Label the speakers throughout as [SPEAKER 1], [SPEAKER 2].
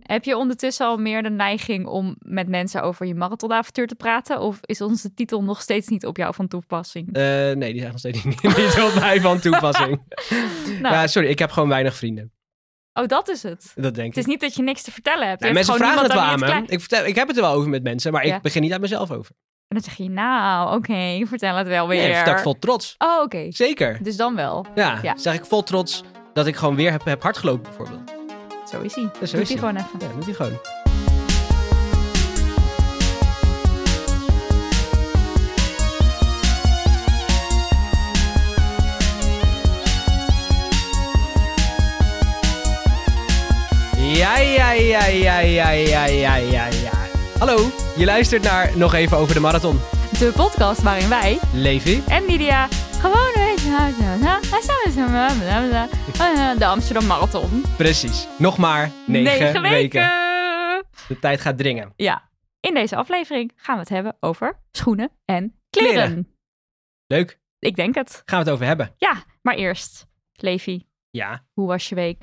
[SPEAKER 1] Heb je ondertussen al meer de neiging om met mensen over je marathonavontuur te praten? Of is onze titel nog steeds niet op jou van toepassing?
[SPEAKER 2] Eh, nee, die zijn nog steeds niet, niet op mij van toepassing.
[SPEAKER 1] Nou.
[SPEAKER 2] Eh, Ja, sorry, ik heb gewoon weinig vrienden.
[SPEAKER 1] Oh, dat is het.
[SPEAKER 2] Dat denk
[SPEAKER 1] Het
[SPEAKER 2] ik.
[SPEAKER 1] is niet dat je niks te vertellen hebt. Je
[SPEAKER 2] Nou,
[SPEAKER 1] hebt
[SPEAKER 2] mensen
[SPEAKER 1] gewoon
[SPEAKER 2] vragen het wel aan
[SPEAKER 1] niemand
[SPEAKER 2] me.
[SPEAKER 1] aan wie het klaar-
[SPEAKER 2] Ik, vertel, ik heb het er wel over met mensen, maar
[SPEAKER 1] Ja.
[SPEAKER 2] ik begin niet aan mezelf over.
[SPEAKER 1] En dan zeg je, nou, oké, vertel het wel
[SPEAKER 2] Nee,
[SPEAKER 1] weer.
[SPEAKER 2] dat vertel ik vol trots.
[SPEAKER 1] Oh, oké.
[SPEAKER 2] Zeker.
[SPEAKER 1] Dus dan wel.
[SPEAKER 2] Ja,
[SPEAKER 1] Ja.
[SPEAKER 2] zeg ik vol trots dat ik gewoon weer heb, heb hardgelopen bijvoorbeeld.
[SPEAKER 1] Zo is hij. Doet
[SPEAKER 2] is
[SPEAKER 1] hij
[SPEAKER 2] hij.
[SPEAKER 1] gewoon even.
[SPEAKER 2] Ja, moet hij gewoon. Ja, ja, ja, ja, ja, ja, ja, ja, ja. Hallo, je luistert naar Nog Even Over de Marathon.
[SPEAKER 1] De podcast waarin wij
[SPEAKER 2] Levi.
[SPEAKER 1] en Lydia gewoon een beetje... De Amsterdam Marathon.
[SPEAKER 2] Precies. Nog maar negen,
[SPEAKER 1] Negen
[SPEAKER 2] weken. De tijd gaat dringen.
[SPEAKER 1] Ja. In deze aflevering gaan we het hebben over schoenen en kleren.
[SPEAKER 2] Kleren. Leuk.
[SPEAKER 1] Ik denk het.
[SPEAKER 2] Gaan we het over hebben.
[SPEAKER 1] Ja, maar eerst, Levi,
[SPEAKER 2] Ja.
[SPEAKER 1] hoe was je week?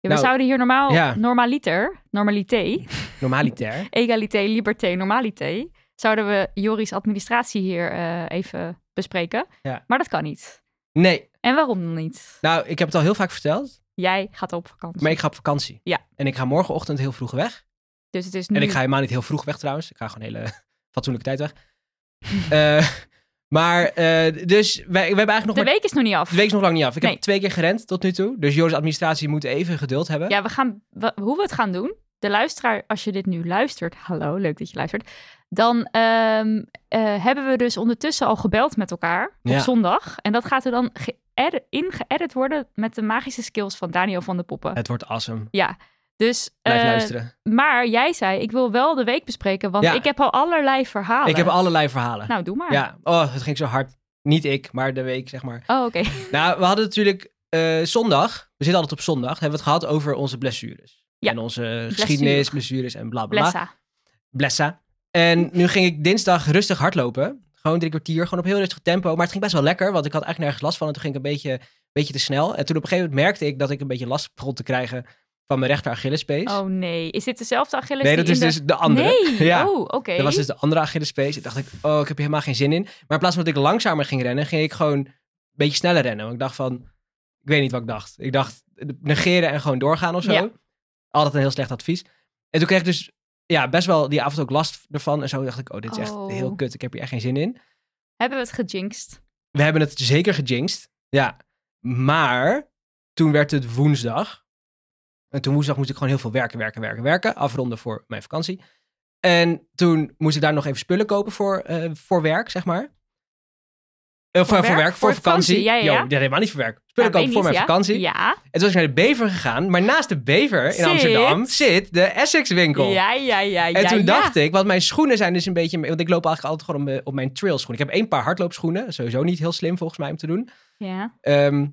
[SPEAKER 1] Ja, we
[SPEAKER 2] Nou,
[SPEAKER 1] zouden hier normaal
[SPEAKER 2] ja.
[SPEAKER 1] normaliter, normalité,
[SPEAKER 2] Normaliter.
[SPEAKER 1] egalité, liberté, normalité, zouden we Joris administratie hier eh, even bespreken.
[SPEAKER 2] Ja.
[SPEAKER 1] Maar dat kan niet.
[SPEAKER 2] Nee.
[SPEAKER 1] En waarom dan niet?
[SPEAKER 2] Nou, ik heb het al heel vaak verteld.
[SPEAKER 1] Jij gaat op vakantie.
[SPEAKER 2] Maar ik ga op vakantie.
[SPEAKER 1] Ja.
[SPEAKER 2] En ik ga morgenochtend heel vroeg weg.
[SPEAKER 1] Dus het is nu...
[SPEAKER 2] En ik ga helemaal niet heel vroeg weg trouwens. Ik ga gewoon een hele fatsoenlijke tijd weg. Eh, maar, eh, dus wij, we hebben eigenlijk nog
[SPEAKER 1] De
[SPEAKER 2] maar...
[SPEAKER 1] week is nog niet af.
[SPEAKER 2] De week is nog lang niet af. Ik
[SPEAKER 1] Nee.
[SPEAKER 2] heb twee keer gerend tot nu toe. Dus Joris administratie moet even geduld hebben.
[SPEAKER 1] Ja, we gaan, we- hoe we het gaan doen. De luisteraar, als je dit nu luistert, hallo, leuk dat je luistert. Dan ehm, eh, hebben we dus ondertussen al gebeld met elkaar op
[SPEAKER 2] Ja.
[SPEAKER 1] zondag. En dat gaat er dan geëdi- ingeëdit worden met de magische skills van Daniel van de Poppen.
[SPEAKER 2] Het wordt awesome.
[SPEAKER 1] Ja, dus.
[SPEAKER 2] Blijf
[SPEAKER 1] eh,
[SPEAKER 2] luisteren.
[SPEAKER 1] maar jij zei, ik wil wel de week bespreken, want
[SPEAKER 2] Ja.
[SPEAKER 1] ik heb al allerlei verhalen.
[SPEAKER 2] Ik heb allerlei verhalen.
[SPEAKER 1] Nou, doe maar.
[SPEAKER 2] ja. Oh, het ging zo hard. Niet ik, maar de week, zeg maar.
[SPEAKER 1] Oh, oké.
[SPEAKER 2] Nou, we hadden natuurlijk eh, zondag, we zitten altijd op zondag, hebben we het gehad over onze blessures.
[SPEAKER 1] Ja.
[SPEAKER 2] En onze geschiedenis, blessures en bla bla. bla.
[SPEAKER 1] Blessa.
[SPEAKER 2] Blessa. En nu ging ik dinsdag rustig hardlopen. Gewoon drie kwartier, gewoon op heel rustig tempo. Maar het ging best wel lekker, want ik had eigenlijk nergens last van. En toen ging ik een beetje, beetje te snel. En toen op een gegeven moment merkte ik dat ik een beetje last begon te krijgen van mijn rechter Achillespees.
[SPEAKER 1] Oh nee, is dit dezelfde Achilles?
[SPEAKER 2] nee, dat
[SPEAKER 1] die
[SPEAKER 2] is
[SPEAKER 1] in de-
[SPEAKER 2] dus de andere.
[SPEAKER 1] Nee,
[SPEAKER 2] Ja.
[SPEAKER 1] oh, oké.
[SPEAKER 2] Dat was dus de andere Achillespees. En dacht ik, oh, ik heb hier helemaal geen zin in. Maar in plaats van dat ik langzamer ging rennen, ging ik gewoon een beetje sneller rennen. Want ik dacht van, ik weet niet wat ik dacht. Ik dacht, negeren en gewoon doorgaan of zo.
[SPEAKER 1] Ja.
[SPEAKER 2] Altijd een heel slecht advies. En toen kreeg ik dus ja, best wel die avond ook last ervan. En zo dacht ik, oh, dit is
[SPEAKER 1] Oh.
[SPEAKER 2] echt heel kut. Ik heb hier echt geen zin in.
[SPEAKER 1] Hebben we het gejinxed?
[SPEAKER 2] We hebben het zeker gejinxed. Ja. Maar toen werd het woensdag. En toen woensdag moest ik gewoon heel veel werken, werken, werken, werken. Afronden voor mijn vakantie. En toen moest ik daar nog even spullen kopen voor, eh, voor werk, zeg maar. Of voor, voor werk, voor, vakantie.
[SPEAKER 1] ja, ja,
[SPEAKER 2] Yo,
[SPEAKER 1] ja.
[SPEAKER 2] dat helemaal niet voor werk. Spullen
[SPEAKER 1] Ja, weet
[SPEAKER 2] kopen
[SPEAKER 1] niet,
[SPEAKER 2] voor mijn
[SPEAKER 1] ja.
[SPEAKER 2] vakantie.
[SPEAKER 1] Ja.
[SPEAKER 2] En toen was ik naar de Bever gegaan. Maar naast de Bever in
[SPEAKER 1] Zit-
[SPEAKER 2] Amsterdam zit de Essex winkel.
[SPEAKER 1] Ja, ja, ja.
[SPEAKER 2] En
[SPEAKER 1] ja,
[SPEAKER 2] toen
[SPEAKER 1] ja.
[SPEAKER 2] dacht ik, want mijn schoenen zijn dus een beetje... Want ik loop eigenlijk altijd gewoon op mijn, op mijn trailschoenen. Ik heb één paar hardloopschoenen. Sowieso niet heel slim volgens mij om te doen.
[SPEAKER 1] Ja.
[SPEAKER 2] Ehm,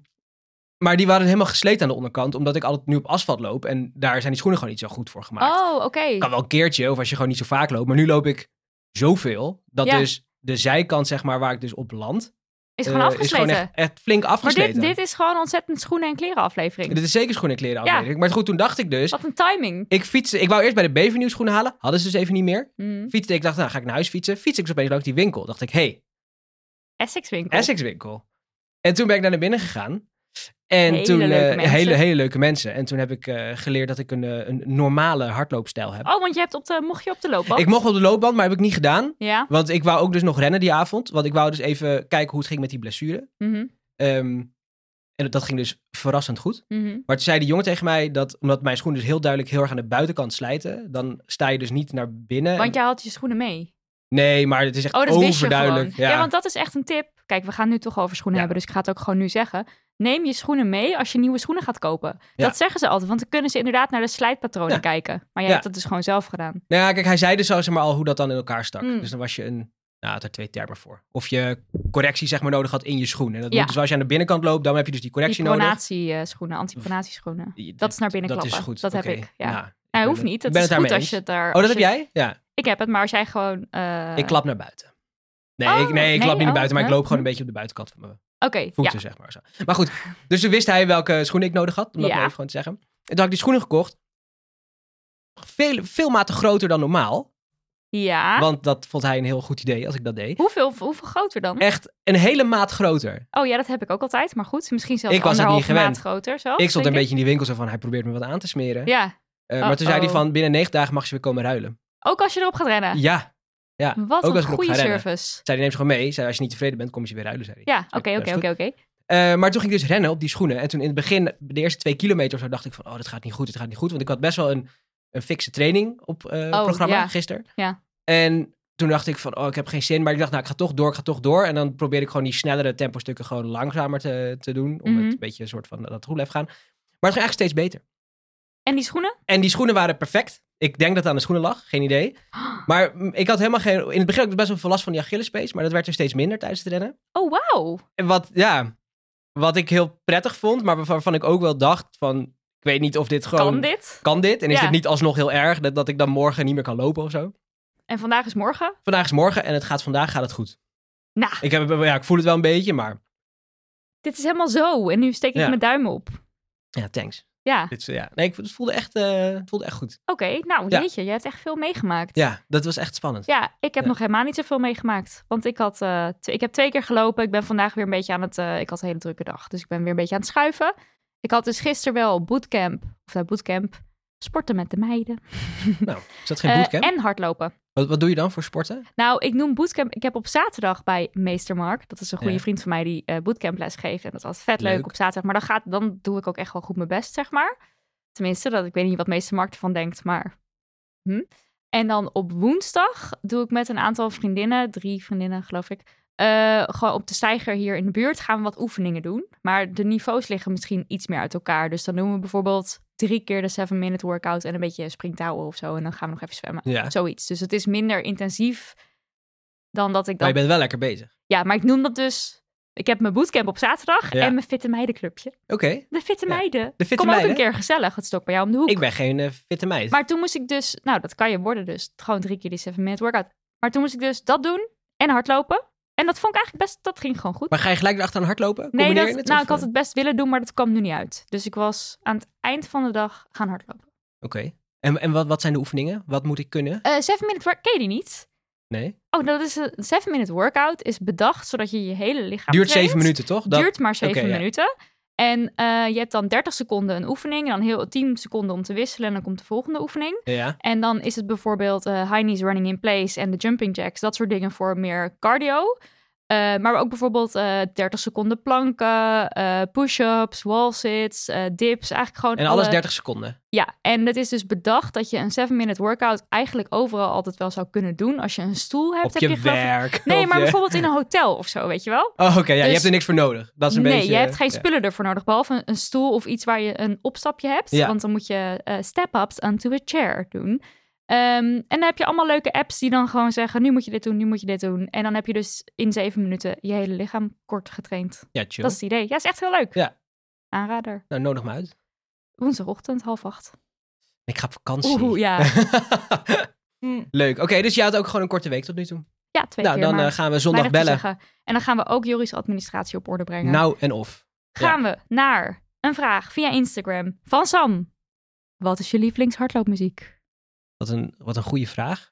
[SPEAKER 2] maar die waren helemaal gesleet aan de onderkant. Omdat ik altijd nu op asfalt loop. En daar zijn die schoenen gewoon niet zo goed voor gemaakt.
[SPEAKER 1] Oh, oké.
[SPEAKER 2] Kan wel eh, een keertje, of als je gewoon niet zo vaak loopt. Maar nu loop ik zoveel. Dat
[SPEAKER 1] Ja.
[SPEAKER 2] dus de zijkant, zeg maar, waar ik dus op land...
[SPEAKER 1] Is
[SPEAKER 2] eh,
[SPEAKER 1] gewoon afgesleten.
[SPEAKER 2] Is gewoon echt, echt flink
[SPEAKER 1] maar dit,
[SPEAKER 2] afgesleten.
[SPEAKER 1] dit is gewoon ontzettend schoenen- en klerenaflevering.
[SPEAKER 2] dit... is zeker schoenen en kleren
[SPEAKER 1] Ja.
[SPEAKER 2] aflevering. Maar goed, toen dacht ik dus...
[SPEAKER 1] Wat een timing.
[SPEAKER 2] Ik fietste, ik wou eerst bij de Bevernieuw schoenen halen. Hadden ze dus even niet meer.
[SPEAKER 1] Mm.
[SPEAKER 2] Fietste, ik dacht, nou ga ik naar huis fietsen. Fiets ik dus opeens langs die winkel. Dacht ik, hé, hey,
[SPEAKER 1] Essex winkel.
[SPEAKER 2] Essex winkel. En toen ben ik daar naar binnen gegaan. En
[SPEAKER 1] Hele
[SPEAKER 2] toen, eh,
[SPEAKER 1] leuke mensen.
[SPEAKER 2] hele, hele leuke mensen. En toen heb ik eh, geleerd dat ik een, eh, een normale hardloopstijl heb.
[SPEAKER 1] Oh, want je hebt op de, mocht je op de loopband?
[SPEAKER 2] ik mocht op de loopband, maar heb ik niet gedaan.
[SPEAKER 1] Ja.
[SPEAKER 2] Want ik wou ook dus nog rennen die avond. Want ik wou dus even kijken hoe het ging met die blessure.
[SPEAKER 1] Mhm,
[SPEAKER 2] Ehm, en dat ging dus verrassend goed.
[SPEAKER 1] mhm.
[SPEAKER 2] Maar toen zei die jongen tegen mij dat, omdat mijn schoenen dus heel duidelijk heel erg aan de buitenkant slijten, dan sta je dus niet naar binnen.
[SPEAKER 1] Want jij had je schoenen mee.
[SPEAKER 2] Nee, maar het is echt
[SPEAKER 1] Oh, dat wist je
[SPEAKER 2] overduidelijk.
[SPEAKER 1] gewoon. Ja. want dat is echt een tip. Kijk, we gaan nu toch over schoenen
[SPEAKER 2] Ja.
[SPEAKER 1] hebben, dus ik ga het ook gewoon nu zeggen. Neem je schoenen mee als je nieuwe schoenen gaat kopen.
[SPEAKER 2] Ja.
[SPEAKER 1] Dat zeggen ze altijd, want dan kunnen ze inderdaad naar de slijtpatronen
[SPEAKER 2] Ja.
[SPEAKER 1] kijken. Maar jij
[SPEAKER 2] Ja.
[SPEAKER 1] hebt dat dus gewoon zelf gedaan.
[SPEAKER 2] Nou ja, kijk, hij zei dus al, zeg maar, al hoe dat dan in elkaar stak.
[SPEAKER 1] Mm.
[SPEAKER 2] Dus dan was je een... Nou, had er twee termen voor. Of je correctie, zeg maar, nodig had in je schoen. En dat
[SPEAKER 1] Ja.
[SPEAKER 2] moet, dus als je aan de binnenkant loopt, dan heb je dus die
[SPEAKER 1] Die eh,
[SPEAKER 2] correctie nodig.
[SPEAKER 1] pronatieschoenen, antipronatieschoenen.
[SPEAKER 2] Die-
[SPEAKER 1] Dat is naar binnen
[SPEAKER 2] Dat is
[SPEAKER 1] klappen.
[SPEAKER 2] goed.
[SPEAKER 1] Dat heb
[SPEAKER 2] oké.
[SPEAKER 1] ik, ja.
[SPEAKER 2] Nou, ik
[SPEAKER 1] Nou,
[SPEAKER 2] ben
[SPEAKER 1] hoeft
[SPEAKER 2] het-
[SPEAKER 1] niet.
[SPEAKER 2] ik
[SPEAKER 1] Het
[SPEAKER 2] ben
[SPEAKER 1] is
[SPEAKER 2] het
[SPEAKER 1] goed
[SPEAKER 2] daarmee
[SPEAKER 1] als je
[SPEAKER 2] eens.
[SPEAKER 1] het daar...
[SPEAKER 2] Oh,
[SPEAKER 1] als
[SPEAKER 2] dat heb
[SPEAKER 1] je-
[SPEAKER 2] jij? Ja.
[SPEAKER 1] Ik heb het, maar als jij gewoon... eh,
[SPEAKER 2] Ik klap naar buiten. Nee,
[SPEAKER 1] Oh,
[SPEAKER 2] ik, nee, ik klap
[SPEAKER 1] nee,
[SPEAKER 2] niet naar
[SPEAKER 1] oh,
[SPEAKER 2] buiten, maar ik
[SPEAKER 1] huh?
[SPEAKER 2] loop gewoon een beetje op de buitenkant van mijn
[SPEAKER 1] Oké, ja.
[SPEAKER 2] voeten, zeg maar. Zo. Maar goed, dus toen wist hij welke schoenen ik nodig had, om dat
[SPEAKER 1] Ja.
[SPEAKER 2] maar even gewoon te zeggen. En toen had ik die schoenen gekocht. veel, veel mate groter dan normaal.
[SPEAKER 1] Ja.
[SPEAKER 2] Want dat vond hij een heel goed idee als ik dat deed.
[SPEAKER 1] Hoeveel, hoeveel groter dan?
[SPEAKER 2] Echt een hele maat groter.
[SPEAKER 1] Oh ja, dat heb ik ook altijd. Maar goed, misschien zelfs
[SPEAKER 2] Ik was het niet
[SPEAKER 1] anderhalve maat
[SPEAKER 2] gewend.
[SPEAKER 1] groter. Zo,
[SPEAKER 2] ik stond een
[SPEAKER 1] denk
[SPEAKER 2] beetje in die winkel zo van, hij probeert me wat aan te smeren.
[SPEAKER 1] Ja,
[SPEAKER 2] Eh, maar toen zei hij
[SPEAKER 1] Uh-oh.
[SPEAKER 2] van, binnen negen dagen mag je weer komen ruilen.
[SPEAKER 1] ook als je erop gaat rennen.
[SPEAKER 2] Ja, ja.
[SPEAKER 1] Wat
[SPEAKER 2] ook
[SPEAKER 1] een
[SPEAKER 2] als ik erop
[SPEAKER 1] goede
[SPEAKER 2] ga rennen.
[SPEAKER 1] service.
[SPEAKER 2] Zei hij, neem ze gewoon mee. Zei, als je niet tevreden bent, kom je ze weer ruilen, zei hij.
[SPEAKER 1] Ja,
[SPEAKER 2] Zei,
[SPEAKER 1] oké,
[SPEAKER 2] "Dat is
[SPEAKER 1] oké,
[SPEAKER 2] goed."
[SPEAKER 1] oké, oké.
[SPEAKER 2] Eh, maar toen ging ik dus rennen op die schoenen. En toen in het begin, de eerste twee kilometer of zo, dacht ik van... oh, dit gaat niet goed, dit gaat niet goed. Want ik had best wel een, een fikse training op eh,
[SPEAKER 1] Oh,
[SPEAKER 2] programma
[SPEAKER 1] ja.
[SPEAKER 2] gisteren.
[SPEAKER 1] Ja.
[SPEAKER 2] En toen dacht ik van, oh, ik heb geen zin. Maar ik dacht, nou, ik ga toch door, ik ga toch door. En dan probeer ik gewoon die snellere tempostukken gewoon langzamer te, te doen. Om
[SPEAKER 1] Mhm.
[SPEAKER 2] het een beetje een soort van dat roelef gaan. Maar het ging eigenlijk steeds beter.
[SPEAKER 1] En die schoenen?
[SPEAKER 2] En die schoenen waren perfect. Ik denk dat het aan de schoenen lag, geen idee. Maar mm, ik had helemaal geen... In het begin had ik best wel veel last van die Achillespees. Maar dat werd er steeds minder tijdens het rennen.
[SPEAKER 1] Oh, wauw.
[SPEAKER 2] En wat, ja, wat ik heel prettig vond, maar waarvan waarvan ik ook wel dacht van... Ik weet niet of dit gewoon...
[SPEAKER 1] Kan dit?
[SPEAKER 2] kan dit? En is
[SPEAKER 1] Ja.
[SPEAKER 2] dit niet alsnog heel erg dat, dat ik dan morgen niet meer kan lopen of zo?
[SPEAKER 1] En vandaag is morgen?
[SPEAKER 2] Vandaag is morgen en het gaat vandaag gaat het goed.
[SPEAKER 1] Nou,
[SPEAKER 2] Ik, heb, ja, ik voel het wel een beetje, maar
[SPEAKER 1] dit is helemaal zo. En nu steek ik
[SPEAKER 2] Ja.
[SPEAKER 1] mijn duim op.
[SPEAKER 2] ja, thanks.
[SPEAKER 1] Ja, oké.
[SPEAKER 2] Dit, is, ja. Nee, ik, het, voelde echt, eh, het voelde echt goed.
[SPEAKER 1] Nou,
[SPEAKER 2] Ja.
[SPEAKER 1] jeetje, je hebt echt veel meegemaakt.
[SPEAKER 2] Ja, dat was echt spannend.
[SPEAKER 1] Ja, ik heb
[SPEAKER 2] Ja.
[SPEAKER 1] nog helemaal niet zoveel meegemaakt. Want ik, had, eh, tw- ik heb twee keer gelopen. Ik ben vandaag weer een beetje aan het... eh, ik had een hele drukke dag. Dus ik ben weer een beetje aan het schuiven. Ik had dus gisteren wel bootcamp. Of nou, bootcamp. Sporten met de meiden.
[SPEAKER 2] Nou, is dat geen
[SPEAKER 1] Eh,
[SPEAKER 2] bootcamp?
[SPEAKER 1] en hardlopen.
[SPEAKER 2] wat, wat doe je dan voor sporten?
[SPEAKER 1] Nou, ik noem bootcamp... Ik heb op zaterdag bij meester Mark. Dat is een goede
[SPEAKER 2] Ja.
[SPEAKER 1] vriend van mij die eh bootcamples geeft. En dat was vet leuk,
[SPEAKER 2] Leuk.
[SPEAKER 1] op zaterdag. Maar dan, gaat, dan doe ik ook echt wel goed mijn best, zeg maar. Tenminste, dat, ik weet niet wat meester Mark ervan denkt, maar... Hm? En dan op woensdag doe ik met een aantal vriendinnen, drie vriendinnen geloof ik, eh, gewoon op de steiger hier in de buurt gaan we wat oefeningen doen. Maar de niveaus liggen misschien iets meer uit elkaar. Dus dan doen we bijvoorbeeld drie keer de 7-minute workout en een beetje springtouwen of zo. En dan gaan we nog even zwemmen.
[SPEAKER 2] Ja.
[SPEAKER 1] Zoiets. Dus het is minder intensief dan dat ik
[SPEAKER 2] Maar
[SPEAKER 1] dan
[SPEAKER 2] je bent wel lekker bezig.
[SPEAKER 1] ja, maar ik noem dat dus. Ik heb mijn bootcamp op zaterdag
[SPEAKER 2] Ja.
[SPEAKER 1] en mijn Fitte Meidenclubje.
[SPEAKER 2] Oké,
[SPEAKER 1] De Fitte
[SPEAKER 2] Ja,
[SPEAKER 1] Meiden.
[SPEAKER 2] de fitte
[SPEAKER 1] Kom
[SPEAKER 2] meiden.
[SPEAKER 1] ook een keer gezellig. Het stok bij jou om de hoek.
[SPEAKER 2] Ik ben geen eh, fitte meid.
[SPEAKER 1] Maar toen moest ik dus. Nou, dat kan je worden, dus gewoon drie keer die 7-minute workout. Maar toen moest ik dus dat doen en hardlopen. En dat vond ik eigenlijk best. Dat ging gewoon goed.
[SPEAKER 2] Maar ga je gelijk erachteraan hardlopen?
[SPEAKER 1] nee,
[SPEAKER 2] Combineer
[SPEAKER 1] dat,
[SPEAKER 2] je het,
[SPEAKER 1] nou,
[SPEAKER 2] of,
[SPEAKER 1] ik had
[SPEAKER 2] eh,
[SPEAKER 1] het best willen doen, maar dat kwam nu niet uit. Dus ik was aan het eind van de dag gaan hardlopen.
[SPEAKER 2] Oké. En, en wat, wat zijn de oefeningen? Wat moet ik kunnen?
[SPEAKER 1] Eh 7-minute workout. Ken je die niet?
[SPEAKER 2] Nee.
[SPEAKER 1] Oh, dat is een 7-minute workout. Is bedacht zodat je je hele lichaam.
[SPEAKER 2] Duurt zeven
[SPEAKER 1] traint.
[SPEAKER 2] minuten, toch? Dat-
[SPEAKER 1] duurt maar 7
[SPEAKER 2] Oké, ja.
[SPEAKER 1] minuten. En eh, je hebt dan 30 seconden een oefening. En dan heel 10 seconden om te wisselen. En dan komt de volgende oefening.
[SPEAKER 2] Ja.
[SPEAKER 1] En dan is het bijvoorbeeld eh high knees running in place en de jumping jacks. Dat soort dingen voor meer cardio. Eh, maar ook bijvoorbeeld eh 30 seconden planken, eh, push-ups, wall sits, eh, dips. Eigenlijk gewoon
[SPEAKER 2] En alles
[SPEAKER 1] alle-
[SPEAKER 2] 30 seconden.
[SPEAKER 1] Ja, en het is dus bedacht dat je een 7-minute workout eigenlijk overal altijd wel zou kunnen doen. Als je een stoel hebt,
[SPEAKER 2] Op
[SPEAKER 1] heb je,
[SPEAKER 2] je
[SPEAKER 1] geloof ik-
[SPEAKER 2] werk.
[SPEAKER 1] Nee,
[SPEAKER 2] op
[SPEAKER 1] maar
[SPEAKER 2] je-
[SPEAKER 1] bijvoorbeeld in een hotel of zo, weet je wel?
[SPEAKER 2] Oh, oké. ja,
[SPEAKER 1] Dus-
[SPEAKER 2] je hebt er niks voor nodig. Dat is een
[SPEAKER 1] nee,
[SPEAKER 2] beetje...
[SPEAKER 1] je hebt geen
[SPEAKER 2] ja.
[SPEAKER 1] spullen ervoor nodig, behalve een, een stoel of iets waar je een opstapje hebt.
[SPEAKER 2] Ja.
[SPEAKER 1] Want dan moet je eh, step-ups onto a chair doen. Ehm, en dan heb je allemaal leuke apps die dan gewoon zeggen, nu moet je dit doen, nu moet je dit doen. En dan heb je dus in zeven minuten je hele lichaam kort getraind.
[SPEAKER 2] Ja, chill.
[SPEAKER 1] Dat is het idee. Ja, is echt heel leuk.
[SPEAKER 2] Ja.
[SPEAKER 1] Aanrader.
[SPEAKER 2] Nou, nodig me uit.
[SPEAKER 1] Woensdagochtend, half acht.
[SPEAKER 2] Ik ga op vakantie.
[SPEAKER 1] Oeh, ja.
[SPEAKER 2] Leuk. Oké, dus je had ook gewoon een korte week tot nu toe.
[SPEAKER 1] Ja, twee
[SPEAKER 2] nou,
[SPEAKER 1] keer
[SPEAKER 2] dan
[SPEAKER 1] maar.
[SPEAKER 2] eh, gaan we zondag
[SPEAKER 1] Weinig te
[SPEAKER 2] bellen.
[SPEAKER 1] zeggen. En dan gaan we ook Joris' administratie op orde brengen.
[SPEAKER 2] Nou en of.
[SPEAKER 1] gaan we naar een vraag via Instagram van Sam. Wat is je lievelingshardloopmuziek?
[SPEAKER 2] Wat een, wat een goede vraag.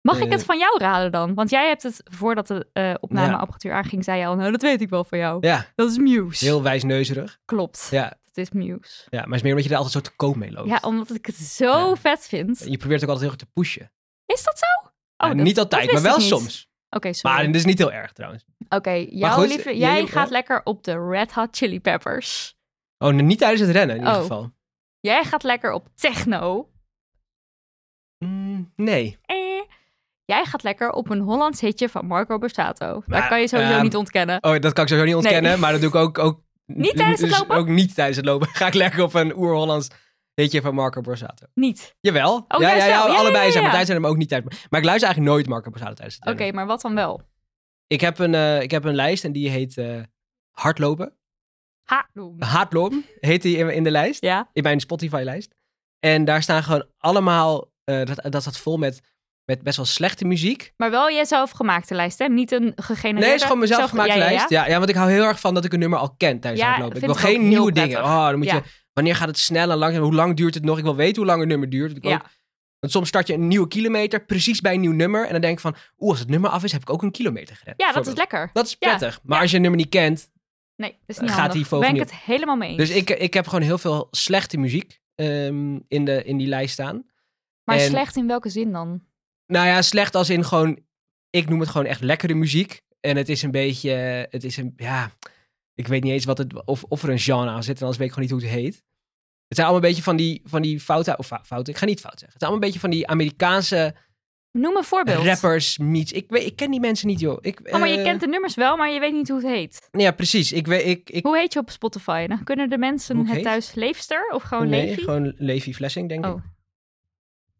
[SPEAKER 1] Mag ik
[SPEAKER 2] Eh,
[SPEAKER 1] het van jou raden dan? Want jij hebt het, voordat de eh, opnameapparatuur aanging, zei je al, nou dat weet ik wel van jou.
[SPEAKER 2] Ja,
[SPEAKER 1] Dat is Muse.
[SPEAKER 2] heel wijsneuzerig.
[SPEAKER 1] Klopt,
[SPEAKER 2] Ja,
[SPEAKER 1] dat is Muse.
[SPEAKER 2] ja, maar het is meer omdat je er altijd zo te koop mee loopt.
[SPEAKER 1] Ja, omdat ik het zo
[SPEAKER 2] Ja.
[SPEAKER 1] vet vind.
[SPEAKER 2] Je probeert ook altijd heel erg te pushen.
[SPEAKER 1] Is dat zo?
[SPEAKER 2] Ja,
[SPEAKER 1] Oh, dat-
[SPEAKER 2] niet
[SPEAKER 1] dat
[SPEAKER 2] altijd, maar
[SPEAKER 1] wist
[SPEAKER 2] wel
[SPEAKER 1] ik niet.
[SPEAKER 2] soms.
[SPEAKER 1] Oké,
[SPEAKER 2] Maar
[SPEAKER 1] sorry.
[SPEAKER 2] dit is niet heel erg trouwens.
[SPEAKER 1] Oké, jouw
[SPEAKER 2] goed,
[SPEAKER 1] lieve-
[SPEAKER 2] je-
[SPEAKER 1] jij
[SPEAKER 2] je-
[SPEAKER 1] gaat
[SPEAKER 2] ja.
[SPEAKER 1] lekker op de Red Hot Chili Peppers.
[SPEAKER 2] Oh, nee, niet tijdens het rennen in
[SPEAKER 1] Oh.
[SPEAKER 2] ieder geval.
[SPEAKER 1] Jij gaat lekker op techno.
[SPEAKER 2] Mm, nee.
[SPEAKER 1] Eh. Jij gaat lekker op een Hollands hitje van Marco Borsato. Daar
[SPEAKER 2] Maar,
[SPEAKER 1] kan je sowieso
[SPEAKER 2] ehm,
[SPEAKER 1] niet ontkennen.
[SPEAKER 2] Oh, dat kan ik sowieso niet ontkennen,
[SPEAKER 1] Nee.
[SPEAKER 2] maar dat doe ik ook... ook
[SPEAKER 1] Niet tijdens het
[SPEAKER 2] dus
[SPEAKER 1] lopen?
[SPEAKER 2] Ook niet tijdens het lopen. Ga ik lekker op een oer-Hollands hitje van Marco Borsato.
[SPEAKER 1] Niet.
[SPEAKER 2] Jawel. ja,
[SPEAKER 1] Oh, juist
[SPEAKER 2] ja, ja,
[SPEAKER 1] wel. Ja, ja,
[SPEAKER 2] allebei
[SPEAKER 1] ja,
[SPEAKER 2] zijn, maar
[SPEAKER 1] ja.
[SPEAKER 2] tijdens het rennen, maar ook niet tijdens... Maar ik luister eigenlijk nooit Marco Borsato tijdens het
[SPEAKER 1] Oké,
[SPEAKER 2] rennen.
[SPEAKER 1] maar wat dan wel?
[SPEAKER 2] Ik, heb een, eh, ik heb een lijst en die heet eh, hardlopen.
[SPEAKER 1] Ha, noem.
[SPEAKER 2] Hardlopen heet die in, in de lijst.
[SPEAKER 1] Ja?
[SPEAKER 2] in mijn Spotify-lijst. En daar staan gewoon allemaal, eh, dat, dat staat vol met, met best wel slechte muziek.
[SPEAKER 1] Maar wel je zelf gemaakte lijst, hè? Niet een gegenereerde.
[SPEAKER 2] nee, het is gewoon mezelf
[SPEAKER 1] zelf-
[SPEAKER 2] gemaakt
[SPEAKER 1] ja, ja, ja.
[SPEAKER 2] lijst. Ja, ja, want ik hou heel erg van dat ik een nummer al ken tijdens
[SPEAKER 1] Ja,
[SPEAKER 2] het hardlopen. Ik
[SPEAKER 1] vind
[SPEAKER 2] wil
[SPEAKER 1] ik ook
[SPEAKER 2] geen nieuwe
[SPEAKER 1] heel
[SPEAKER 2] dingen.
[SPEAKER 1] prettig.
[SPEAKER 2] Oh, dan moet
[SPEAKER 1] Ja.
[SPEAKER 2] je Wanneer gaat het snel en langzaam? Hoe lang duurt het nog? Ik wil weten hoe lang een nummer duurt. Ik wil
[SPEAKER 1] Ja.
[SPEAKER 2] ook- want soms start je een nieuwe kilometer precies bij een nieuw nummer. En dan denk je van, oeh, als het nummer af is, heb ik ook een kilometer gered.
[SPEAKER 1] Ja, dat is
[SPEAKER 2] bijvoorbeeld.
[SPEAKER 1] lekker.
[SPEAKER 2] Dat is
[SPEAKER 1] Ja,
[SPEAKER 2] prettig. Maar als je een nummer niet kent.
[SPEAKER 1] Nee, dat is
[SPEAKER 2] Dan
[SPEAKER 1] niet
[SPEAKER 2] gaat die
[SPEAKER 1] handig.
[SPEAKER 2] vogel
[SPEAKER 1] ben ik
[SPEAKER 2] niet-
[SPEAKER 1] het helemaal mee eens.
[SPEAKER 2] Dus ik, ik heb gewoon heel veel slechte muziek ehm, in, de, in die lijst staan.
[SPEAKER 1] maar
[SPEAKER 2] en-
[SPEAKER 1] slecht in welke zin dan?
[SPEAKER 2] Nou ja, slecht als in gewoon. Ik noem het gewoon echt lekkere muziek. En het is een beetje. eh, Het is een. Ja. Ik weet niet eens wat het. Of, of er een genre aan zit. En anders weet ik gewoon niet hoe het heet. Het zijn allemaal een beetje van die, van die fouten. Of fou- fouten. Ik ga niet fout zeggen. Het zijn allemaal een beetje van die Amerikaanse
[SPEAKER 1] Noem een voorbeeld.
[SPEAKER 2] rappers. Meets. Ik, weet, ik ken die mensen niet, joh. Ik,
[SPEAKER 1] Oh, maar je
[SPEAKER 2] eh,
[SPEAKER 1] kent de nummers wel, maar je weet niet hoe het heet.
[SPEAKER 2] Ja, precies. Ik weet. Ik, ik,
[SPEAKER 1] Hoe heet je op Spotify? Dan kunnen de mensen
[SPEAKER 2] Hoe ik
[SPEAKER 1] het
[SPEAKER 2] heet?
[SPEAKER 1] thuis Leefster of gewoon
[SPEAKER 2] nee,
[SPEAKER 1] Levi?
[SPEAKER 2] gewoon Levi Flessing, denk
[SPEAKER 1] Oh.
[SPEAKER 2] ik.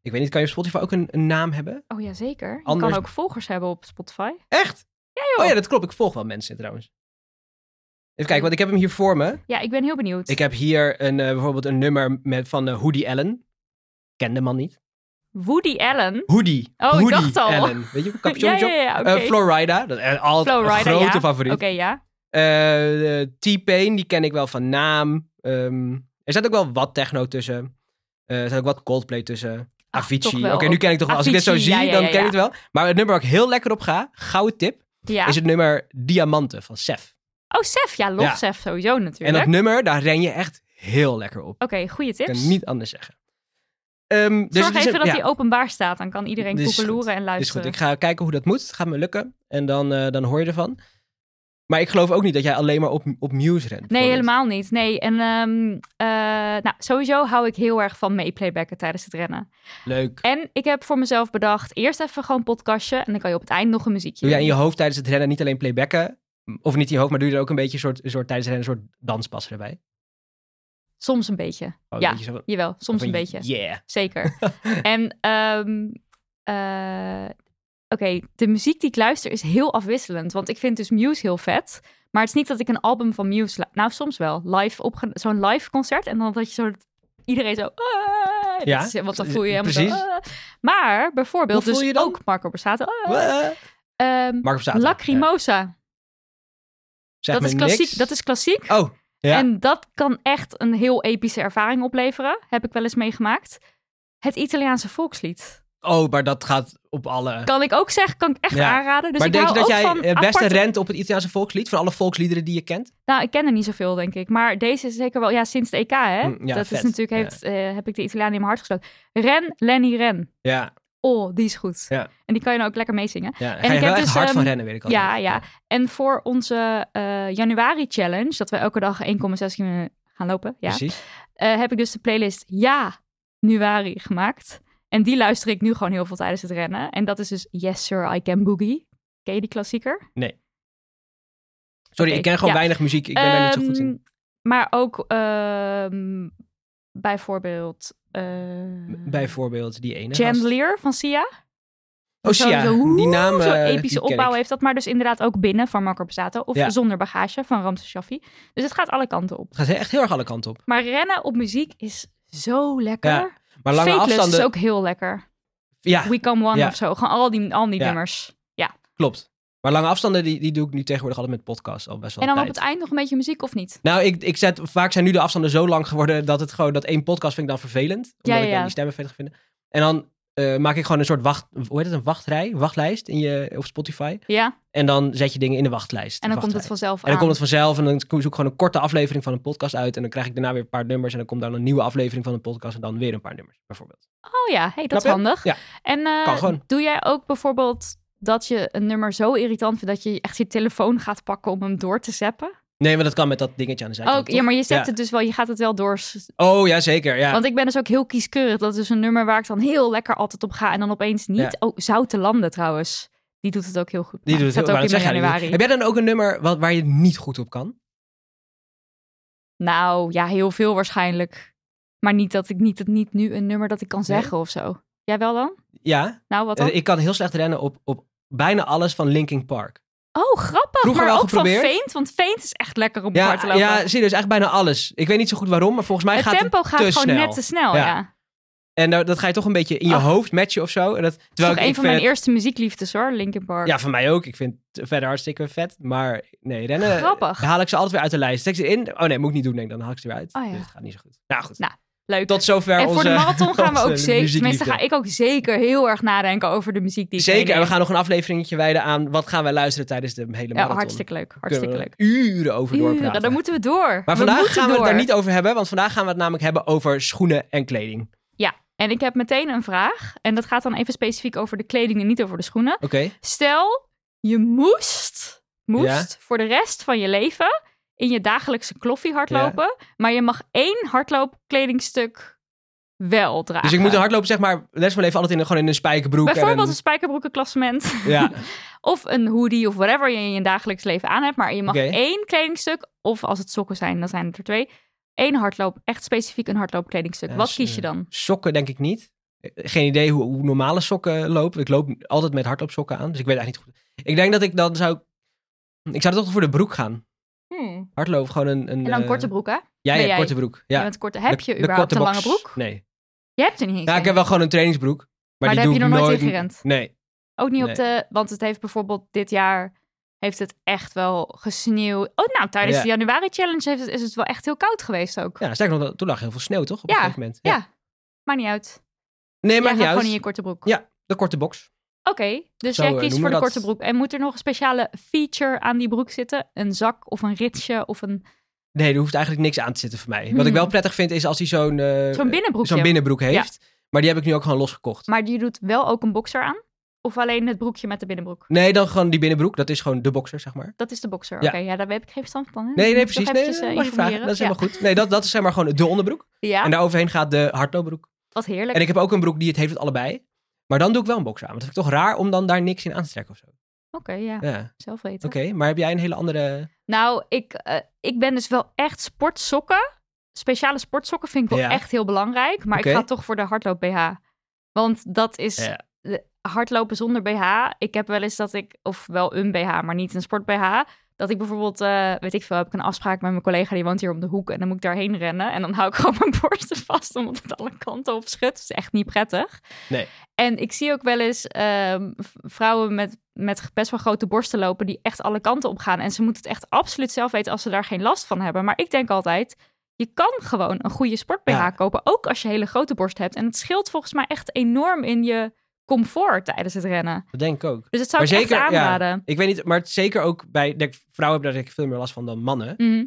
[SPEAKER 2] Ik weet niet. Kan je op Spotify ook een, een naam hebben?
[SPEAKER 1] Oh ja, zeker. Je
[SPEAKER 2] Anders-
[SPEAKER 1] kan ook volgers hebben op Spotify.
[SPEAKER 2] Echt? Ja,
[SPEAKER 1] joh. Hm.
[SPEAKER 2] Oh ja, dat klopt. Ik volg wel mensen trouwens. Even kijken, want ik heb hem hier voor me.
[SPEAKER 1] Ja, ik ben heel benieuwd.
[SPEAKER 2] Ik heb hier een, eh, bijvoorbeeld een nummer met, van eh, Hoodie Allen. Ken de man niet.
[SPEAKER 1] Woody Allen.
[SPEAKER 2] Hoodie.
[SPEAKER 1] Oh, ik
[SPEAKER 2] Hoodie
[SPEAKER 1] dacht al.
[SPEAKER 2] Allen. Weet je,
[SPEAKER 1] Ja,
[SPEAKER 2] capuchonnetje
[SPEAKER 1] ja,
[SPEAKER 2] op.
[SPEAKER 1] ja, oké.
[SPEAKER 2] Eh, Florida, dat is eh, altijd
[SPEAKER 1] Flowrider,
[SPEAKER 2] een grote
[SPEAKER 1] ja.
[SPEAKER 2] favoriet.
[SPEAKER 1] Oké, ja.
[SPEAKER 2] Eh, eh, T-Pain, die ken ik wel van naam. Ehm, er zat ook wel wat techno tussen. Eh, er zat ook wat Coldplay tussen.
[SPEAKER 1] Ach, Ah, toch
[SPEAKER 2] Avicii.
[SPEAKER 1] wel.
[SPEAKER 2] Oké, nu ken ik toch wel. Als ik dit zo zie,
[SPEAKER 1] Avicii, ja, ja,
[SPEAKER 2] dan
[SPEAKER 1] ja,
[SPEAKER 2] ken ik
[SPEAKER 1] ja.
[SPEAKER 2] het wel. Maar het nummer waar ik heel lekker op ga, gouden tip,
[SPEAKER 1] Ja.
[SPEAKER 2] is het nummer Diamanten van Sef.
[SPEAKER 1] Oh, Sef. Ja, love
[SPEAKER 2] Ja.
[SPEAKER 1] Sef sowieso
[SPEAKER 2] En
[SPEAKER 1] natuurlijk.
[SPEAKER 2] dat nummer, daar ren je echt heel lekker op.
[SPEAKER 1] Oké, goede
[SPEAKER 2] Ik
[SPEAKER 1] tips.
[SPEAKER 2] kan niet anders zeggen. Ehm, dus
[SPEAKER 1] Zorg
[SPEAKER 2] het is
[SPEAKER 1] even
[SPEAKER 2] een-
[SPEAKER 1] dat
[SPEAKER 2] ja,
[SPEAKER 1] die openbaar staat. Dan kan iedereen
[SPEAKER 2] Dit is
[SPEAKER 1] koekeloeren en
[SPEAKER 2] is goed.
[SPEAKER 1] luisteren.
[SPEAKER 2] Ik ga kijken hoe dat moet. Het gaat me lukken. En dan, eh, dan hoor je ervan. Maar ik geloof ook niet dat jij alleen maar op, op Muse rent.
[SPEAKER 1] Nee,
[SPEAKER 2] bijvoorbeeld.
[SPEAKER 1] helemaal niet. Nee, en ehm, eh, nou, sowieso hou ik heel erg van meeplaybacken tijdens het rennen.
[SPEAKER 2] Leuk.
[SPEAKER 1] En ik heb voor mezelf bedacht, eerst even gewoon podcastje en dan kan je op het eind nog een muziekje
[SPEAKER 2] Doe jij in
[SPEAKER 1] doen.
[SPEAKER 2] je hoofd tijdens het rennen niet alleen playbacken? Of niet in je hoofd, maar doe je er ook een beetje een soort, een soort tijdens het rennen een soort danspas erbij?
[SPEAKER 1] Soms een beetje,
[SPEAKER 2] Gewoon
[SPEAKER 1] Ja,
[SPEAKER 2] een beetje zo van-
[SPEAKER 1] jawel, soms
[SPEAKER 2] van
[SPEAKER 1] een beetje.
[SPEAKER 2] Yeah.
[SPEAKER 1] Zeker. en ehm, eh, oké, de muziek die ik luister is heel afwisselend. Want ik vind dus Muse heel vet. Maar het is niet dat ik een album van Muse... lu- Nou, soms wel. Live opge- Zo'n live concert. En dan dat je zo... dat Iedereen zo... "Ah", dat
[SPEAKER 2] Ja,
[SPEAKER 1] is- want dan voel je helemaal
[SPEAKER 2] precies.
[SPEAKER 1] zo... "Ah". Maar bijvoorbeeld
[SPEAKER 2] Hoe voel
[SPEAKER 1] dus
[SPEAKER 2] je dan?
[SPEAKER 1] ook Marco Borsato. "Ah".
[SPEAKER 2] Wah.
[SPEAKER 1] Ehm,
[SPEAKER 2] Mark Borsato.
[SPEAKER 1] Lacrimosa.
[SPEAKER 2] Zeg
[SPEAKER 1] dat,
[SPEAKER 2] me
[SPEAKER 1] is klassiek,
[SPEAKER 2] niks.
[SPEAKER 1] dat is klassiek.
[SPEAKER 2] Oh, ja.
[SPEAKER 1] En dat kan echt een heel epische ervaring opleveren. Heb ik wel eens meegemaakt. Het Italiaanse volkslied.
[SPEAKER 2] oh, maar dat gaat op alle...
[SPEAKER 1] Kan ik ook zeggen, kan ik echt
[SPEAKER 2] Ja.
[SPEAKER 1] aanraden. Dus
[SPEAKER 2] maar
[SPEAKER 1] ik
[SPEAKER 2] denk je
[SPEAKER 1] hou
[SPEAKER 2] dat
[SPEAKER 1] ook
[SPEAKER 2] jij
[SPEAKER 1] van
[SPEAKER 2] het beste
[SPEAKER 1] aparte-
[SPEAKER 2] rent op het Italiaanse volkslied? Van alle volksliederen die je kent?
[SPEAKER 1] Nou, ik ken er niet zoveel, denk ik. Maar deze is zeker wel... Ja, sinds de EK, hè?
[SPEAKER 2] Mm, ja,
[SPEAKER 1] dat
[SPEAKER 2] vet.
[SPEAKER 1] is natuurlijk... Heeft, eh, heb ik de Italianen in mijn hart gesloten. Ren, Lenny, Ren.
[SPEAKER 2] Ja,
[SPEAKER 1] Oh, die is goed.
[SPEAKER 2] Ja.
[SPEAKER 1] En die kan je nou ook lekker meezingen.
[SPEAKER 2] ja. Ga
[SPEAKER 1] ik
[SPEAKER 2] je
[SPEAKER 1] heb
[SPEAKER 2] wel echt
[SPEAKER 1] dus,
[SPEAKER 2] hard van
[SPEAKER 1] ehm,
[SPEAKER 2] rennen, weet ik al.
[SPEAKER 1] ja, ja. En voor onze eh, januari-challenge... dat we elke dag 1,6 kilometer gaan lopen... Ja,
[SPEAKER 2] Precies.
[SPEAKER 1] eh, heb ik dus de playlist Ja, Nuari gemaakt. En die luister ik nu gewoon heel veel tijdens het rennen. En dat is dus Yes Sir, I Can Boogie. Ken je die klassieker?
[SPEAKER 2] Sorry,
[SPEAKER 1] Oké,
[SPEAKER 2] ik ken gewoon
[SPEAKER 1] ja.
[SPEAKER 2] weinig muziek. Ik ben daar niet zo goed in.
[SPEAKER 1] Ehm, Maar ook ehm, bijvoorbeeld. eh,
[SPEAKER 2] Bijvoorbeeld die ene. gast.
[SPEAKER 1] Chandelier van Sia.
[SPEAKER 2] Oh,
[SPEAKER 1] Zo-
[SPEAKER 2] Sia.
[SPEAKER 1] zo-
[SPEAKER 2] die naam.
[SPEAKER 1] Zo'n
[SPEAKER 2] eh, die
[SPEAKER 1] epische
[SPEAKER 2] ken
[SPEAKER 1] opbouw
[SPEAKER 2] ik.
[SPEAKER 1] heeft dat. Maar dus inderdaad ook binnen van Marco Borsato. Of
[SPEAKER 2] Ja.
[SPEAKER 1] zonder bagage van Ramses Shaffi. Dus het gaat alle kanten op.
[SPEAKER 2] Het gaat echt heel erg alle kanten op.
[SPEAKER 1] Maar rennen op muziek is zo lekker.
[SPEAKER 2] Ja, Maar lange
[SPEAKER 1] Fateless
[SPEAKER 2] afstanden.
[SPEAKER 1] is ook heel lekker.
[SPEAKER 2] Ja,
[SPEAKER 1] We Come One
[SPEAKER 2] Ja.
[SPEAKER 1] of zo. Gewoon al die, al die
[SPEAKER 2] Ja.
[SPEAKER 1] nummers.
[SPEAKER 2] klopt. Maar lange afstanden, die, die doe ik nu tegenwoordig altijd met podcast al best wel
[SPEAKER 1] En dan op
[SPEAKER 2] tijd.
[SPEAKER 1] het eind nog een beetje muziek of niet?
[SPEAKER 2] Nou, ik, ik zet, vaak zijn nu de afstanden zo lang geworden dat het gewoon, dat één podcast vind ik dan vervelend. Omdat
[SPEAKER 1] Ja, ja,
[SPEAKER 2] ik dan
[SPEAKER 1] ja.
[SPEAKER 2] die stemmen vet vind. En dan eh, maak ik gewoon een soort wacht, hoe heet het, een wachtrij, wachtlijst in je, op Spotify.
[SPEAKER 1] Ja.
[SPEAKER 2] En dan zet je dingen in de wachtlijst.
[SPEAKER 1] En dan komt
[SPEAKER 2] wachtrij.
[SPEAKER 1] het vanzelf
[SPEAKER 2] En dan
[SPEAKER 1] aan.
[SPEAKER 2] komt het vanzelf en dan zoek ik gewoon een korte aflevering van een podcast uit. En dan krijg ik daarna weer een paar nummers. En dan komt dan een nieuwe aflevering van een podcast en dan weer een paar nummers, bijvoorbeeld.
[SPEAKER 1] Oh ja, hey, dat is
[SPEAKER 2] Snap je?
[SPEAKER 1] handig.
[SPEAKER 2] Ja.
[SPEAKER 1] En eh,
[SPEAKER 2] Kan gewoon.
[SPEAKER 1] doe jij ook bijvoorbeeld dat je een nummer zo irritant vindt dat je echt je telefoon gaat pakken om hem door te zappen?
[SPEAKER 2] Nee, maar dat kan met dat dingetje aan de zijkant.
[SPEAKER 1] Oh, ja,
[SPEAKER 2] toch?
[SPEAKER 1] maar je zet
[SPEAKER 2] Ja.
[SPEAKER 1] het dus wel, je gaat het wel door.
[SPEAKER 2] Oh, ja, zeker. Ja.
[SPEAKER 1] Want ik ben dus ook heel kieskeurig. Dat is dus een nummer waar ik dan heel lekker altijd op ga en dan opeens niet. Oh, Zoute Landen trouwens. Die doet het ook heel goed.
[SPEAKER 2] die
[SPEAKER 1] Maar
[SPEAKER 2] doet
[SPEAKER 1] ik
[SPEAKER 2] het heel-
[SPEAKER 1] zat
[SPEAKER 2] maar
[SPEAKER 1] ook in mijn
[SPEAKER 2] dat zeg jij
[SPEAKER 1] januari.
[SPEAKER 2] niet. Heb jij dan ook een nummer wat, waar je niet goed op kan?
[SPEAKER 1] Nou, ja, heel veel waarschijnlijk. Maar niet dat ik niet, dat niet nu een nummer dat ik kan
[SPEAKER 2] Nee?
[SPEAKER 1] zeggen of zo. Jij wel dan?
[SPEAKER 2] Ja,
[SPEAKER 1] Nou, wat dan?
[SPEAKER 2] eh, ik kan heel slecht rennen op, op bijna alles van Linkin Park.
[SPEAKER 1] Oh, grappig.
[SPEAKER 2] Vroeger
[SPEAKER 1] maar
[SPEAKER 2] wel
[SPEAKER 1] ook van
[SPEAKER 2] geprobeerd.
[SPEAKER 1] Feint, want Feint is echt lekker om
[SPEAKER 2] Ja, dus
[SPEAKER 1] hard te lopen.
[SPEAKER 2] ja, serieus, echt bijna alles. Ik weet niet zo goed waarom, maar volgens mij
[SPEAKER 1] het
[SPEAKER 2] gaat
[SPEAKER 1] tempo
[SPEAKER 2] het
[SPEAKER 1] gaat
[SPEAKER 2] te
[SPEAKER 1] gewoon
[SPEAKER 2] snel.
[SPEAKER 1] net te snel,
[SPEAKER 2] Ja.
[SPEAKER 1] ja.
[SPEAKER 2] En nou, dat ga je toch een beetje in je
[SPEAKER 1] Ach.
[SPEAKER 2] hoofd matchen of zo. En dat,
[SPEAKER 1] Het is
[SPEAKER 2] terwijl
[SPEAKER 1] toch een
[SPEAKER 2] ik,
[SPEAKER 1] van
[SPEAKER 2] ik
[SPEAKER 1] mijn
[SPEAKER 2] vind
[SPEAKER 1] eerste muziekliefdes hoor, Linkin Park.
[SPEAKER 2] het- Ja, van mij ook. Ik vind het verder hartstikke vet. Maar nee, rennen
[SPEAKER 1] Eh, Grappig.
[SPEAKER 2] haal ik ze altijd weer uit de lijst. Zet ik ze in? Oh nee, moet ik niet doen, denk ik. Dan haal ik ze weer uit.
[SPEAKER 1] Oh ja.
[SPEAKER 2] Dus het gaat niet zo goed. Nou goed.
[SPEAKER 1] Nou, Leuk.
[SPEAKER 2] Tot zover
[SPEAKER 1] en
[SPEAKER 2] onze
[SPEAKER 1] voor de marathon gaan we
[SPEAKER 2] onze
[SPEAKER 1] ook zeker, tenminste
[SPEAKER 2] muziekliefde.
[SPEAKER 1] ga ik ook zeker heel erg nadenken over de muziek die ik
[SPEAKER 2] Zeker, en we
[SPEAKER 1] meeneem.
[SPEAKER 2] gaan nog een afleveringetje wijden aan wat gaan wij luisteren tijdens de hele marathon.
[SPEAKER 1] Ja, hartstikke leuk.
[SPEAKER 2] Kunnen
[SPEAKER 1] Hartstikke leuk.
[SPEAKER 2] we uren over doorpraten.
[SPEAKER 1] Uren, dan moeten we door.
[SPEAKER 2] Maar vandaag
[SPEAKER 1] moeten
[SPEAKER 2] gaan we
[SPEAKER 1] door.
[SPEAKER 2] het daar niet over hebben, want vandaag gaan we het namelijk hebben over schoenen en kleding. Oké.
[SPEAKER 1] En ik heb meteen een vraag. En dat gaat dan even specifiek over de kleding en niet over de schoenen. Stel, je moest, moest voor de rest van je leven in je dagelijkse kloffie hardlopen. Maar je mag één hardloopkledingstuk wel dragen.
[SPEAKER 2] Dus ik moet een hardlopen, zeg maar, les van mijn leven altijd in, een- gewoon in een spijkerbroek.
[SPEAKER 1] Bijvoorbeeld een
[SPEAKER 2] en
[SPEAKER 1] spijkerbroekenklassement.
[SPEAKER 2] een, ja.
[SPEAKER 1] Of een hoodie of whatever je in je dagelijks leven aan hebt. Maar je mag
[SPEAKER 2] Oké.
[SPEAKER 1] één kledingstuk, of als het sokken zijn, dan zijn het er twee. Eén hardloop, echt specifiek een hardloopkledingstuk.
[SPEAKER 2] Ja,
[SPEAKER 1] Wat
[SPEAKER 2] dus,
[SPEAKER 1] kies je
[SPEAKER 2] eh,
[SPEAKER 1] dan?
[SPEAKER 2] Sokken denk ik niet. Geen idee hoe, hoe normale sokken lopen. Ik loop altijd met hardloopsokken aan, dus ik weet eigenlijk niet goed. Ik denk dat ik dan zou... Ik zou toch voor de broek gaan. Hardlopen, gewoon een... een
[SPEAKER 1] Hmm. En dan
[SPEAKER 2] eh,
[SPEAKER 1] korte broek, hè?
[SPEAKER 2] Ja,
[SPEAKER 1] ben
[SPEAKER 2] ja,
[SPEAKER 1] jij.
[SPEAKER 2] korte broek. Ja.
[SPEAKER 1] Je bent korte. Heb
[SPEAKER 2] De-
[SPEAKER 1] je
[SPEAKER 2] de
[SPEAKER 1] überhaupt
[SPEAKER 2] korte
[SPEAKER 1] een
[SPEAKER 2] box.
[SPEAKER 1] lange broek?
[SPEAKER 2] Nee.
[SPEAKER 1] Je hebt er niet eens.
[SPEAKER 2] Ja,
[SPEAKER 1] een.
[SPEAKER 2] ik heb wel gewoon een trainingsbroek. Maar,
[SPEAKER 1] Maar
[SPEAKER 2] die
[SPEAKER 1] daar
[SPEAKER 2] doe
[SPEAKER 1] heb je
[SPEAKER 2] ik
[SPEAKER 1] nog nooit
[SPEAKER 2] nooit
[SPEAKER 1] in gerend?
[SPEAKER 2] Nee.
[SPEAKER 1] Ook niet
[SPEAKER 2] Nee.
[SPEAKER 1] op de... Want het heeft bijvoorbeeld dit jaar... Heeft het echt wel gesneeuwd. Oh, nou, tijdens
[SPEAKER 2] Ja.
[SPEAKER 1] de januari challenge heeft het, is het wel echt heel koud geweest ook.
[SPEAKER 2] Ja, sterker nog, toen lag heel veel sneeuw, toch? Op
[SPEAKER 1] Ja,
[SPEAKER 2] een gegeven moment.
[SPEAKER 1] Ja. Maakt niet uit.
[SPEAKER 2] Nee,
[SPEAKER 1] jij
[SPEAKER 2] maakt
[SPEAKER 1] gaat
[SPEAKER 2] niet uit.
[SPEAKER 1] gewoon in je korte broek.
[SPEAKER 2] Ja. De korte box.
[SPEAKER 1] Oké, dus
[SPEAKER 2] Zo,
[SPEAKER 1] jij
[SPEAKER 2] eh,
[SPEAKER 1] kiest voor
[SPEAKER 2] noemen
[SPEAKER 1] de
[SPEAKER 2] we dat.
[SPEAKER 1] korte broek. En moet er nog een speciale feature aan die broek zitten? Een zak of een ritsje of een...
[SPEAKER 2] Nee, er hoeft eigenlijk niks aan te zitten voor mij. Wat
[SPEAKER 1] Hmm.
[SPEAKER 2] ik wel prettig vind, is als hij zo'n eh,
[SPEAKER 1] Zo'n binnenbroekje.
[SPEAKER 2] zo'n binnenbroek heeft. Maar die heb ik nu ook gewoon losgekocht.
[SPEAKER 1] Maar je doet wel ook een boxer aan? Of alleen het broekje met de binnenbroek?
[SPEAKER 2] Nee, dan gewoon die binnenbroek. Dat is gewoon de boxer, zeg maar.
[SPEAKER 1] Dat is de boxer.
[SPEAKER 2] Ja.
[SPEAKER 1] Oké, ja, daar heb ik geen verstand van. hè?
[SPEAKER 2] Nee, nee,
[SPEAKER 1] Moet ik
[SPEAKER 2] precies.
[SPEAKER 1] nog
[SPEAKER 2] Nee,
[SPEAKER 1] eventjes, eh,
[SPEAKER 2] mag je vragen.
[SPEAKER 1] informeren?
[SPEAKER 2] Dat is
[SPEAKER 1] ja.
[SPEAKER 2] helemaal goed. Nee, dat, dat is zeg maar gewoon de onderbroek.
[SPEAKER 1] Ja,
[SPEAKER 2] En daaroverheen gaat de hardloopbroek.
[SPEAKER 1] wat heerlijk.
[SPEAKER 2] En ik heb ook een broek die het heeft met allebei. Maar dan doe ik wel een box aan. Want dat vind ik toch raar om dan daar niks in aan te trekken of zo.
[SPEAKER 1] Oké, ja.
[SPEAKER 2] Ja,
[SPEAKER 1] Zelf weten.
[SPEAKER 2] oké. Maar heb jij een hele andere...
[SPEAKER 1] Nou, ik, eh, ik ben dus wel echt sportsokken. Speciale sportsokken vind ik wel
[SPEAKER 2] Ja.
[SPEAKER 1] echt heel belangrijk. Maar
[SPEAKER 2] Oké.
[SPEAKER 1] ik ga toch voor de hardloop BH. Want dat is
[SPEAKER 2] Ja.
[SPEAKER 1] de- hardlopen zonder BH. Ik heb wel eens dat ik, of wel een BH, maar niet een sport BH. Dat ik bijvoorbeeld, eh, weet ik veel, heb ik een afspraak met mijn collega die woont hier om de hoek. En dan moet ik daarheen rennen. En dan hou ik gewoon mijn borsten vast omdat het alle kanten op schudt. Dat is echt niet prettig.
[SPEAKER 2] Nee.
[SPEAKER 1] En ik zie ook wel eens ehm, v- vrouwen met, met best wel grote borsten lopen die echt alle kanten op gaan. En ze moeten het echt absoluut zelf weten als ze daar geen last van hebben. Maar ik denk altijd, je kan gewoon een goede sport BH
[SPEAKER 2] Ja.
[SPEAKER 1] kopen. Ook als je hele grote borst hebt. En het scheelt volgens mij echt enorm in je comfort tijdens het rennen.
[SPEAKER 2] Dat denk ik ook.
[SPEAKER 1] Dus dat zou
[SPEAKER 2] Maar
[SPEAKER 1] ik
[SPEAKER 2] zeker,
[SPEAKER 1] echt
[SPEAKER 2] ja.
[SPEAKER 1] aanraden.
[SPEAKER 2] Ik weet niet, maar het- zeker ook bij... Denk, vrouwen hebben daar denk ik veel meer last van dan mannen.
[SPEAKER 1] Mhm.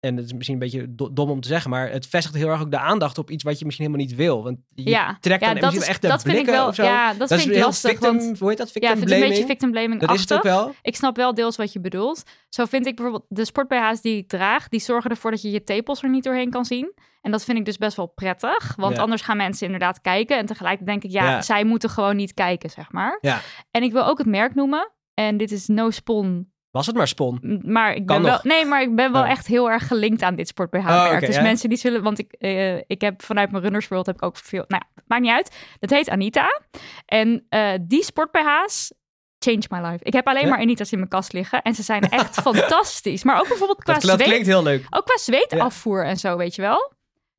[SPEAKER 2] En het is misschien een beetje do- dom om te zeggen, maar het vestigt heel erg ook de aandacht op iets wat je misschien helemaal niet wil. Want je
[SPEAKER 1] Ja,
[SPEAKER 2] trekt
[SPEAKER 1] ja
[SPEAKER 2] dan
[SPEAKER 1] dat,
[SPEAKER 2] misschien
[SPEAKER 1] is,
[SPEAKER 2] echt de
[SPEAKER 1] dat vind ik
[SPEAKER 2] blikken
[SPEAKER 1] wel.
[SPEAKER 2] of zo.
[SPEAKER 1] Ja, dat,
[SPEAKER 2] dat
[SPEAKER 1] vind
[SPEAKER 2] is
[SPEAKER 1] ik
[SPEAKER 2] heel
[SPEAKER 1] lastig.
[SPEAKER 2] victim,
[SPEAKER 1] want
[SPEAKER 2] hoe heet dat?
[SPEAKER 1] ja,
[SPEAKER 2] Victim
[SPEAKER 1] ik vind het
[SPEAKER 2] blaming?
[SPEAKER 1] een beetje victim blaming.
[SPEAKER 2] dat is het ook wel.
[SPEAKER 1] Ik snap wel deels wat je bedoelt. Zo vind ik bijvoorbeeld de sport-BH's die ik draag, die zorgen ervoor dat je je tepels er niet doorheen kan zien. En dat vind ik dus best wel prettig, want
[SPEAKER 2] Ja.
[SPEAKER 1] anders gaan mensen inderdaad kijken. En tegelijk denk ik, ja,
[SPEAKER 2] Ja.
[SPEAKER 1] zij moeten gewoon niet kijken, zeg maar.
[SPEAKER 2] Ja.
[SPEAKER 1] En ik wil ook het merk noemen. En dit is No Spon.
[SPEAKER 2] Was het maar spon.
[SPEAKER 1] M- Maar ik
[SPEAKER 2] Kan
[SPEAKER 1] ben wel,
[SPEAKER 2] nog.
[SPEAKER 1] nee, maar ik ben wel
[SPEAKER 2] Oh.
[SPEAKER 1] echt heel erg gelinkt aan dit sport BH
[SPEAKER 2] Oh,
[SPEAKER 1] merk.
[SPEAKER 2] oké,
[SPEAKER 1] dus
[SPEAKER 2] ja.
[SPEAKER 1] mensen die zullen, want ik, eh, ik heb vanuit mijn Runners World heb ik ook veel. Nou, ja, maakt niet uit. Dat heet Anita. En eh, die sport BH's change my life. Ik heb alleen
[SPEAKER 2] Ja?
[SPEAKER 1] maar Anita's in mijn kast liggen en ze zijn echt fantastisch. Maar ook bijvoorbeeld qua
[SPEAKER 2] Dat, dat
[SPEAKER 1] zweet,
[SPEAKER 2] klinkt heel leuk.
[SPEAKER 1] ook qua
[SPEAKER 2] Ja.
[SPEAKER 1] zweetafvoer en zo, weet je wel.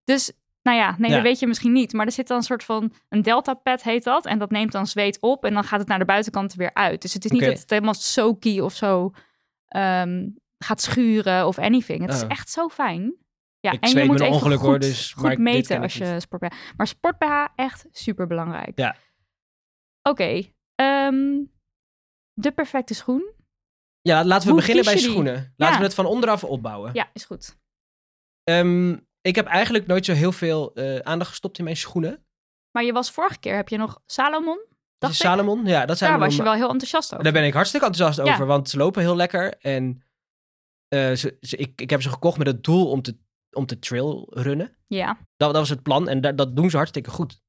[SPEAKER 1] Dus nou ja, nee,
[SPEAKER 2] Ja.
[SPEAKER 1] dat weet je misschien niet. Maar er zit dan een soort van een delta pad heet dat. En dat neemt dan zweet op en dan gaat het naar de buitenkant weer uit. Dus het is niet
[SPEAKER 2] Oké.
[SPEAKER 1] dat het helemaal soaky of zo ehm, gaat schuren of anything. Het is
[SPEAKER 2] Oh.
[SPEAKER 1] echt zo fijn. Ja,
[SPEAKER 2] Ik
[SPEAKER 1] en
[SPEAKER 2] zweet
[SPEAKER 1] je moet
[SPEAKER 2] met een
[SPEAKER 1] even
[SPEAKER 2] ongeluk,
[SPEAKER 1] goed,
[SPEAKER 2] hoor, dus-
[SPEAKER 1] goed
[SPEAKER 2] maar ik- dit
[SPEAKER 1] meten
[SPEAKER 2] ken ik
[SPEAKER 1] als je sport BH. Maar sport BH echt super belangrijk.
[SPEAKER 2] Ja.
[SPEAKER 1] Oké. ehm, de perfecte schoen.
[SPEAKER 2] Ja, laten we
[SPEAKER 1] Hoe
[SPEAKER 2] beginnen
[SPEAKER 1] kies
[SPEAKER 2] bij
[SPEAKER 1] je die?
[SPEAKER 2] schoenen. Laten
[SPEAKER 1] Ja.
[SPEAKER 2] we het van onderaf opbouwen.
[SPEAKER 1] Ja, is goed.
[SPEAKER 2] Ehm, ik heb eigenlijk nooit zo heel veel eh, aandacht gestopt in mijn schoenen.
[SPEAKER 1] Maar je was vorige keer, heb je nog Salomon?
[SPEAKER 2] Dat is
[SPEAKER 1] Dacht ik?
[SPEAKER 2] Salomon, ja, dat zijn
[SPEAKER 1] Daar
[SPEAKER 2] mijn-
[SPEAKER 1] was je wel heel enthousiast over.
[SPEAKER 2] Daar ben ik hartstikke enthousiast
[SPEAKER 1] Ja.
[SPEAKER 2] over, want ze lopen heel lekker. En eh, ze, ze- ik, ik heb ze gekocht met het doel om te, om te trailrunnen.
[SPEAKER 1] Ja.
[SPEAKER 2] Dat, dat was het plan en da- dat doen ze hartstikke goed.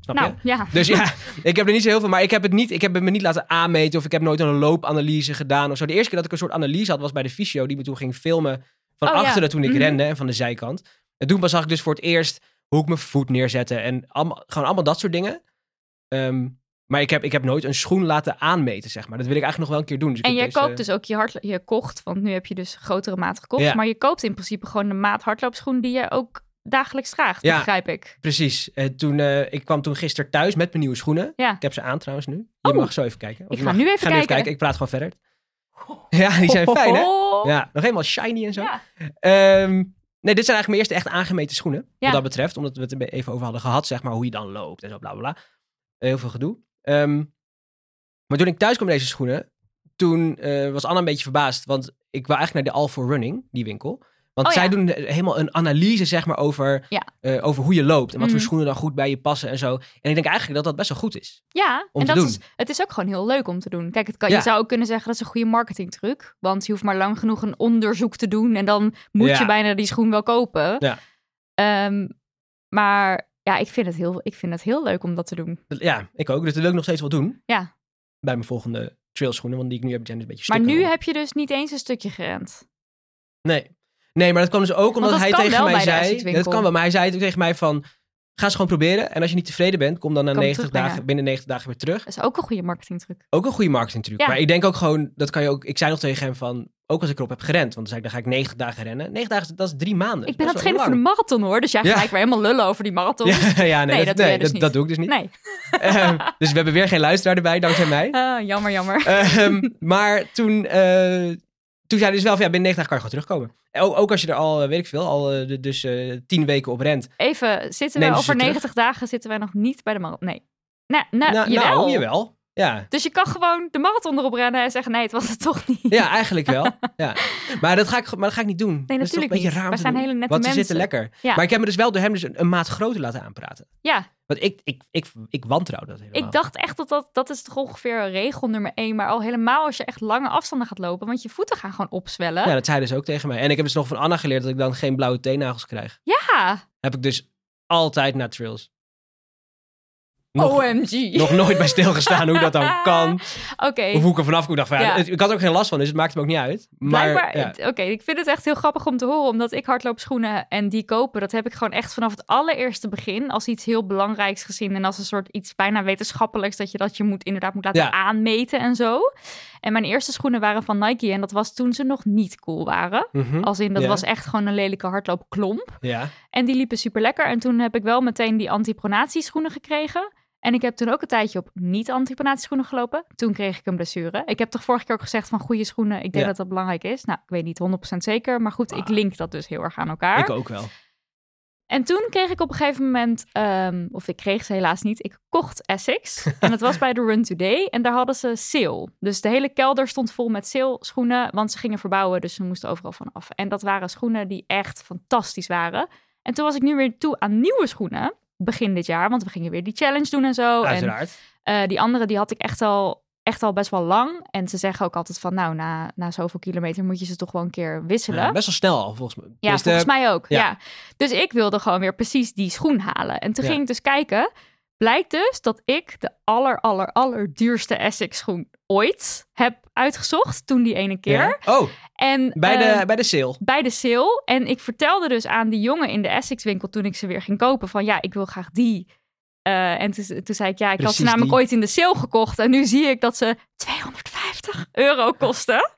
[SPEAKER 2] Snap
[SPEAKER 1] Nou,
[SPEAKER 2] je?
[SPEAKER 1] ja.
[SPEAKER 2] Dus ja, ik heb er niet zo heel veel, maar ik heb het niet, ik heb het me niet laten aanmeten of ik heb nooit een loopanalyse gedaan of zo. De eerste keer dat ik een soort analyse had was bij de fysio die me toen ging filmen van
[SPEAKER 1] Oh, ja.
[SPEAKER 2] achteren toen ik
[SPEAKER 1] Mhm.
[SPEAKER 2] rende en van de zijkant. En toen pas zag ik dus voor het eerst hoe ik mijn voet neerzette en allemaal, gewoon allemaal dat soort dingen. Ehm, maar ik heb, ik heb nooit een schoen laten aanmeten, zeg maar. Dat wil ik eigenlijk nog wel een keer doen. Dus ik
[SPEAKER 1] En
[SPEAKER 2] heb
[SPEAKER 1] jij
[SPEAKER 2] deze-
[SPEAKER 1] koopt dus ook je hard, je kocht, want nu heb je dus grotere maat gekocht.
[SPEAKER 2] Ja.
[SPEAKER 1] Maar je koopt in principe gewoon de maat hardloopschoen die je ook dagelijks draagt,
[SPEAKER 2] Ja.
[SPEAKER 1] begrijp ik.
[SPEAKER 2] Precies. Eh, toen, eh, ik kwam toen gisteren thuis met mijn nieuwe schoenen.
[SPEAKER 1] Ja.
[SPEAKER 2] Ik heb ze aan trouwens nu. Je
[SPEAKER 1] Oh.
[SPEAKER 2] mag zo even kijken. Of
[SPEAKER 1] Ik
[SPEAKER 2] je
[SPEAKER 1] ga
[SPEAKER 2] mag-
[SPEAKER 1] nu even kijken.
[SPEAKER 2] Ik praat gewoon verder. Ja, die zijn fijn hè?
[SPEAKER 1] Oh.
[SPEAKER 2] Ja, nog helemaal shiny en zo.
[SPEAKER 1] Ja.
[SPEAKER 2] Ehm, nee, dit zijn eigenlijk mijn eerste echt aangemeten schoenen.
[SPEAKER 1] Ja.
[SPEAKER 2] Wat dat betreft. Omdat we het er even over hadden gehad, zeg maar, hoe je dan loopt en zo, bla bla bla. Heel veel gedoe. Ehm, maar toen ik thuis kwam met deze schoenen, toen eh, was Anna een beetje verbaasd. Want ik wou eigenlijk naar de All for Running, die winkel. Want
[SPEAKER 1] Oh ja.
[SPEAKER 2] zij doen eh, helemaal een analyse, zeg maar, over,
[SPEAKER 1] Ja.
[SPEAKER 2] eh, over hoe je loopt. En wat voor
[SPEAKER 1] Mhm.
[SPEAKER 2] schoenen dan goed bij je passen en zo. En ik denk eigenlijk dat dat best wel goed is.
[SPEAKER 1] Ja,
[SPEAKER 2] Om
[SPEAKER 1] en
[SPEAKER 2] te
[SPEAKER 1] dat
[SPEAKER 2] doen.
[SPEAKER 1] Is, het is ook gewoon heel leuk om te doen. Kijk, het kan,
[SPEAKER 2] Ja.
[SPEAKER 1] je zou ook kunnen zeggen dat is een goede marketingtruc. Want je hoeft maar lang genoeg een onderzoek te doen en dan moet
[SPEAKER 2] Ja.
[SPEAKER 1] je bijna die schoen wel kopen.
[SPEAKER 2] Ja.
[SPEAKER 1] Ehm, maar ja, ik vind, het heel, ik vind het heel leuk om dat te doen.
[SPEAKER 2] Dat- Ja, ik ook. Dus dat wil ik nog steeds wel doen.
[SPEAKER 1] Ja.
[SPEAKER 2] Bij mijn volgende trailschoenen, want die ik nu heb, zijn dus een beetje
[SPEAKER 1] Maar
[SPEAKER 2] stukken
[SPEAKER 1] nu
[SPEAKER 2] geworden.
[SPEAKER 1] heb je dus niet eens een stukje gerend.
[SPEAKER 2] Nee. Nee, maar dat kwam dus ook omdat
[SPEAKER 1] dat
[SPEAKER 2] hij
[SPEAKER 1] kan
[SPEAKER 2] tegen
[SPEAKER 1] wel
[SPEAKER 2] mij
[SPEAKER 1] bij de
[SPEAKER 2] zei...
[SPEAKER 1] Essex-winkel.
[SPEAKER 2] dat kan wel, maar hij zei toen tegen mij van... Ga eens gewoon proberen. En als je niet tevreden bent, kom dan na
[SPEAKER 1] Kan
[SPEAKER 2] 90
[SPEAKER 1] terugbrengen.
[SPEAKER 2] dagen, binnen 90 dagen weer terug.
[SPEAKER 1] Dat is ook een goede marketingtruc.
[SPEAKER 2] Ook een goede marketingtruc.
[SPEAKER 1] Ja.
[SPEAKER 2] Maar ik denk ook gewoon, dat kan je ook... Ik zei nog tegen hem van, ook als ik erop heb gerend. Want dan zei ik, dan ga ik 90 dagen rennen. 90 dagen, is- dat is drie maanden.
[SPEAKER 1] Ik ben aan
[SPEAKER 2] Dat
[SPEAKER 1] het
[SPEAKER 2] is wel
[SPEAKER 1] trainen voor de marathon hoor. Dus jij
[SPEAKER 2] Ja.
[SPEAKER 1] gelijk weer helemaal lullen over die marathon.
[SPEAKER 2] lang. Ja, ja, nee,
[SPEAKER 1] Nee,
[SPEAKER 2] dat,
[SPEAKER 1] dat doe
[SPEAKER 2] nee,
[SPEAKER 1] jij dus
[SPEAKER 2] dat,
[SPEAKER 1] niet.
[SPEAKER 2] dat doe ik dus niet.
[SPEAKER 1] Nee,
[SPEAKER 2] Ehm, dus we hebben weer geen luisteraar erbij, dankzij mij.
[SPEAKER 1] Ah, jammer, jammer.
[SPEAKER 2] Ehm, maar toen, eh, toen zei hij dus wel van, ja, binnen 90 dagen kan je gewoon terugkomen. En Ook, ook als je er al, eh, weet ik veel, al eh, dus eh, tien weken op rent.
[SPEAKER 1] Even, zitten
[SPEAKER 2] Neem
[SPEAKER 1] we
[SPEAKER 2] ze
[SPEAKER 1] over
[SPEAKER 2] ze dus terug?
[SPEAKER 1] 90 dagen zitten wij nog niet bij de marathon? Nee. Nou, nou,
[SPEAKER 2] Nou,
[SPEAKER 1] jawel.
[SPEAKER 2] nou, jawel. Ja.
[SPEAKER 1] Dus je kan gewoon de marathon erop rennen en zeggen: nee, het was het toch niet.
[SPEAKER 2] ja, eigenlijk wel. ja. Maar, dat ga ik, maar dat ga ik niet doen.
[SPEAKER 1] Nee,
[SPEAKER 2] dat is toch
[SPEAKER 1] natuurlijk
[SPEAKER 2] een beetje
[SPEAKER 1] niet.
[SPEAKER 2] raar om
[SPEAKER 1] Wij
[SPEAKER 2] te
[SPEAKER 1] zijn
[SPEAKER 2] doen,
[SPEAKER 1] hele nette
[SPEAKER 2] Want ze
[SPEAKER 1] mensen.
[SPEAKER 2] zitten lekker.
[SPEAKER 1] Ja.
[SPEAKER 2] Maar ik heb me dus wel door hem dus een, een maat groter laten aanpraten.
[SPEAKER 1] Ja,
[SPEAKER 2] Want ik, ik, ik, ik wantrouw dat helemaal.
[SPEAKER 1] ik dacht echt dat dat, dat is toch ongeveer regel nummer één. Maar al helemaal als je echt lange afstanden gaat lopen, want je voeten gaan gewoon opzwellen.
[SPEAKER 2] Ja,
[SPEAKER 1] Ja,
[SPEAKER 2] dat zei hij dus ook tegen mij. En ik heb dus nog van Anna geleerd dat ik dan geen blauwe teennagels krijg. Heb ik dus altijd na trails. Nog,
[SPEAKER 1] Oh, OMG.
[SPEAKER 2] nog nooit bij stilgestaan hoe dat dan kan.
[SPEAKER 1] Oké,
[SPEAKER 2] Of hoe ik er vanaf kom. Ik dacht van, ja,
[SPEAKER 1] Ja.
[SPEAKER 2] het- ik had er ook geen last van, dus het maakt me ook niet uit. Maar
[SPEAKER 1] blijkbaar.
[SPEAKER 2] ja,
[SPEAKER 1] Oké, ik vind het echt heel grappig om te horen, omdat ik hardloopschoenen en die kopen, dat heb ik gewoon echt vanaf het allereerste begin als iets heel belangrijks gezien en als een soort iets bijna wetenschappelijks dat je dat je moet inderdaad moet laten
[SPEAKER 2] Ja.
[SPEAKER 1] aanmeten en zo. En mijn eerste schoenen waren van Nike en dat was toen ze nog niet cool waren.
[SPEAKER 2] mhm,
[SPEAKER 1] Als in dat
[SPEAKER 2] Ja.
[SPEAKER 1] was echt gewoon een lelijke hardloopklomp.
[SPEAKER 2] ja.
[SPEAKER 1] En die liepen super lekker. En toen heb ik wel meteen die antipronatieschoenen gekregen. En ik heb toen ook een tijdje op niet-antipronatieschoenen gelopen. Toen kreeg ik een blessure. Ik heb toch vorige keer ook gezegd van goede schoenen. Ik denk
[SPEAKER 2] Ja. Ah.
[SPEAKER 1] dat dat belangrijk is. Nou, ik weet niet 100% zeker. Maar goed, ik link dat dus heel erg aan elkaar.
[SPEAKER 2] ik ook wel.
[SPEAKER 1] Oh, En toen kreeg ik op een gegeven moment, ehm, of ik kreeg ze helaas niet, ik kocht Essex. en dat was bij de Run Today. En daar hadden ze sale. Dus de hele kelder stond vol met sale schoenen, want ze gingen verbouwen, dus ze moesten overal van af. En dat waren schoenen die echt fantastisch waren. En toen was ik nu weer toe aan nieuwe schoenen, begin dit jaar, want we gingen weer die challenge doen en zo. En
[SPEAKER 2] Uiteraard.
[SPEAKER 1] eh, die andere die had ik echt al, echt al best wel lang. En ze zeggen ook altijd van, nou, na, na zoveel kilometer moet je ze toch wel een keer wisselen.
[SPEAKER 2] Ja, best wel snel al, volgens mij.
[SPEAKER 1] Ja,
[SPEAKER 2] Dus,
[SPEAKER 1] volgens
[SPEAKER 2] eh,
[SPEAKER 1] mij ook.
[SPEAKER 2] ja.
[SPEAKER 1] Ja. Dus ik wilde gewoon weer precies die schoen halen. En toen
[SPEAKER 2] Ja.
[SPEAKER 1] ging ik dus kijken. Blijkt dus dat ik de aller, aller, aller duurste Essex schoen ooit heb uitgezocht. Toen die ene keer.
[SPEAKER 2] ja. Oh,
[SPEAKER 1] En,
[SPEAKER 2] bij,
[SPEAKER 1] eh,
[SPEAKER 2] de, bij de sale.
[SPEAKER 1] bij de sale. En ik vertelde dus aan die jongen in de Essex winkel toen ik ze weer ging kopen. Van ja, ik wil graag die. Eh, en toen, toen zei ik, ja, ik had
[SPEAKER 2] Precies
[SPEAKER 1] ze namelijk
[SPEAKER 2] die.
[SPEAKER 1] ooit in de sale gekocht. En nu zie ik dat ze 250 euro kosten.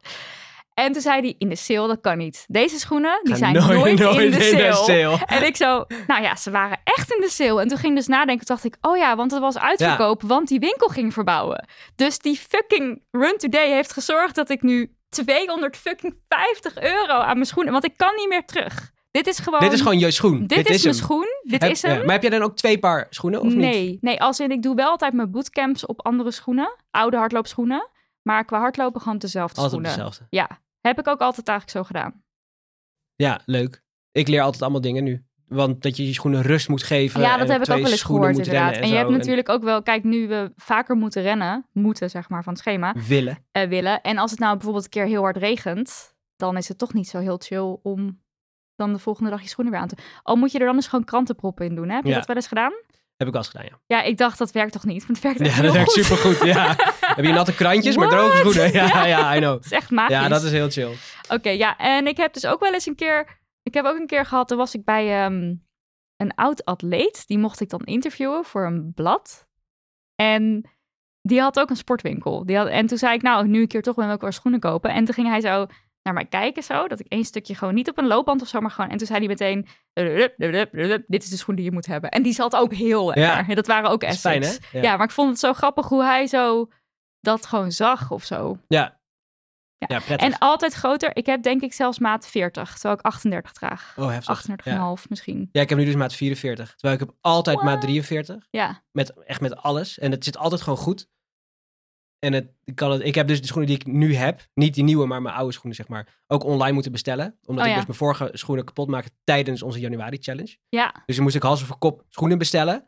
[SPEAKER 1] En toen zei hij, in de sale, dat kan niet. Deze schoenen, die
[SPEAKER 2] Ga
[SPEAKER 1] zijn nooit, in de sale.
[SPEAKER 2] sale.
[SPEAKER 1] En ik zo, nou ja, ze waren echt in de sale. En toen ging ik dus nadenken, toen dacht ik, oh ja, want het was uitverkoop, want die winkel ging verbouwen. Dus die fucking Run Today heeft gezorgd dat ik nu 200 fucking 50 euro aan mijn schoenen, want ik kan niet meer terug. Dit is gewoon,
[SPEAKER 2] Dit is gewoon je schoen.
[SPEAKER 1] dit is, mijn
[SPEAKER 2] hem.
[SPEAKER 1] schoen, dit
[SPEAKER 2] Heb-
[SPEAKER 1] is hem.
[SPEAKER 2] ja, Maar heb jij dan ook twee paar schoenen of niet?
[SPEAKER 1] nee, nee, als in ik doe wel altijd mijn bootcamps op andere schoenen, oude hardloopschoenen, maar qua hardlopen gewoon op dezelfde
[SPEAKER 2] Altijd op
[SPEAKER 1] schoenen.
[SPEAKER 2] dezelfde.
[SPEAKER 1] Ja, heb ik ook altijd eigenlijk zo gedaan.
[SPEAKER 2] Ja, leuk. Ik leer altijd allemaal dingen nu. Want dat je je schoenen rust moet geven.
[SPEAKER 1] Ja,
[SPEAKER 2] eh, en
[SPEAKER 1] dat heb ik
[SPEAKER 2] twee
[SPEAKER 1] ook wel eens
[SPEAKER 2] schoenen
[SPEAKER 1] gehoord
[SPEAKER 2] moet
[SPEAKER 1] inderdaad. En,
[SPEAKER 2] rennen
[SPEAKER 1] je hebt
[SPEAKER 2] zo.
[SPEAKER 1] natuurlijk ook wel, kijk, nu we vaker moeten rennen, moeten zeg maar van het schema
[SPEAKER 2] Willen.
[SPEAKER 1] eh, willen. En als het nou bijvoorbeeld een keer heel hard regent, dan is het toch niet zo heel chill om dan de volgende dag je schoenen weer aan te. Al moet je er dan eens gewoon krantenproppen in doen. Hè? Heb je
[SPEAKER 2] Ja.
[SPEAKER 1] dat wel eens gedaan?
[SPEAKER 2] Heb ik al eens gedaan, ja.
[SPEAKER 1] Ja, ik dacht dat werkt toch niet, maar het werkt echt
[SPEAKER 2] Ja,
[SPEAKER 1] heel
[SPEAKER 2] dat werkt
[SPEAKER 1] goed.
[SPEAKER 2] supergoed. Ja. heb je natte krantjes, maar droge
[SPEAKER 1] What?
[SPEAKER 2] schoenen. Ja, ja, I know.
[SPEAKER 1] Het is echt magisch.
[SPEAKER 2] Ja, dat is heel chill.
[SPEAKER 1] Oké, ja. En ik heb dus ook wel eens een keer... Ik heb ook een keer gehad, toen was ik bij ehm, een oud atleet. Die mocht ik dan interviewen voor een blad. En die had ook een sportwinkel. Die had, en toen zei ik, nou, nu een keer toch ben wil ik wel schoenen kopen. En toen ging hij zo... naar mij kijken zo. Dat ik één stukje gewoon niet op een loopband of zo, maar gewoon... En toen zei hij meteen, "Rup, rup, rup, rup, dit is de schoen die je moet hebben. En die zat ook heel
[SPEAKER 2] Ja.
[SPEAKER 1] erg. Dat waren ook
[SPEAKER 2] Dat is
[SPEAKER 1] Essex.
[SPEAKER 2] fijn, hè?
[SPEAKER 1] ja. maar ik vond het zo grappig hoe hij zo dat gewoon zag of zo.
[SPEAKER 2] Ja.
[SPEAKER 1] Ja.
[SPEAKER 2] Ja, prettig.
[SPEAKER 1] En altijd groter. Ik heb denk ik zelfs maat 40, terwijl ik 38 draag.
[SPEAKER 2] oh, heftig.
[SPEAKER 1] 38,5
[SPEAKER 2] Ja.
[SPEAKER 1] misschien.
[SPEAKER 2] ja, ik heb nu dus maat 44. Terwijl ik heb altijd maat
[SPEAKER 1] What?
[SPEAKER 2] 43.
[SPEAKER 1] Ja,
[SPEAKER 2] Met, echt met alles. En het zit altijd gewoon goed. En het, ik, kan het, ik heb dus de schoenen die ik nu heb, niet die nieuwe, maar mijn oude schoenen, zeg maar, ook online moeten bestellen. Omdat
[SPEAKER 1] Oh,
[SPEAKER 2] ik
[SPEAKER 1] ja.
[SPEAKER 2] dus mijn vorige schoenen kapot maakte tijdens onze januari-challenge.
[SPEAKER 1] ja.
[SPEAKER 2] Dus dan moest ik hals over kop schoenen bestellen.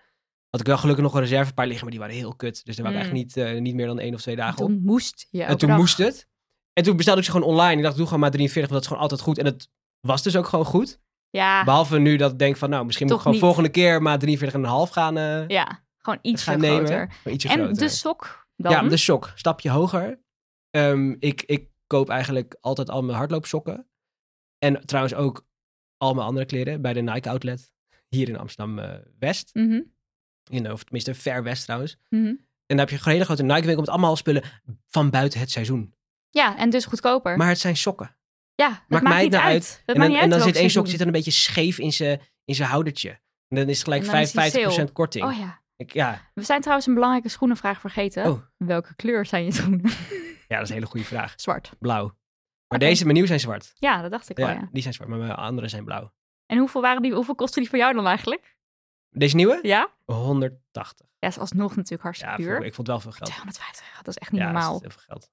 [SPEAKER 2] Had ik wel gelukkig nog een reservepaar liggen, maar die waren heel kut. Dus daar waren
[SPEAKER 1] Mm.
[SPEAKER 2] echt niet, eh, niet meer dan één of twee dagen op.
[SPEAKER 1] Toen moest je.
[SPEAKER 2] En toen moest het. En toen bestelde ik ze gewoon online. Ik dacht, doe gewoon maar 43, want dat is gewoon altijd goed. En het was dus ook gewoon goed.
[SPEAKER 1] Ja,
[SPEAKER 2] Behalve nu dat ik denk van, nou, misschien moet ik
[SPEAKER 1] Toch
[SPEAKER 2] gewoon
[SPEAKER 1] niet.
[SPEAKER 2] volgende keer maar 43,5 gaan, eh
[SPEAKER 1] ja. gewoon ietsje
[SPEAKER 2] gaan
[SPEAKER 1] groter.
[SPEAKER 2] nemen. Maar ietsje
[SPEAKER 1] en
[SPEAKER 2] groter.
[SPEAKER 1] de sok dan.
[SPEAKER 2] Ja, de sok. Stapje hoger. Ehm, ik, ik koop eigenlijk altijd al mijn hardloopsokken. En trouwens ook al mijn andere kleren bij de Nike Outlet. Hier in eh, Amsterdam-West.
[SPEAKER 1] Mhm,
[SPEAKER 2] you know, of tenminste ver west trouwens.
[SPEAKER 1] mhm.
[SPEAKER 2] En dan heb je een hele grote Nike winkel met allemaal spullen van buiten het seizoen.
[SPEAKER 1] Ja, en dus goedkoper.
[SPEAKER 2] Maar het zijn sokken.
[SPEAKER 1] ja, dat
[SPEAKER 2] maakt
[SPEAKER 1] maakt,
[SPEAKER 2] mij
[SPEAKER 1] niet
[SPEAKER 2] nou
[SPEAKER 1] uit.
[SPEAKER 2] uit.
[SPEAKER 1] Dat maakt
[SPEAKER 2] en dan,
[SPEAKER 1] niet uit
[SPEAKER 2] en dan
[SPEAKER 1] welk
[SPEAKER 2] zit één sok
[SPEAKER 1] seizoen.
[SPEAKER 2] zit dan een beetje scheef in zijn in zijn houdertje. En dan is het gelijk
[SPEAKER 1] En dan is die
[SPEAKER 2] 55%
[SPEAKER 1] sale.
[SPEAKER 2] korting.
[SPEAKER 1] Oh ja.
[SPEAKER 2] Ik, ja.
[SPEAKER 1] We zijn trouwens een belangrijke schoenenvraag vergeten.
[SPEAKER 2] Oh.
[SPEAKER 1] Welke kleur zijn je schoenen?
[SPEAKER 2] ja, dat is een hele goede vraag.
[SPEAKER 1] Zwart.
[SPEAKER 2] Blauw.
[SPEAKER 1] Oké.
[SPEAKER 2] Maar deze, mijn nieuwe zijn zwart.
[SPEAKER 1] Ja, dat dacht ik
[SPEAKER 2] Ja,
[SPEAKER 1] al, ja.
[SPEAKER 2] die zijn zwart, maar mijn andere zijn blauw.
[SPEAKER 1] En hoeveel, waren die, hoeveel kostte die voor jou dan eigenlijk?
[SPEAKER 2] Deze nieuwe?
[SPEAKER 1] Ja?
[SPEAKER 2] 180.
[SPEAKER 1] Ja, is alsnog natuurlijk
[SPEAKER 2] Ja,
[SPEAKER 1] hartstikke
[SPEAKER 2] vond-
[SPEAKER 1] duur.
[SPEAKER 2] ik vond het wel veel geld.
[SPEAKER 1] 250, dat is echt niet
[SPEAKER 2] Ja, dat
[SPEAKER 1] normaal.
[SPEAKER 2] is
[SPEAKER 1] Oké,
[SPEAKER 2] heel veel geld.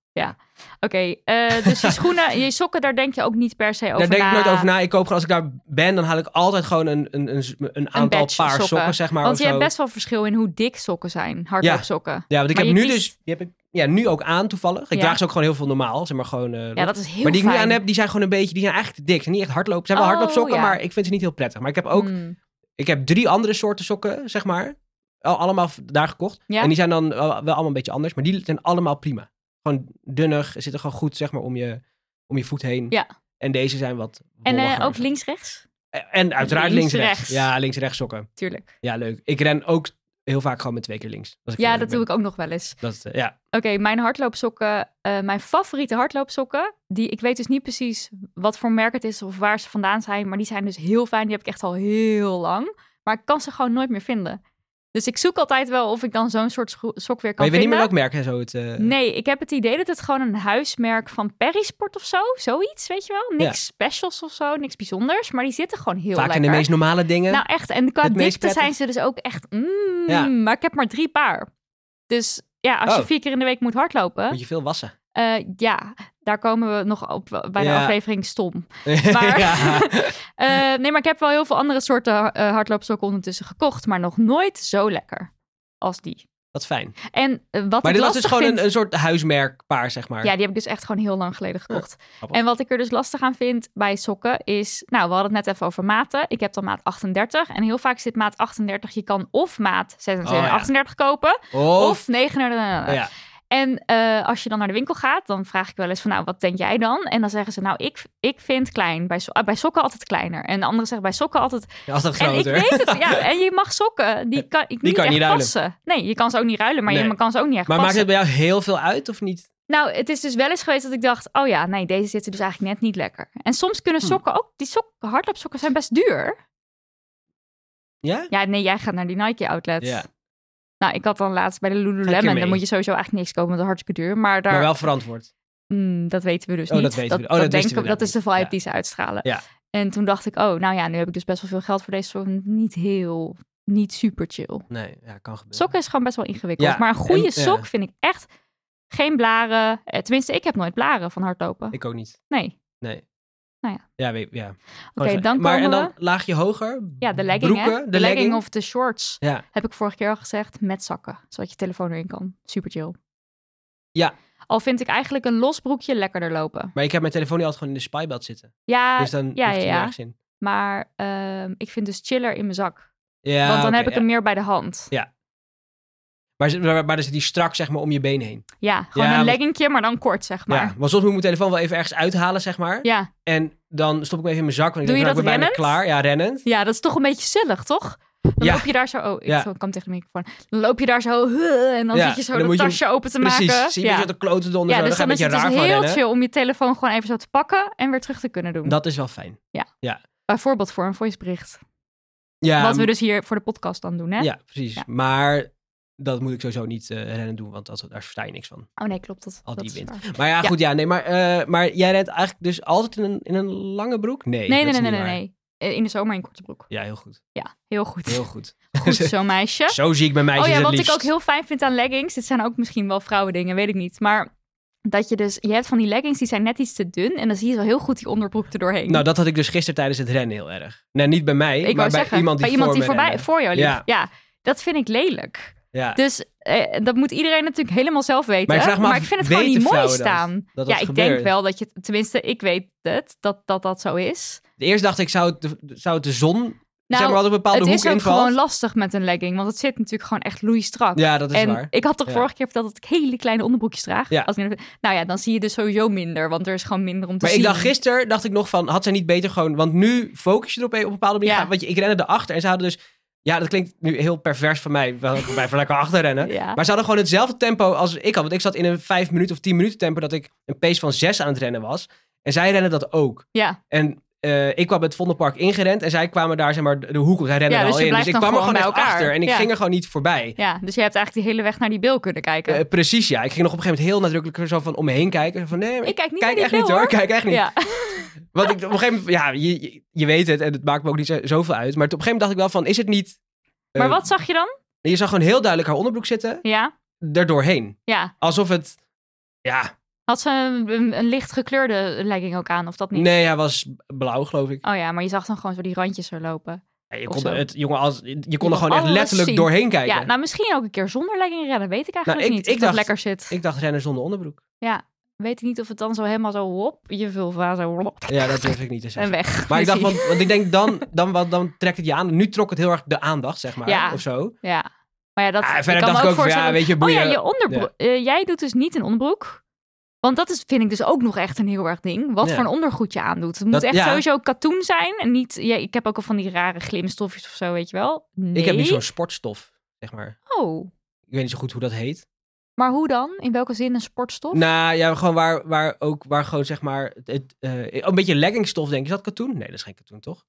[SPEAKER 1] eh, dus je schoenen, je sokken, daar denk je ook niet per se over
[SPEAKER 2] Daar
[SPEAKER 1] na.
[SPEAKER 2] denk ik nooit over na. Ik koop gewoon, als ik daar ben, dan haal ik altijd gewoon een, een, een, een aantal
[SPEAKER 1] batch
[SPEAKER 2] paar sokken.
[SPEAKER 1] sokken.
[SPEAKER 2] zeg maar.
[SPEAKER 1] Want
[SPEAKER 2] of
[SPEAKER 1] je hebt
[SPEAKER 2] zo.
[SPEAKER 1] best wel verschil in hoe dik sokken zijn, hardloopsokken. Ja,
[SPEAKER 2] Ja, want ik
[SPEAKER 1] Maar
[SPEAKER 2] heb
[SPEAKER 1] je
[SPEAKER 2] nu
[SPEAKER 1] kiest-
[SPEAKER 2] dus, die heb ik ja, nu ook aan toevallig. Ik
[SPEAKER 1] Ja.
[SPEAKER 2] draag ze ook gewoon heel veel normaal, zeg maar gewoon. eh,
[SPEAKER 1] dat is heel
[SPEAKER 2] maar die ik nu
[SPEAKER 1] fijn.
[SPEAKER 2] aan heb, die zijn gewoon een beetje, die zijn eigenlijk te dik. Ze zijn niet echt hardloop. Ze hebben wel
[SPEAKER 1] Oh,
[SPEAKER 2] hardloopsokken,
[SPEAKER 1] ja.
[SPEAKER 2] maar ik vind ze niet heel prettig. Maar ik heb ook,
[SPEAKER 1] Mm,
[SPEAKER 2] ik heb drie andere soorten sokken, zeg maar, al- allemaal v- daar gekocht.
[SPEAKER 1] Ja.
[SPEAKER 2] En die zijn dan wel, wel allemaal een beetje anders, maar die zijn allemaal prima. Gewoon dunnig, zitten gewoon goed, zeg maar, om je, om je voet heen.
[SPEAKER 1] Ja.
[SPEAKER 2] En deze zijn wat
[SPEAKER 1] En eh,
[SPEAKER 2] wolliger.
[SPEAKER 1] ook links-rechts?
[SPEAKER 2] En- En uiteraard links-rechts.
[SPEAKER 1] Links-rechts.
[SPEAKER 2] ja, links-rechts sokken.
[SPEAKER 1] Tuurlijk.
[SPEAKER 2] Ja, leuk. Ik ren ook heel vaak gewoon met twee keer links.
[SPEAKER 1] Ja, dat doe ik ook nog wel eens.
[SPEAKER 2] Dat, eh, ja.
[SPEAKER 1] Oké, mijn hardloopsokken, eh, mijn favoriete hardloopsokken, die ik weet dus niet precies wat voor merk het is of waar ze vandaan zijn, maar die zijn dus heel fijn. Die heb ik echt al heel lang, maar ik kan ze gewoon nooit meer vinden. Dus ik zoek altijd wel of ik dan zo'n soort scho- sok weer
[SPEAKER 2] Maar
[SPEAKER 1] kan
[SPEAKER 2] je weet
[SPEAKER 1] vinden.
[SPEAKER 2] niet meer welk merk en zo het... eh,
[SPEAKER 1] Nee, ik heb het idee dat het gewoon een huismerk van Perisport of zo, zoiets, weet je wel? Niks specials of zo, niks bijzonders, maar die zitten gewoon heel
[SPEAKER 2] Vaak
[SPEAKER 1] lekker.
[SPEAKER 2] in de meest normale dingen.
[SPEAKER 1] Nou echt, en qua
[SPEAKER 2] Het meest
[SPEAKER 1] dikte
[SPEAKER 2] prettig.
[SPEAKER 1] zijn ze dus ook echt... mm,
[SPEAKER 2] Ja.
[SPEAKER 1] Maar ik heb maar drie paar. Dus ja, als
[SPEAKER 2] Oh.
[SPEAKER 1] je vier keer in de week moet hardlopen...
[SPEAKER 2] moet je veel wassen.
[SPEAKER 1] eh, ja, daar komen we nog op eh, bij de
[SPEAKER 2] Ja.
[SPEAKER 1] aflevering stom. Maar-
[SPEAKER 2] ja.
[SPEAKER 1] Eh, nee, maar ik heb wel heel veel andere soorten eh, hardloopsokken ondertussen gekocht... maar nog nooit zo lekker als die.
[SPEAKER 2] Dat is fijn.
[SPEAKER 1] En eh, wat
[SPEAKER 2] Maar
[SPEAKER 1] ik
[SPEAKER 2] dit was dus
[SPEAKER 1] lastig
[SPEAKER 2] gewoon
[SPEAKER 1] vind...
[SPEAKER 2] een, een soort huismerkpaar, zeg maar.
[SPEAKER 1] Ja, die heb ik dus echt gewoon heel lang geleden gekocht.
[SPEAKER 2] grappig.
[SPEAKER 1] en wat ik er dus lastig aan vind bij sokken is... Nou, we hadden het net even over maten. Ik heb dan maat 38. En heel vaak zit maat 38... Je kan of maat 26
[SPEAKER 2] Oh, ja.
[SPEAKER 1] 38 kopen...
[SPEAKER 2] Of,
[SPEAKER 1] Of 39.
[SPEAKER 2] Oh. ja.
[SPEAKER 1] En eh, als je dan naar de winkel gaat, dan vraag ik wel eens van... Nou, wat denk jij dan? En dan zeggen ze... Nou, ik, ik vind klein. Bij, so- ah, bij sokken altijd kleiner. En de andere zegt bij sokken altijd...
[SPEAKER 2] altijd
[SPEAKER 1] En ik
[SPEAKER 2] groter.
[SPEAKER 1] weet het. Ja, en je mag sokken. Die kan, ik
[SPEAKER 2] Die
[SPEAKER 1] niet
[SPEAKER 2] kan je
[SPEAKER 1] echt
[SPEAKER 2] niet ruilen.
[SPEAKER 1] passen. Nee, je kan ze ook niet ruilen. Maar
[SPEAKER 2] Nee.
[SPEAKER 1] je kan ze ook niet echt
[SPEAKER 2] maar maakt
[SPEAKER 1] passen.
[SPEAKER 2] het bij jou heel veel uit, of niet?
[SPEAKER 1] Nou, het is dus wel eens geweest dat ik dacht, oh ja, nee, deze zitten dus eigenlijk net niet lekker. En soms kunnen
[SPEAKER 2] Hm.
[SPEAKER 1] sokken ook, die sokken, hardloopsokken zijn best duur.
[SPEAKER 2] Ja?
[SPEAKER 1] Ja, nee, jij gaat naar die Nike outlet.
[SPEAKER 2] Ja.
[SPEAKER 1] Nou, ik had dan laatst bij de
[SPEAKER 2] Ga ik
[SPEAKER 1] Lululemon,
[SPEAKER 2] ermee?
[SPEAKER 1] dan moet je sowieso eigenlijk niks kopen, want dat is hartstikke duur. Maar daar,
[SPEAKER 2] Maar wel verantwoord.
[SPEAKER 1] Mm, dat weten we dus
[SPEAKER 2] Oh,
[SPEAKER 1] niet.
[SPEAKER 2] dat weten we- oh, dat wisten
[SPEAKER 1] denk
[SPEAKER 2] we
[SPEAKER 1] ik-
[SPEAKER 2] inderdaad
[SPEAKER 1] dat is de
[SPEAKER 2] niet.
[SPEAKER 1] vibe
[SPEAKER 2] Ja.
[SPEAKER 1] die ze uitstralen.
[SPEAKER 2] Ja.
[SPEAKER 1] En toen dacht ik, oh, nou ja, nu heb ik dus best wel veel geld voor deze sokken. Niet heel, niet super chill.
[SPEAKER 2] Nee, ja, kan gebeuren.
[SPEAKER 1] Sokken is gewoon best wel ingewikkeld.
[SPEAKER 2] Ja,
[SPEAKER 1] Maar een goede
[SPEAKER 2] en- ja.
[SPEAKER 1] sok vind ik echt geen blaren. Eh, Tenminste, ik heb nooit blaren van hardlopen.
[SPEAKER 2] Ik ook niet.
[SPEAKER 1] Nee.
[SPEAKER 2] Nee.
[SPEAKER 1] Nou ja.
[SPEAKER 2] Ja, weet, ja.
[SPEAKER 1] Oké, dan
[SPEAKER 2] Maar en
[SPEAKER 1] komen
[SPEAKER 2] dan laagje hoger?
[SPEAKER 1] Ja, de legging,
[SPEAKER 2] broeken,
[SPEAKER 1] hè?
[SPEAKER 2] De,
[SPEAKER 1] De,
[SPEAKER 2] legging.
[SPEAKER 1] legging. of de shorts.
[SPEAKER 2] Ja.
[SPEAKER 1] Heb ik vorige keer al gezegd, met zakken. Zodat je telefoon erin kan. Super chill.
[SPEAKER 2] Ja.
[SPEAKER 1] Al vind ik eigenlijk een los broekje lekkerder lopen.
[SPEAKER 2] Maar ik heb mijn telefoon nu altijd gewoon in de spybelt zitten.
[SPEAKER 1] Ja,
[SPEAKER 2] dus dan
[SPEAKER 1] ja,
[SPEAKER 2] heeft hij
[SPEAKER 1] ja.
[SPEAKER 2] nergens in.
[SPEAKER 1] maar ehm, ik vind dus chiller in mijn zak.
[SPEAKER 2] Ja,
[SPEAKER 1] Want dan
[SPEAKER 2] Ah, oké,
[SPEAKER 1] heb ik
[SPEAKER 2] ja.
[SPEAKER 1] hem meer bij de hand.
[SPEAKER 2] Ja. Maar, ze- maar, maar dan zit die strak, zeg maar, om je been heen.
[SPEAKER 1] Ja, gewoon
[SPEAKER 2] Ja,
[SPEAKER 1] een
[SPEAKER 2] want-
[SPEAKER 1] leggingje, maar dan kort, zeg maar.
[SPEAKER 2] Ja, want soms moet ik mijn telefoon wel even ergens uithalen, zeg maar.
[SPEAKER 1] Ja,
[SPEAKER 2] En dan stop ik hem even in mijn zak. Want ik
[SPEAKER 1] Doe
[SPEAKER 2] denk,
[SPEAKER 1] je
[SPEAKER 2] nou, ik
[SPEAKER 1] dat
[SPEAKER 2] ben bijna klaar. Ja, rennend.
[SPEAKER 1] ja dat is toch een beetje zullig, toch? Dan
[SPEAKER 2] Ja.
[SPEAKER 1] loop je daar zo... Oh, ik
[SPEAKER 2] Ja.
[SPEAKER 1] zo- ik kwam tegen de microfoon. Dan loop je daar zo... huh, en dan
[SPEAKER 2] Ja,
[SPEAKER 1] zit je zo
[SPEAKER 2] en dan
[SPEAKER 1] de
[SPEAKER 2] moet je hem-
[SPEAKER 1] tasje open te
[SPEAKER 2] Precies,
[SPEAKER 1] maken.
[SPEAKER 2] zie je
[SPEAKER 1] ja.
[SPEAKER 2] dat de kloten donder
[SPEAKER 1] ja,
[SPEAKER 2] zo,
[SPEAKER 1] dus
[SPEAKER 2] dan
[SPEAKER 1] dan
[SPEAKER 2] ga
[SPEAKER 1] is
[SPEAKER 2] je
[SPEAKER 1] het dus
[SPEAKER 2] een beetje raar van
[SPEAKER 1] heel
[SPEAKER 2] rennen.
[SPEAKER 1] chill om je telefoon gewoon even zo te pakken en weer terug te kunnen doen.
[SPEAKER 2] Dat is wel fijn.
[SPEAKER 1] Bijvoorbeeld voor een voicebericht.
[SPEAKER 2] Ja,
[SPEAKER 1] Wat we dus hier voor de podcast dan doen, hè?
[SPEAKER 2] Ehm, ja precies.
[SPEAKER 1] Ja.
[SPEAKER 2] Maar dat moet ik sowieso niet eh, rennen doen, want dat, daar versta je niks van.
[SPEAKER 1] Oh nee, klopt. Dat,
[SPEAKER 2] Al
[SPEAKER 1] dat
[SPEAKER 2] die
[SPEAKER 1] is
[SPEAKER 2] wint.
[SPEAKER 1] waar.
[SPEAKER 2] Maar ja,
[SPEAKER 1] Ja.
[SPEAKER 2] goed, ja, nee, maar, eh, maar jij rent eigenlijk dus altijd in een, in een lange broek? Nee,
[SPEAKER 1] Nee,
[SPEAKER 2] dat
[SPEAKER 1] nee,
[SPEAKER 2] is
[SPEAKER 1] nee, nee,
[SPEAKER 2] niet
[SPEAKER 1] nee,
[SPEAKER 2] waar.
[SPEAKER 1] nee. In de zomer in korte broek.
[SPEAKER 2] Ja, heel goed.
[SPEAKER 1] Ja, heel goed.
[SPEAKER 2] Heel goed.
[SPEAKER 1] Goed zo, meisje.
[SPEAKER 2] Zo zie ik mijn meisjes
[SPEAKER 1] Oh ja,
[SPEAKER 2] het
[SPEAKER 1] wat
[SPEAKER 2] liefst.
[SPEAKER 1] ik ook heel fijn vind aan leggings. Dit zijn ook misschien wel vrouwendingen, weet ik niet. Maar dat je dus... Je hebt van die leggings, die zijn net iets te dun. En dan zie je zo heel goed die onderbroek er doorheen.
[SPEAKER 2] Nou, dat had ik dus gisteren tijdens het rennen heel erg. Nee, niet bij mij,
[SPEAKER 1] ik
[SPEAKER 2] maar
[SPEAKER 1] wou
[SPEAKER 2] bij
[SPEAKER 1] zeggen,
[SPEAKER 2] iemand die,
[SPEAKER 1] bij iemand
[SPEAKER 2] voor
[SPEAKER 1] die
[SPEAKER 2] me
[SPEAKER 1] voorbij,
[SPEAKER 2] rende.
[SPEAKER 1] voor jou liep.
[SPEAKER 2] Ja.
[SPEAKER 1] Ja. dat vind ik lelijk.
[SPEAKER 2] Ja.
[SPEAKER 1] Dus eh, dat moet iedereen natuurlijk helemaal zelf weten.
[SPEAKER 2] Maar ik vraag me af,
[SPEAKER 1] ik vind het gewoon
[SPEAKER 2] weten
[SPEAKER 1] niet mooi
[SPEAKER 2] vrouwen dat?
[SPEAKER 1] staan.
[SPEAKER 2] Dat dat
[SPEAKER 1] ja, ik
[SPEAKER 2] gebeurt?
[SPEAKER 1] denk wel dat je... Tenminste, ik weet het, dat dat, dat zo is.
[SPEAKER 2] Eerst dacht ik, zou het, de- zou het de zon
[SPEAKER 1] Nou,
[SPEAKER 2] zeg maar, wat een bepaalde
[SPEAKER 1] het
[SPEAKER 2] hoek
[SPEAKER 1] is ook
[SPEAKER 2] invalt?
[SPEAKER 1] gewoon lastig met een legging. Want het zit natuurlijk gewoon echt loeistrak.
[SPEAKER 2] Ja, dat is
[SPEAKER 1] en
[SPEAKER 2] waar.
[SPEAKER 1] ik had toch
[SPEAKER 2] Ja.
[SPEAKER 1] vorige keer verteld dat ik hele kleine onderbroekjes draag.
[SPEAKER 2] Ja.
[SPEAKER 1] Als ik- nou ja, dan zie je dus sowieso minder, want er is gewoon minder om te
[SPEAKER 2] Maar
[SPEAKER 1] zien.
[SPEAKER 2] ik dacht gisteren, dacht ik nog van, had zij niet beter gewoon... Want nu focus je erop op een bepaalde manier.
[SPEAKER 1] Ja.
[SPEAKER 2] gaan, Want je- ik rende erachter en ze hadden dus... Ja, dat klinkt nu heel pervers van mij, wel- van mij van lekker achterrennen.
[SPEAKER 1] Ja.
[SPEAKER 2] Maar ze hadden gewoon hetzelfde tempo als ik had. Want ik zat in een 5 minuten of 10 minuten tempo dat ik een pace van 6 aan het rennen was. En zij rennen dat ook.
[SPEAKER 1] Ja,
[SPEAKER 2] En eh, ik kwam het Vondelpark ingerend en zij kwamen daar zeg maar de de hoek op. Zij renden
[SPEAKER 1] Ja,
[SPEAKER 2] er
[SPEAKER 1] dus
[SPEAKER 2] al
[SPEAKER 1] je
[SPEAKER 2] in. Dus
[SPEAKER 1] blijft
[SPEAKER 2] ik
[SPEAKER 1] dan
[SPEAKER 2] kwam er
[SPEAKER 1] gewoon
[SPEAKER 2] gewoon echt
[SPEAKER 1] bij elkaar.
[SPEAKER 2] achter en ik
[SPEAKER 1] Ja.
[SPEAKER 2] ging er gewoon niet voorbij.
[SPEAKER 1] ja, dus je hebt eigenlijk die hele weg naar die bil kunnen kijken.
[SPEAKER 2] Eh, precies, ja. Ik ging nog op een gegeven moment heel nadrukkelijk er zo van om me heen kijken. Zo Van, nee, maar
[SPEAKER 1] ik kijk niet
[SPEAKER 2] kijk
[SPEAKER 1] naar
[SPEAKER 2] echt
[SPEAKER 1] die
[SPEAKER 2] niet
[SPEAKER 1] bil,
[SPEAKER 2] hoor. Kijk echt niet.
[SPEAKER 1] Ja.
[SPEAKER 2] Want ik, op een gegeven moment, ja, je, je, je weet het en het maakt me ook niet zo- zoveel uit. Maar op een gegeven moment dacht ik wel van, is het niet... eh,
[SPEAKER 1] Maar wat zag je dan?
[SPEAKER 2] Je zag gewoon heel duidelijk haar onderbroek zitten,
[SPEAKER 1] Ja,
[SPEAKER 2] daardoorheen.
[SPEAKER 1] ja.
[SPEAKER 2] Alsof het, ja,
[SPEAKER 1] Had ze een, een, een licht gekleurde legging ook aan, of dat niet?
[SPEAKER 2] nee, hij was blauw geloof ik.
[SPEAKER 1] Oh ja, maar je zag dan gewoon zo die randjes zo lopen.
[SPEAKER 2] Ja,
[SPEAKER 1] Oh,
[SPEAKER 2] je
[SPEAKER 1] Of
[SPEAKER 2] kon,
[SPEAKER 1] zo.
[SPEAKER 2] er- het, jongen, als, je kon
[SPEAKER 1] kon
[SPEAKER 2] er gewoon echt
[SPEAKER 1] alles
[SPEAKER 2] letterlijk
[SPEAKER 1] zien.
[SPEAKER 2] doorheen kijken.
[SPEAKER 1] Ja, nou misschien ook een keer zonder legging rennen, weet ik eigenlijk
[SPEAKER 2] Nou, ik-
[SPEAKER 1] niet.
[SPEAKER 2] ik
[SPEAKER 1] of dat
[SPEAKER 2] dacht-
[SPEAKER 1] lekker zit.
[SPEAKER 2] Ik dacht rennen zonder onderbroek.
[SPEAKER 1] Weet ik niet of het dan zo helemaal zo, wop, je vulva zo, wop,
[SPEAKER 2] Ja, dat durf ik niet te
[SPEAKER 1] en
[SPEAKER 2] zeggen.
[SPEAKER 1] weg.
[SPEAKER 2] Maar ik dacht,
[SPEAKER 1] Precies.
[SPEAKER 2] want, want ik denk dan, dan, wat, dan trekt het je aan. Nu trok het heel erg de aandacht, zeg maar,
[SPEAKER 1] Ja.
[SPEAKER 2] of zo.
[SPEAKER 1] Ja. Maar ja, dat
[SPEAKER 2] Ah,
[SPEAKER 1] ik
[SPEAKER 2] verder
[SPEAKER 1] kan me
[SPEAKER 2] dacht ik ook, van,
[SPEAKER 1] voorstellen.
[SPEAKER 2] ja, weet je,
[SPEAKER 1] oh
[SPEAKER 2] boeien.
[SPEAKER 1] ja, je onderbroek. Eh, jij doet dus niet een onderbroek. Want dat is, vind ik dus ook nog echt een heel erg ding. Wat
[SPEAKER 2] Ja.
[SPEAKER 1] voor een ondergoed je aandoet. Het moet
[SPEAKER 2] Dat-
[SPEAKER 1] echt
[SPEAKER 2] ja.
[SPEAKER 1] sowieso katoen zijn. En niet, ja, ik heb ook al van die rare glimstofjes of zo, weet je wel. Nee.
[SPEAKER 2] Ik heb nu zo'n sportstof, zeg maar.
[SPEAKER 1] Oh,
[SPEAKER 2] Ik weet niet zo goed hoe dat heet.
[SPEAKER 1] maar hoe dan? In welke zin een sportstof?
[SPEAKER 2] Nou ja, gewoon waar, waar ook, waar gewoon zeg maar, het- het, eh, een beetje leggingstof denk ik. Is dat katoen? Nee, dat is geen katoen, toch?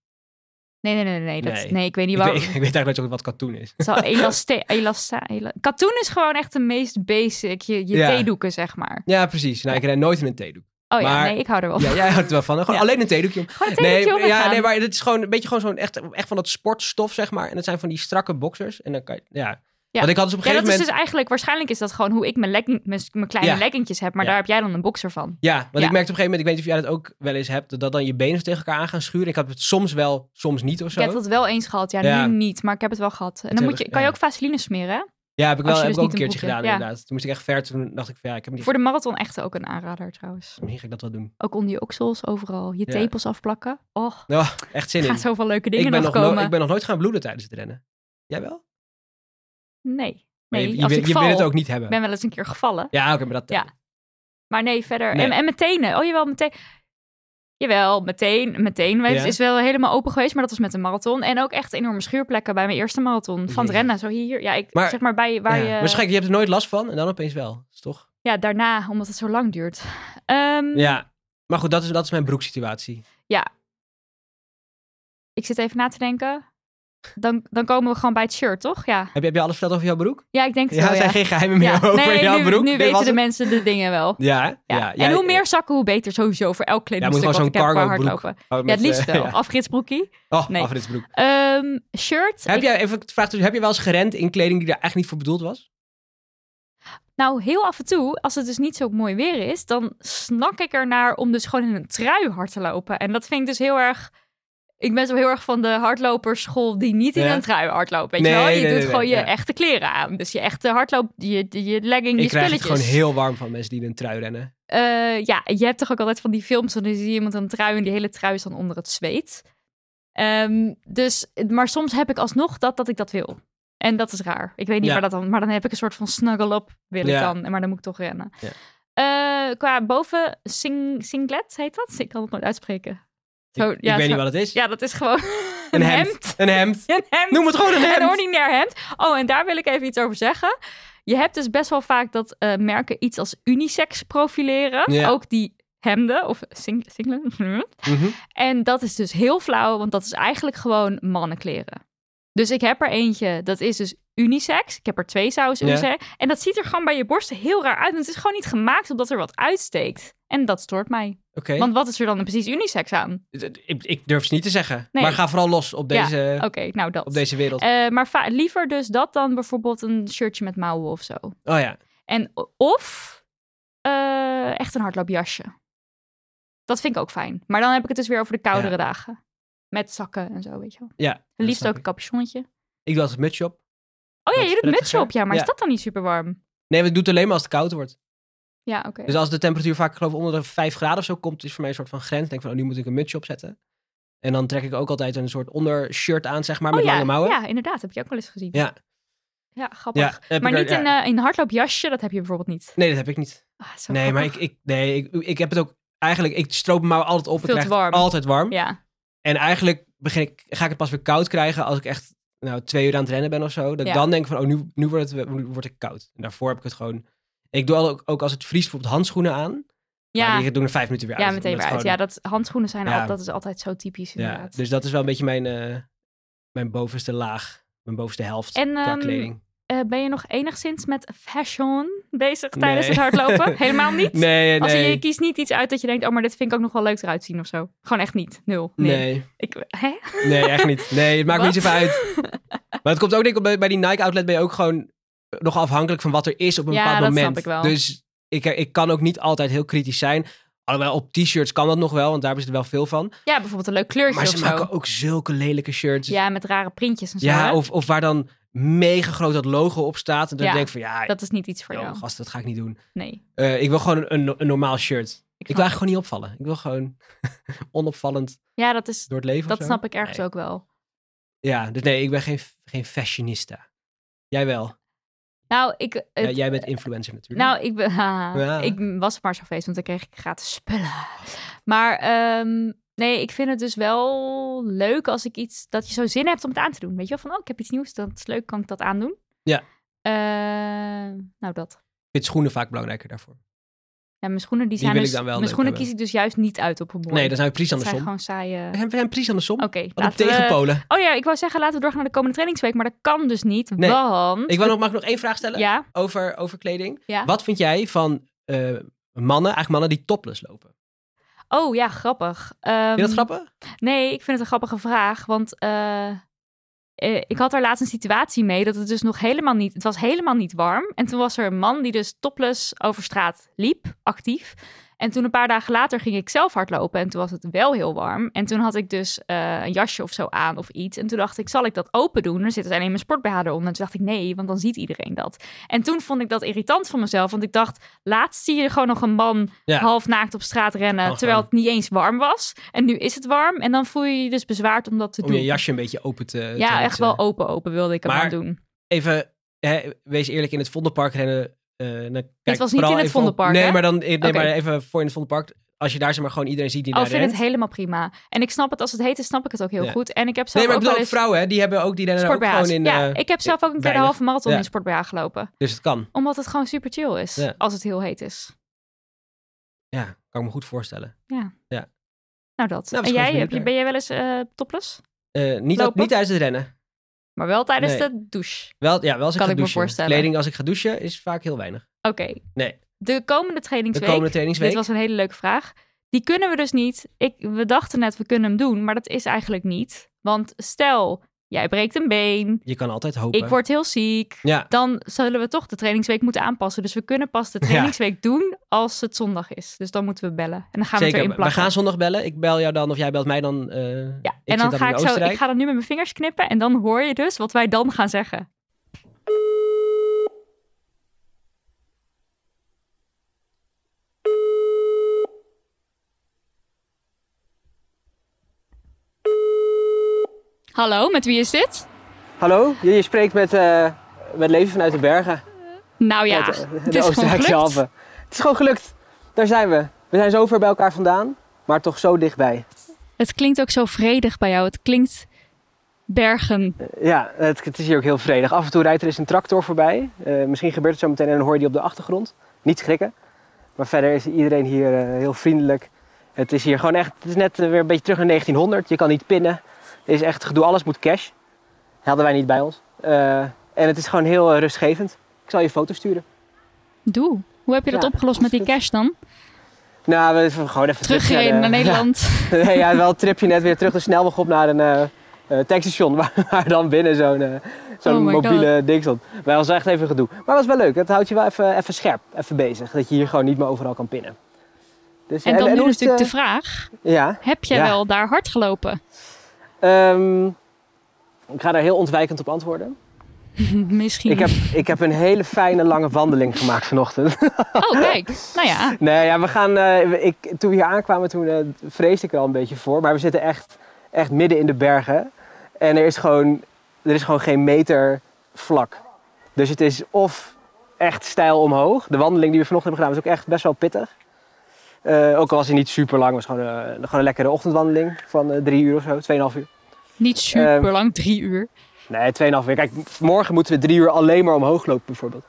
[SPEAKER 1] Nee, nee, nee, nee. dat-
[SPEAKER 2] Nee.
[SPEAKER 1] nee. ik weet niet
[SPEAKER 2] Ik weet,
[SPEAKER 1] waar.
[SPEAKER 2] ik weet eigenlijk nooit zo goed wat katoen is.
[SPEAKER 1] Het zal elaste, elasta, ela- Katoen is gewoon echt de meest basic. Je, je
[SPEAKER 2] Ja.
[SPEAKER 1] theedoeken, zeg maar.
[SPEAKER 2] Ja, precies. Nou, ik ren nooit in een theedoek.
[SPEAKER 1] Oh ja,
[SPEAKER 2] Maar-
[SPEAKER 1] nee, ik hou er wel van.
[SPEAKER 2] Ja, jij houdt er wel van. hè? Gewoon
[SPEAKER 1] Ja.
[SPEAKER 2] alleen een theedoekje. om.
[SPEAKER 1] Gewoon een
[SPEAKER 2] Nee,
[SPEAKER 1] theedoekje om en
[SPEAKER 2] ja,
[SPEAKER 1] gaan.
[SPEAKER 2] nee, maar het is gewoon een beetje gewoon zo'n echt, echt van dat sportstof, zeg maar. En dat zijn van die strakke boxers. En dan kan je, ja. Want ik had dus op een
[SPEAKER 1] Ja, dat
[SPEAKER 2] gegeven
[SPEAKER 1] is dus
[SPEAKER 2] moment...
[SPEAKER 1] eigenlijk, waarschijnlijk is dat gewoon hoe ik mijn, legging, mijn, mijn kleine
[SPEAKER 2] Ja.
[SPEAKER 1] leggingjes heb, maar
[SPEAKER 2] Ja.
[SPEAKER 1] daar heb jij dan een boxer van.
[SPEAKER 2] Ja, want
[SPEAKER 1] dus- Ja.
[SPEAKER 2] ik merkte op een gegeven moment, ik weet niet of jij dat ook wel eens hebt, dat- dat dan je benen tegen elkaar aan gaan schuren. Ik had het soms wel, soms niet of zo.
[SPEAKER 1] Ik heb dat wel eens gehad, ja,
[SPEAKER 2] Ja.
[SPEAKER 1] nu niet, maar ik heb het wel gehad. En
[SPEAKER 2] heb
[SPEAKER 1] dan moet je,
[SPEAKER 2] ik-
[SPEAKER 1] kan je
[SPEAKER 2] ja.
[SPEAKER 1] ook vaseline smeren, hè?
[SPEAKER 2] Ja, heb ik wel
[SPEAKER 1] Als je
[SPEAKER 2] heb
[SPEAKER 1] dus
[SPEAKER 2] ik ook een
[SPEAKER 1] niet
[SPEAKER 2] keertje
[SPEAKER 1] een
[SPEAKER 2] gedaan
[SPEAKER 1] broekje- ja.
[SPEAKER 2] inderdaad. Toen moest ik echt ver, toen dacht ik van ja, ik heb niet
[SPEAKER 1] Voor de marathon echt ook een aanrader trouwens.
[SPEAKER 2] Misschien ga ik dat wel doen.
[SPEAKER 1] Ook onder je oksels, overal. Je
[SPEAKER 2] Ja.
[SPEAKER 1] tepels afplakken. Oh,
[SPEAKER 2] Nou, echt zin
[SPEAKER 1] er
[SPEAKER 2] in.
[SPEAKER 1] gaan zoveel leuke dingen
[SPEAKER 2] Ik ben,
[SPEAKER 1] nog
[SPEAKER 2] nog no-
[SPEAKER 1] komen.
[SPEAKER 2] ik ben nog nooit gaan bloeden tijdens het rennen. Jij wel?
[SPEAKER 1] Nee,
[SPEAKER 2] Maar
[SPEAKER 1] nee,
[SPEAKER 2] je, je,
[SPEAKER 1] als
[SPEAKER 2] wil-
[SPEAKER 1] ik
[SPEAKER 2] je
[SPEAKER 1] val,
[SPEAKER 2] wil het ook niet hebben.
[SPEAKER 1] Ik ben wel eens een keer gevallen.
[SPEAKER 2] Ja, oké, maar dat...
[SPEAKER 1] Ja. Maar nee, verder.
[SPEAKER 2] Nee.
[SPEAKER 1] En, en meteen, hè. oh jawel, meteen. Jawel, meteen, meteen. Het
[SPEAKER 2] Ja.
[SPEAKER 1] is wel helemaal open geweest, maar dat was met een marathon. En ook echt enorme schuurplekken bij mijn eerste marathon. Van het
[SPEAKER 2] Jezus.
[SPEAKER 1] rennen, zo hier. Ja, ik,
[SPEAKER 2] Maar-
[SPEAKER 1] zeg maar bij waar
[SPEAKER 2] ja.
[SPEAKER 1] je...
[SPEAKER 2] Waarschijnlijk, je hebt er nooit last van en dan opeens wel. Dat is toch?
[SPEAKER 1] Ja, daarna, omdat het zo lang duurt. Ehm,
[SPEAKER 2] Ja. Maar goed, dat is, dat is mijn broeksituatie.
[SPEAKER 1] Ik zit even na te denken. Dan, dan komen we gewoon bij het shirt, toch? Ja,
[SPEAKER 2] Heb je, heb je alles verteld over jouw broek?
[SPEAKER 1] ja ik denk het
[SPEAKER 2] Ja, er
[SPEAKER 1] wel,
[SPEAKER 2] zijn
[SPEAKER 1] ja.
[SPEAKER 2] geen geheimen meer
[SPEAKER 1] Ja.
[SPEAKER 2] over
[SPEAKER 1] nee,
[SPEAKER 2] jouw
[SPEAKER 1] nu,
[SPEAKER 2] broek.
[SPEAKER 1] nu
[SPEAKER 2] Dit
[SPEAKER 1] weten
[SPEAKER 2] was
[SPEAKER 1] de
[SPEAKER 2] het.
[SPEAKER 1] mensen de dingen wel.
[SPEAKER 2] Ja, ja.
[SPEAKER 1] Ja.
[SPEAKER 2] jij-
[SPEAKER 1] en hoe meer zakken, hoe beter sowieso voor elk kledingstuk
[SPEAKER 2] gewoon
[SPEAKER 1] wat
[SPEAKER 2] zo'n
[SPEAKER 1] ik heb qua
[SPEAKER 2] cargo broek.
[SPEAKER 1] hardlopen.
[SPEAKER 2] Oh,
[SPEAKER 1] Ja,
[SPEAKER 2] met,
[SPEAKER 1] het liefst
[SPEAKER 2] eh,
[SPEAKER 1] wel.
[SPEAKER 2] ja.
[SPEAKER 1] Afritsbroekie.
[SPEAKER 2] Oh,
[SPEAKER 1] Nee.
[SPEAKER 2] afritsbroek.
[SPEAKER 1] Ehm, shirt.
[SPEAKER 2] Heb
[SPEAKER 1] ik-
[SPEAKER 2] jij, even het vraag, dus, heb je wel eens gerend in kleding die daar eigenlijk niet voor bedoeld was?
[SPEAKER 1] Mm, Nou, heel af en toe, als het dus niet zo mooi weer is, dan snak ik ernaar om dus gewoon in een trui hard te lopen. En dat vind ik dus heel erg. Ik ben zo heel erg van de hardloperschool die niet in
[SPEAKER 2] Ja.
[SPEAKER 1] een trui hardloopt. Weet
[SPEAKER 2] Nee,
[SPEAKER 1] je wel? Je
[SPEAKER 2] nee,
[SPEAKER 1] doet
[SPEAKER 2] nee,
[SPEAKER 1] gewoon
[SPEAKER 2] nee,
[SPEAKER 1] je
[SPEAKER 2] ja.
[SPEAKER 1] echte kleren aan. Dus je echte hardloop, je, je, je legging,
[SPEAKER 2] Ik
[SPEAKER 1] je
[SPEAKER 2] krijg het
[SPEAKER 1] spulletjes.
[SPEAKER 2] gewoon heel warm van mensen die in een trui rennen.
[SPEAKER 1] Eh, ja, je hebt toch ook altijd van die films, dan zie je iemand een trui en die hele trui is dan onder het zweet. Ehm, dus, maar soms heb ik alsnog dat, dat ik dat wil. En dat is raar. Ik weet niet
[SPEAKER 2] Ja.
[SPEAKER 1] waar dat dan... Maar dan heb ik een soort van snuggle up, wil
[SPEAKER 2] Ja.
[SPEAKER 1] ik dan. en Maar dan moet ik toch rennen.
[SPEAKER 2] Ja.
[SPEAKER 1] Eh, qua boven, sing, singlet heet dat? Ik kan het nooit uitspreken. Zo,
[SPEAKER 2] ik ik
[SPEAKER 1] ja,
[SPEAKER 2] weet
[SPEAKER 1] zo-
[SPEAKER 2] niet wat het is.
[SPEAKER 1] Ja, dat is gewoon...
[SPEAKER 2] Een
[SPEAKER 1] hemd.
[SPEAKER 2] hemd. Een hemd.
[SPEAKER 1] Een hemd.
[SPEAKER 2] Noem het gewoon een
[SPEAKER 1] Een
[SPEAKER 2] hemd.
[SPEAKER 1] ordinair hemd. Oh, en daar wil ik even iets over zeggen. Je hebt dus best wel vaak dat eh, merken iets als unisex profileren.
[SPEAKER 2] Ja.
[SPEAKER 1] Ook die hemden of sing singlen.
[SPEAKER 2] Mhm.
[SPEAKER 1] En dat is dus heel flauw, want dat is eigenlijk gewoon mannenkleren. Dus ik heb er eentje, dat is dus unisex. Ik heb er twee trouwens
[SPEAKER 2] Ja.
[SPEAKER 1] unisex. En dat ziet er gewoon bij je borsten heel raar uit. Want het is gewoon niet gemaakt omdat er wat uitsteekt. En dat stoort mij.
[SPEAKER 2] Oké.
[SPEAKER 1] Want wat is er dan precies unisex aan?
[SPEAKER 2] Ik, ik durf ze niet te zeggen.
[SPEAKER 1] Nee.
[SPEAKER 2] Maar ga vooral los op
[SPEAKER 1] Ja,
[SPEAKER 2] deze,
[SPEAKER 1] Oké, nou dat.
[SPEAKER 2] op deze wereld.
[SPEAKER 1] Eh, maar va- liever dus dat dan bijvoorbeeld een shirtje met mouwen of zo.
[SPEAKER 2] oh ja.
[SPEAKER 1] En o- of eh, echt een hardloopjasje. Dat vind ik ook fijn. Maar dan heb ik het dus weer over de koudere
[SPEAKER 2] Ja.
[SPEAKER 1] dagen. Met zakken en zo, weet je wel.
[SPEAKER 2] ja dat
[SPEAKER 1] Liefst
[SPEAKER 2] snap
[SPEAKER 1] ook een
[SPEAKER 2] ik.
[SPEAKER 1] capuchonnetje.
[SPEAKER 2] Ik doe altijd mutsje op.
[SPEAKER 1] Oh ja,
[SPEAKER 2] Dat
[SPEAKER 1] je
[SPEAKER 2] is
[SPEAKER 1] doet mutsje
[SPEAKER 2] prettiger.
[SPEAKER 1] op, ja. Maar
[SPEAKER 2] Ja.
[SPEAKER 1] is dat dan niet super warm?
[SPEAKER 2] Nee, maar ik doe het alleen maar als het koud wordt.
[SPEAKER 1] Ja, oké.
[SPEAKER 2] Dus als de temperatuur vaak geloof ik onder de 5 graden of zo komt, is voor mij een soort van grens. Ik denk van, oh, nu moet ik een mutsje opzetten. En dan trek ik ook altijd een soort ondershirt aan, zeg maar,
[SPEAKER 1] oh
[SPEAKER 2] met
[SPEAKER 1] ja,
[SPEAKER 2] lange mouwen.
[SPEAKER 1] ja, inderdaad. Heb je ook wel eens gezien.
[SPEAKER 2] Ja.
[SPEAKER 1] Ja,
[SPEAKER 2] Ja,
[SPEAKER 1] grappig.
[SPEAKER 2] heb ik
[SPEAKER 1] maar
[SPEAKER 2] er-
[SPEAKER 1] niet
[SPEAKER 2] ja.
[SPEAKER 1] een, eh, een hardloopjasje, dat heb je bijvoorbeeld niet.
[SPEAKER 2] Nee, dat heb ik niet.
[SPEAKER 1] Ah, zo
[SPEAKER 2] Nee, maar ik,
[SPEAKER 1] grappig.
[SPEAKER 2] ik, nee, ik, ik heb het ook... Eigenlijk, ik stroop mijn mouwen altijd op.
[SPEAKER 1] Veel
[SPEAKER 2] ik
[SPEAKER 1] te
[SPEAKER 2] krijg het
[SPEAKER 1] warm.
[SPEAKER 2] Altijd warm.
[SPEAKER 1] Ja,
[SPEAKER 2] En eigenlijk begin ik, ga ik het pas weer koud krijgen als ik echt nou, twee uur aan het rennen ben of zo. Dat
[SPEAKER 1] Ja.
[SPEAKER 2] ik dan denk van, oh, nu, nu, wordt het, nu word ik koud. En daarvoor heb ik het gewoon... Ik doe al- ook, ook als het vriest bijvoorbeeld handschoenen aan. Ja.
[SPEAKER 1] ja.
[SPEAKER 2] Maar die doen er vijf minuten weer uit.
[SPEAKER 1] ja meteen weer
[SPEAKER 2] Omdat
[SPEAKER 1] uit.
[SPEAKER 2] het
[SPEAKER 1] Ja, dat handschoenen zijn
[SPEAKER 2] Ja.
[SPEAKER 1] al, dat is altijd zo typisch
[SPEAKER 2] gewoon-
[SPEAKER 1] inderdaad.
[SPEAKER 2] dus dat is wel een beetje mijn, eh, mijn bovenste laag. Mijn bovenste helft
[SPEAKER 1] En,
[SPEAKER 2] qua
[SPEAKER 1] ehm,
[SPEAKER 2] kleding.
[SPEAKER 1] Eh, ben je nog enigszins met fashion bezig tijdens
[SPEAKER 2] Nee.
[SPEAKER 1] het hardlopen? Helemaal niet?
[SPEAKER 2] Nee,
[SPEAKER 1] Als je, je
[SPEAKER 2] nee.
[SPEAKER 1] kiest niet iets uit dat je denkt, oh, maar dit vind ik ook nog wel leuk eruit zien of zo. Gewoon echt niet. Nul. Nee.
[SPEAKER 2] Nee,
[SPEAKER 1] Ik, hè?
[SPEAKER 2] nee, echt niet. Nee, het maakt me niet
[SPEAKER 1] Wat?
[SPEAKER 2] zoveel uit. Maar het komt ook denk ik, bij, bij die Nike outlet ben je ook gewoon nog afhankelijk van wat er is op een
[SPEAKER 1] Ja,
[SPEAKER 2] bepaald
[SPEAKER 1] dat
[SPEAKER 2] moment.
[SPEAKER 1] snap ik wel.
[SPEAKER 2] Dus ik, ik kan ook niet altijd heel kritisch zijn. Alhoewel op t-shirts kan dat nog wel, want daar hebben ze er wel veel van.
[SPEAKER 1] Ja, bijvoorbeeld een leuk kleurtje
[SPEAKER 2] Maar
[SPEAKER 1] of
[SPEAKER 2] ze
[SPEAKER 1] zo.
[SPEAKER 2] maken ook zulke lelijke shirts.
[SPEAKER 1] Ja, met rare printjes en zo.
[SPEAKER 2] Ja,
[SPEAKER 1] hè?
[SPEAKER 2] of, of waar dan mega groot dat logo op staat. En dan
[SPEAKER 1] Ja,
[SPEAKER 2] denk ik van ja,
[SPEAKER 1] Dat is niet iets voor
[SPEAKER 2] joh,
[SPEAKER 1] jou.
[SPEAKER 2] gast, dat ga ik niet doen.
[SPEAKER 1] Nee.
[SPEAKER 2] Eh, ik wil gewoon een, een, een normaal shirt. Ik wil
[SPEAKER 1] snap-
[SPEAKER 2] eigenlijk gewoon niet opvallen. Ik wil gewoon onopvallend
[SPEAKER 1] Ja, dat, is,
[SPEAKER 2] door het leven.
[SPEAKER 1] dat
[SPEAKER 2] of zo.
[SPEAKER 1] snap ik ergens
[SPEAKER 2] Nee.
[SPEAKER 1] ook wel.
[SPEAKER 2] Ja, dus nee, ik ben geen, geen fashionista. Jij wel.
[SPEAKER 1] Nou, ik,
[SPEAKER 2] Ja,
[SPEAKER 1] het-
[SPEAKER 2] jij bent influencer natuurlijk.
[SPEAKER 1] nou, ik, ben, haha,
[SPEAKER 2] Ja.
[SPEAKER 1] ik was maar zo feest, want dan kreeg ik gratis spullen. Maar ehm, nee, ik vind het dus wel leuk als ik iets, dat je zo zin hebt om het aan te doen. Weet je wel, van oh, ik heb iets nieuws, dat is leuk, kan ik dat aandoen?
[SPEAKER 2] Ja.
[SPEAKER 1] Eh, nou, dat.
[SPEAKER 2] Ik vind schoenen vaak belangrijker daarvoor.
[SPEAKER 1] Ja, mijn schoenen, die
[SPEAKER 2] Die
[SPEAKER 1] zijn
[SPEAKER 2] wil ik
[SPEAKER 1] dus,
[SPEAKER 2] dan wel
[SPEAKER 1] mijn
[SPEAKER 2] leuk
[SPEAKER 1] schoenen
[SPEAKER 2] hebben.
[SPEAKER 1] kies ik dus juist niet uit op een mooi.
[SPEAKER 2] Nee, dan zijn we precies
[SPEAKER 1] dat zijn
[SPEAKER 2] andersom.
[SPEAKER 1] gewoon saaie...
[SPEAKER 2] We zijn- we zijn precies andersom.
[SPEAKER 1] Oké,
[SPEAKER 2] Wat een
[SPEAKER 1] laten we-
[SPEAKER 2] tegenpolen.
[SPEAKER 1] Oh ja, ik wou zeggen, laten we doorgaan naar de komende trainingsweek. Maar dat kan dus niet,
[SPEAKER 2] Nee.
[SPEAKER 1] want...
[SPEAKER 2] Ik wil nog, mag ik nog één vraag stellen
[SPEAKER 1] Ja,
[SPEAKER 2] over, over kleding?
[SPEAKER 1] Ja.
[SPEAKER 2] Wat vind jij van eh, mannen, eigenlijk mannen die topless lopen?
[SPEAKER 1] oh ja, grappig. Ehm,
[SPEAKER 2] Vind je dat grappig?
[SPEAKER 1] Nee, ik vind het een grappige vraag, want eh, eh, ik had daar laatst een situatie mee dat het dus nog helemaal niet, het was helemaal niet warm. En toen was er een man die dus topless over straat liep, actief. En toen een paar dagen later ging ik zelf hardlopen en toen was het wel heel warm. En toen had ik dus eh, een jasje of zo aan of iets. En toen dacht ik, zal ik dat open doen? Er zit dus alleen mijn sportbh eronder. En toen dacht ik, nee, want dan ziet iedereen dat. En toen vond ik dat irritant van mezelf, want ik dacht, laatst zie je gewoon nog een man
[SPEAKER 2] Ja.
[SPEAKER 1] half naakt op straat rennen,
[SPEAKER 2] Kan
[SPEAKER 1] terwijl
[SPEAKER 2] gewoon.
[SPEAKER 1] het niet eens warm was. En nu is het warm en dan voel je je dus bezwaard om dat te
[SPEAKER 2] Om
[SPEAKER 1] doen.
[SPEAKER 2] je jasje een beetje open te... te
[SPEAKER 1] ja, echt
[SPEAKER 2] ritsen.
[SPEAKER 1] wel open open wilde ik hem
[SPEAKER 2] Maar
[SPEAKER 1] aan doen.
[SPEAKER 2] Even, hè, wees eerlijk, in het Vondelpark rennen... eh, dan kijk
[SPEAKER 1] was niet
[SPEAKER 2] vooral
[SPEAKER 1] in het
[SPEAKER 2] even op-
[SPEAKER 1] Vondelpark,
[SPEAKER 2] Nee,
[SPEAKER 1] hè?
[SPEAKER 2] maar, dan, eh, nee
[SPEAKER 1] Oké.
[SPEAKER 2] maar even voor in het Vondelpark. Als je daar zeg maar gewoon iedereen ziet die
[SPEAKER 1] Oh, ik
[SPEAKER 2] daar
[SPEAKER 1] vind
[SPEAKER 2] rent.
[SPEAKER 1] het helemaal prima. En ik snap het, als het heet is, snap ik het ook heel
[SPEAKER 2] Ja.
[SPEAKER 1] goed. En ik heb zelf
[SPEAKER 2] Nee, maar ik
[SPEAKER 1] ook wel
[SPEAKER 2] bedoel ook
[SPEAKER 1] eens
[SPEAKER 2] vrouwen, hè, die hebben ook die rennen daar ook
[SPEAKER 1] sportbh's.
[SPEAKER 2] gewoon in.
[SPEAKER 1] ja,
[SPEAKER 2] eh,
[SPEAKER 1] ik heb zelf ook een keer de
[SPEAKER 2] weinig.
[SPEAKER 1] halve marathon
[SPEAKER 2] Ja.
[SPEAKER 1] in sportbh gelopen.
[SPEAKER 2] Dus het kan.
[SPEAKER 1] Omdat het gewoon super chill is,
[SPEAKER 2] Ja.
[SPEAKER 1] als het heel heet is.
[SPEAKER 2] Ja, kan ik me goed voorstellen.
[SPEAKER 1] Nou, dat. en
[SPEAKER 2] Nou, dat is
[SPEAKER 1] jij,
[SPEAKER 2] gewoon
[SPEAKER 1] heb je,
[SPEAKER 2] lekker.
[SPEAKER 1] ben jij wel eens eh, topless?
[SPEAKER 2] Eh, niet, dat,
[SPEAKER 1] Lopen?
[SPEAKER 2] niet tijdens het rennen.
[SPEAKER 1] Maar wel tijdens
[SPEAKER 2] Nee.
[SPEAKER 1] de douche.
[SPEAKER 2] Wel, ja, wel als ik
[SPEAKER 1] Kan
[SPEAKER 2] ga
[SPEAKER 1] ik me
[SPEAKER 2] douchen.
[SPEAKER 1] voorstellen.
[SPEAKER 2] Kleding als ik ga douchen is vaak heel weinig.
[SPEAKER 1] Oké.
[SPEAKER 2] Nee.
[SPEAKER 1] De komende
[SPEAKER 2] De
[SPEAKER 1] trainingsweek.
[SPEAKER 2] komende trainingsweek.
[SPEAKER 1] Dit was een hele leuke vraag. Die kunnen we dus niet. Ik, we dachten net, we kunnen hem doen, maar dat is eigenlijk niet. Want stel, jij breekt een been,
[SPEAKER 2] Je kan altijd hopen.
[SPEAKER 1] ik word heel ziek.
[SPEAKER 2] Ja,
[SPEAKER 1] Dan zullen we toch de trainingsweek moeten aanpassen. Dus we kunnen pas de trainingsweek doen als het zondag is. Dus dan moeten we bellen. En dan gaan we het
[SPEAKER 2] zeker.
[SPEAKER 1] erin
[SPEAKER 2] We
[SPEAKER 1] plakken.
[SPEAKER 2] gaan zondag bellen. Ik bel jou dan of jij belt mij dan. eh,
[SPEAKER 1] ja.
[SPEAKER 2] zit
[SPEAKER 1] En dan
[SPEAKER 2] dan
[SPEAKER 1] ga
[SPEAKER 2] in
[SPEAKER 1] ik zo,
[SPEAKER 2] Oostenrijk.
[SPEAKER 1] ik ga dan nu met mijn vingers knippen. En dan hoor je dus wat wij dan gaan zeggen. Hallo, met wie is dit?
[SPEAKER 2] Hallo, je, je spreekt met, eh met Levi vanuit de Bergen.
[SPEAKER 1] Nou ja,
[SPEAKER 2] Uit, eh,
[SPEAKER 1] het is gewoon gelukt.
[SPEAKER 2] Alpen. Het is gewoon gelukt. Daar zijn we. We zijn zo ver bij elkaar vandaan, maar toch zo dichtbij.
[SPEAKER 1] Het klinkt ook zo vredig bij jou. Het klinkt bergen.
[SPEAKER 2] Ja, het, het is hier ook heel vredig. Af en toe rijdt er eens een tractor voorbij. Eh, misschien gebeurt het zo meteen en dan hoor je die op de achtergrond. Niet schrikken. Maar verder is iedereen hier eh, heel vriendelijk. Het is hier gewoon echt, het is net eh, weer een beetje terug naar 1900. Je kan niet pinnen. Het is echt, doe alles moet cash. Hadden wij niet bij ons. Eh, en het is gewoon heel eh, rustgevend. Ik zal je foto sturen.
[SPEAKER 1] Doe. Hoe heb je dat
[SPEAKER 2] Ja,
[SPEAKER 1] opgelost met die cash dan?
[SPEAKER 2] Nou, we we gewoon even terug
[SPEAKER 1] Teruggereden
[SPEAKER 2] de-
[SPEAKER 1] naar Nederland.
[SPEAKER 2] Ja, nee, ja, wel een tripje net weer terug de snelweg op naar een eh eh, tankstation. Waar, waar dan binnen zo'n eh, zo'n
[SPEAKER 1] Oh my
[SPEAKER 2] mobiele ding stond. Wij was echt even gedoe. Maar het was wel leuk. Het houdt je wel even, even scherp, even bezig. Dat je hier gewoon niet meer overal kan pinnen. Dus,
[SPEAKER 1] En dan nu
[SPEAKER 2] hoe is
[SPEAKER 1] natuurlijk de
[SPEAKER 2] het,
[SPEAKER 1] vraag.
[SPEAKER 2] eh, Ja.
[SPEAKER 1] Heb jij
[SPEAKER 2] Ja.
[SPEAKER 1] wel daar hard gelopen?
[SPEAKER 2] ehm, ik ga daar heel ontwijkend op antwoorden.
[SPEAKER 1] Misschien.
[SPEAKER 2] Ik heb, ik heb een hele fijne lange wandeling gemaakt vanochtend.
[SPEAKER 1] Oh, kijk. Nou ja.
[SPEAKER 2] Nee, ja, we gaan. eh, we- ik, toen we hier aankwamen, toen eh, vreesde ik er al een beetje voor. Maar we zitten echt, echt midden in de bergen. En er is, gewoon, er is gewoon geen meter vlak. Dus het is of echt steil omhoog. De wandeling die we vanochtend hebben gedaan was ook echt best wel pittig. Eh, ook al was hij niet super lang, was gewoon, eh, gewoon een lekkere ochtendwandeling van eh, drie uur of zo, tweeënhalf uur.
[SPEAKER 1] Niet
[SPEAKER 2] Ehm,
[SPEAKER 1] super lang, drie uur.
[SPEAKER 2] Nee, tweeënhalf uur. Kijk, morgen moeten we drie uur alleen maar omhoog lopen, bijvoorbeeld.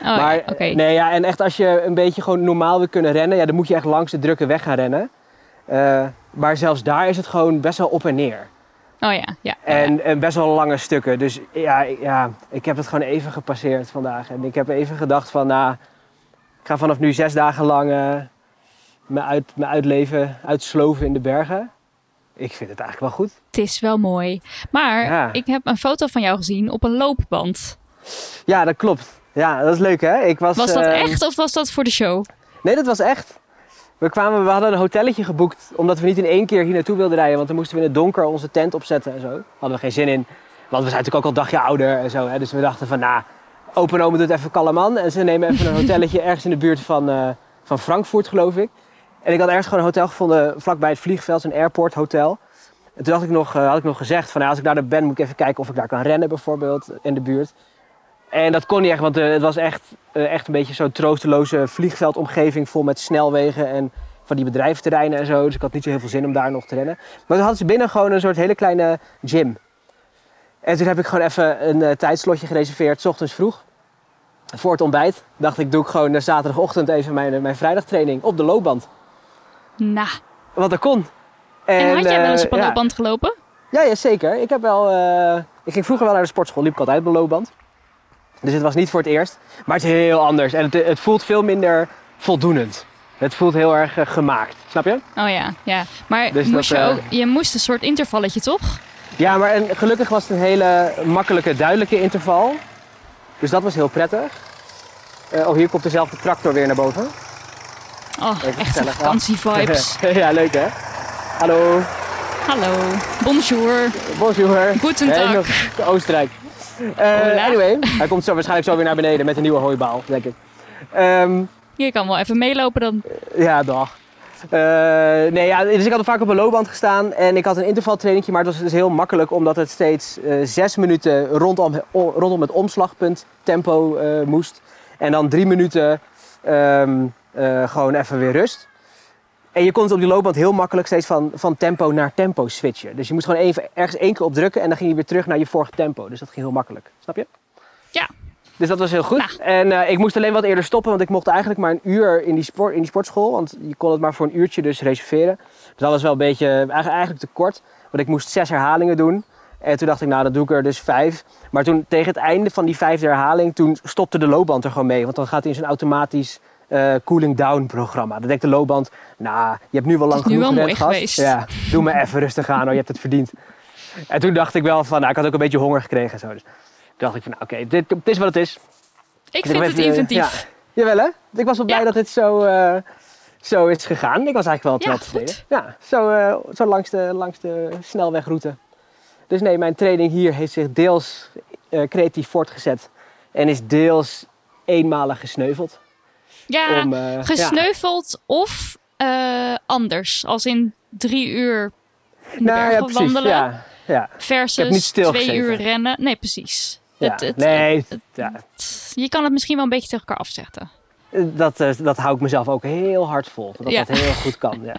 [SPEAKER 1] Oh, ja,
[SPEAKER 2] Maar
[SPEAKER 1] oké.
[SPEAKER 2] nee, ja, en echt als je een beetje gewoon normaal wil kunnen rennen, ja, dan moet je echt langs de drukke weg gaan rennen. Eh, maar zelfs daar is het gewoon best wel op en neer.
[SPEAKER 1] Oh ja, ja.
[SPEAKER 2] En, en best wel lange stukken. Dus ja, ik- ja, ik heb het gewoon even gepasseerd vandaag. En ik heb even gedacht van, nou, ik ga vanaf nu zes dagen lang eh, me, uit, me uitleven, uitsloven in de bergen. Ik vind het eigenlijk wel goed.
[SPEAKER 1] Het is wel mooi. Maar
[SPEAKER 2] Ja.
[SPEAKER 1] ik heb een foto van jou gezien op een loopband.
[SPEAKER 2] Ja, dat klopt. Ja, dat is leuk hè. Ik was,
[SPEAKER 1] Was dat
[SPEAKER 2] eh,
[SPEAKER 1] echt of was dat voor de show?
[SPEAKER 2] Nee, dat was echt. We, kwamen, we hadden een hotelletje geboekt, omdat we niet in één keer hier naartoe wilden rijden. Want dan moesten we in het donker onze tent opzetten en zo. Hadden we geen zin in. Want we zijn natuurlijk ook al een dagje ouder en zo. Hè? Dus we dachten van, nou, open en oma doet even kalaman. En ze nemen even een hotelletje ergens in de buurt van, eh, van Frankfurt, geloof ik. En ik had ergens gewoon een hotel gevonden vlakbij het vliegveld, een airport hotel. En toen dacht ik nog, eh, had ik nog gezegd van, nou, als ik daar dan ben, moet ik even kijken of ik daar kan rennen bijvoorbeeld in de buurt. En dat kon niet echt, want eh, het was echt, eh, echt een beetje zo'n troosteloze vliegveldomgeving vol met snelwegen en van die bedrijventerreinen en zo. Dus ik had niet zo heel veel zin om daar nog te rennen. Maar toen hadden ze binnen gewoon een soort hele kleine gym. En toen heb ik gewoon even een eh, tijdslotje gereserveerd, 's ochtends vroeg. Voor het ontbijt dacht ik, doe ik gewoon eh, zaterdagochtend even mijn, eh, mijn vrijdagtraining op de loopband.
[SPEAKER 1] Nou,
[SPEAKER 2] Want dat kon.
[SPEAKER 1] en had jij wel eens
[SPEAKER 2] eh,
[SPEAKER 1] op een
[SPEAKER 2] ja.
[SPEAKER 1] loopband gelopen?
[SPEAKER 2] Ja, ja, zeker. Ik, heb wel, eh, ik ging vroeger wel naar de sportschool, liep ik altijd op de loopband. Dus het was niet voor het eerst. Maar het is heel anders en het, het voelt veel minder voldoenend. Het voelt heel erg eh, gemaakt, snap je?
[SPEAKER 1] Oh ja, ja. Maar
[SPEAKER 2] Dus
[SPEAKER 1] moest
[SPEAKER 2] dat,
[SPEAKER 1] je,
[SPEAKER 2] eh,
[SPEAKER 1] ook, je moest een soort intervalletje, toch?
[SPEAKER 2] Ja, maar en gelukkig was het een hele makkelijke, duidelijke interval. Dus dat was heel prettig. Eh, oh, hier komt dezelfde tractor weer naar boven.
[SPEAKER 1] Oh,
[SPEAKER 2] Even
[SPEAKER 1] echt
[SPEAKER 2] gezellig, ja.
[SPEAKER 1] vakantievibes.
[SPEAKER 2] ja, leuk hè? Hallo,
[SPEAKER 1] Hallo, bonjour,
[SPEAKER 2] bonjour.
[SPEAKER 1] guten
[SPEAKER 2] Nee,
[SPEAKER 1] tag.
[SPEAKER 2] nog de Oostenrijk. Eh,
[SPEAKER 1] Hola.
[SPEAKER 2] anyway, hij komt zo waarschijnlijk zo weer naar beneden met een nieuwe hooibaal, denk ik. Ehm,
[SPEAKER 1] Je kan wel even meelopen dan.
[SPEAKER 2] ja, dag. Eh, nee, ja, dus ik had al vaak op een loopband gestaan en ik had een intervaltrainingje, maar het was dus heel makkelijk omdat het steeds eh, zes minuten rondom, o- rondom het omslagpunt tempo eh, moest. En dan drie minuten ehm, eh, gewoon even weer rust. En je kon het op die loopband heel makkelijk steeds van, van tempo naar tempo switchen. Dus je moest gewoon even ergens één keer op drukken en dan ging je weer terug naar je vorige tempo. Dus dat ging heel makkelijk. Snap je?
[SPEAKER 1] Ja.
[SPEAKER 2] Dus dat was heel goed.
[SPEAKER 1] Nou.
[SPEAKER 2] En eh, ik moest alleen wat eerder stoppen, want ik mocht eigenlijk maar een uur in die, sport, in die sportschool. Want je kon het maar voor een uurtje dus reserveren. Dus dat was wel een beetje eigen- eigenlijk te kort. Want ik moest zes herhalingen doen. En toen dacht ik, nou, dat doe ik er dus vijf. Maar toen tegen het einde van die vijfde herhaling, toen stopte de loopband er gewoon mee. Want dan gaat hij in zo'n automatisch eh, cooling down programma. Dan denkt de loopband, nou, je hebt nu wel lang
[SPEAKER 1] is nu
[SPEAKER 2] genoeg
[SPEAKER 1] wel
[SPEAKER 2] gerend,
[SPEAKER 1] mooi
[SPEAKER 2] gast.
[SPEAKER 1] geweest.
[SPEAKER 2] Ja, doe me even rustig aan, hoor, je hebt het verdiend. En toen dacht ik wel van, nou, ik had ook een beetje honger gekregen en zo. Dus toen dacht ik van, nou, oké, dit, het is wat het is.
[SPEAKER 1] Ik
[SPEAKER 2] Ik eh,
[SPEAKER 1] vind
[SPEAKER 2] heb
[SPEAKER 1] het
[SPEAKER 2] even,
[SPEAKER 1] inventief.
[SPEAKER 2] ja. Jawel hè? Ik was wel blij
[SPEAKER 1] Ja.
[SPEAKER 2] dat dit zo, eh, zo is gegaan. Ik was eigenlijk wel
[SPEAKER 1] Ja,
[SPEAKER 2] wel
[SPEAKER 1] goed.
[SPEAKER 2] tevreden. Ja, zo, eh, zo langs, de, langs de snelwegroute. Dus nee, mijn training hier heeft zich deels eh, creatief voortgezet. En is deels eenmalig gesneuveld.
[SPEAKER 1] Ja,
[SPEAKER 2] om, eh, ja.
[SPEAKER 1] gesneuveld of eh, anders. Als in drie uur in de
[SPEAKER 2] Nou
[SPEAKER 1] bergen
[SPEAKER 2] ja, precies.
[SPEAKER 1] wandelen
[SPEAKER 2] Ja, ja. Ik heb niet
[SPEAKER 1] versus
[SPEAKER 2] stilgezeten.
[SPEAKER 1] twee uur rennen. Nee, precies.
[SPEAKER 2] ja.
[SPEAKER 1] Het- het-
[SPEAKER 2] nee,
[SPEAKER 1] het-
[SPEAKER 2] ja.
[SPEAKER 1] je kan het misschien wel een beetje tegen elkaar afzetten.
[SPEAKER 2] eh, dat, eh, dat hou ik mezelf ook heel hard vol. Dat
[SPEAKER 1] Ja.
[SPEAKER 2] dat heel goed kan. Ja.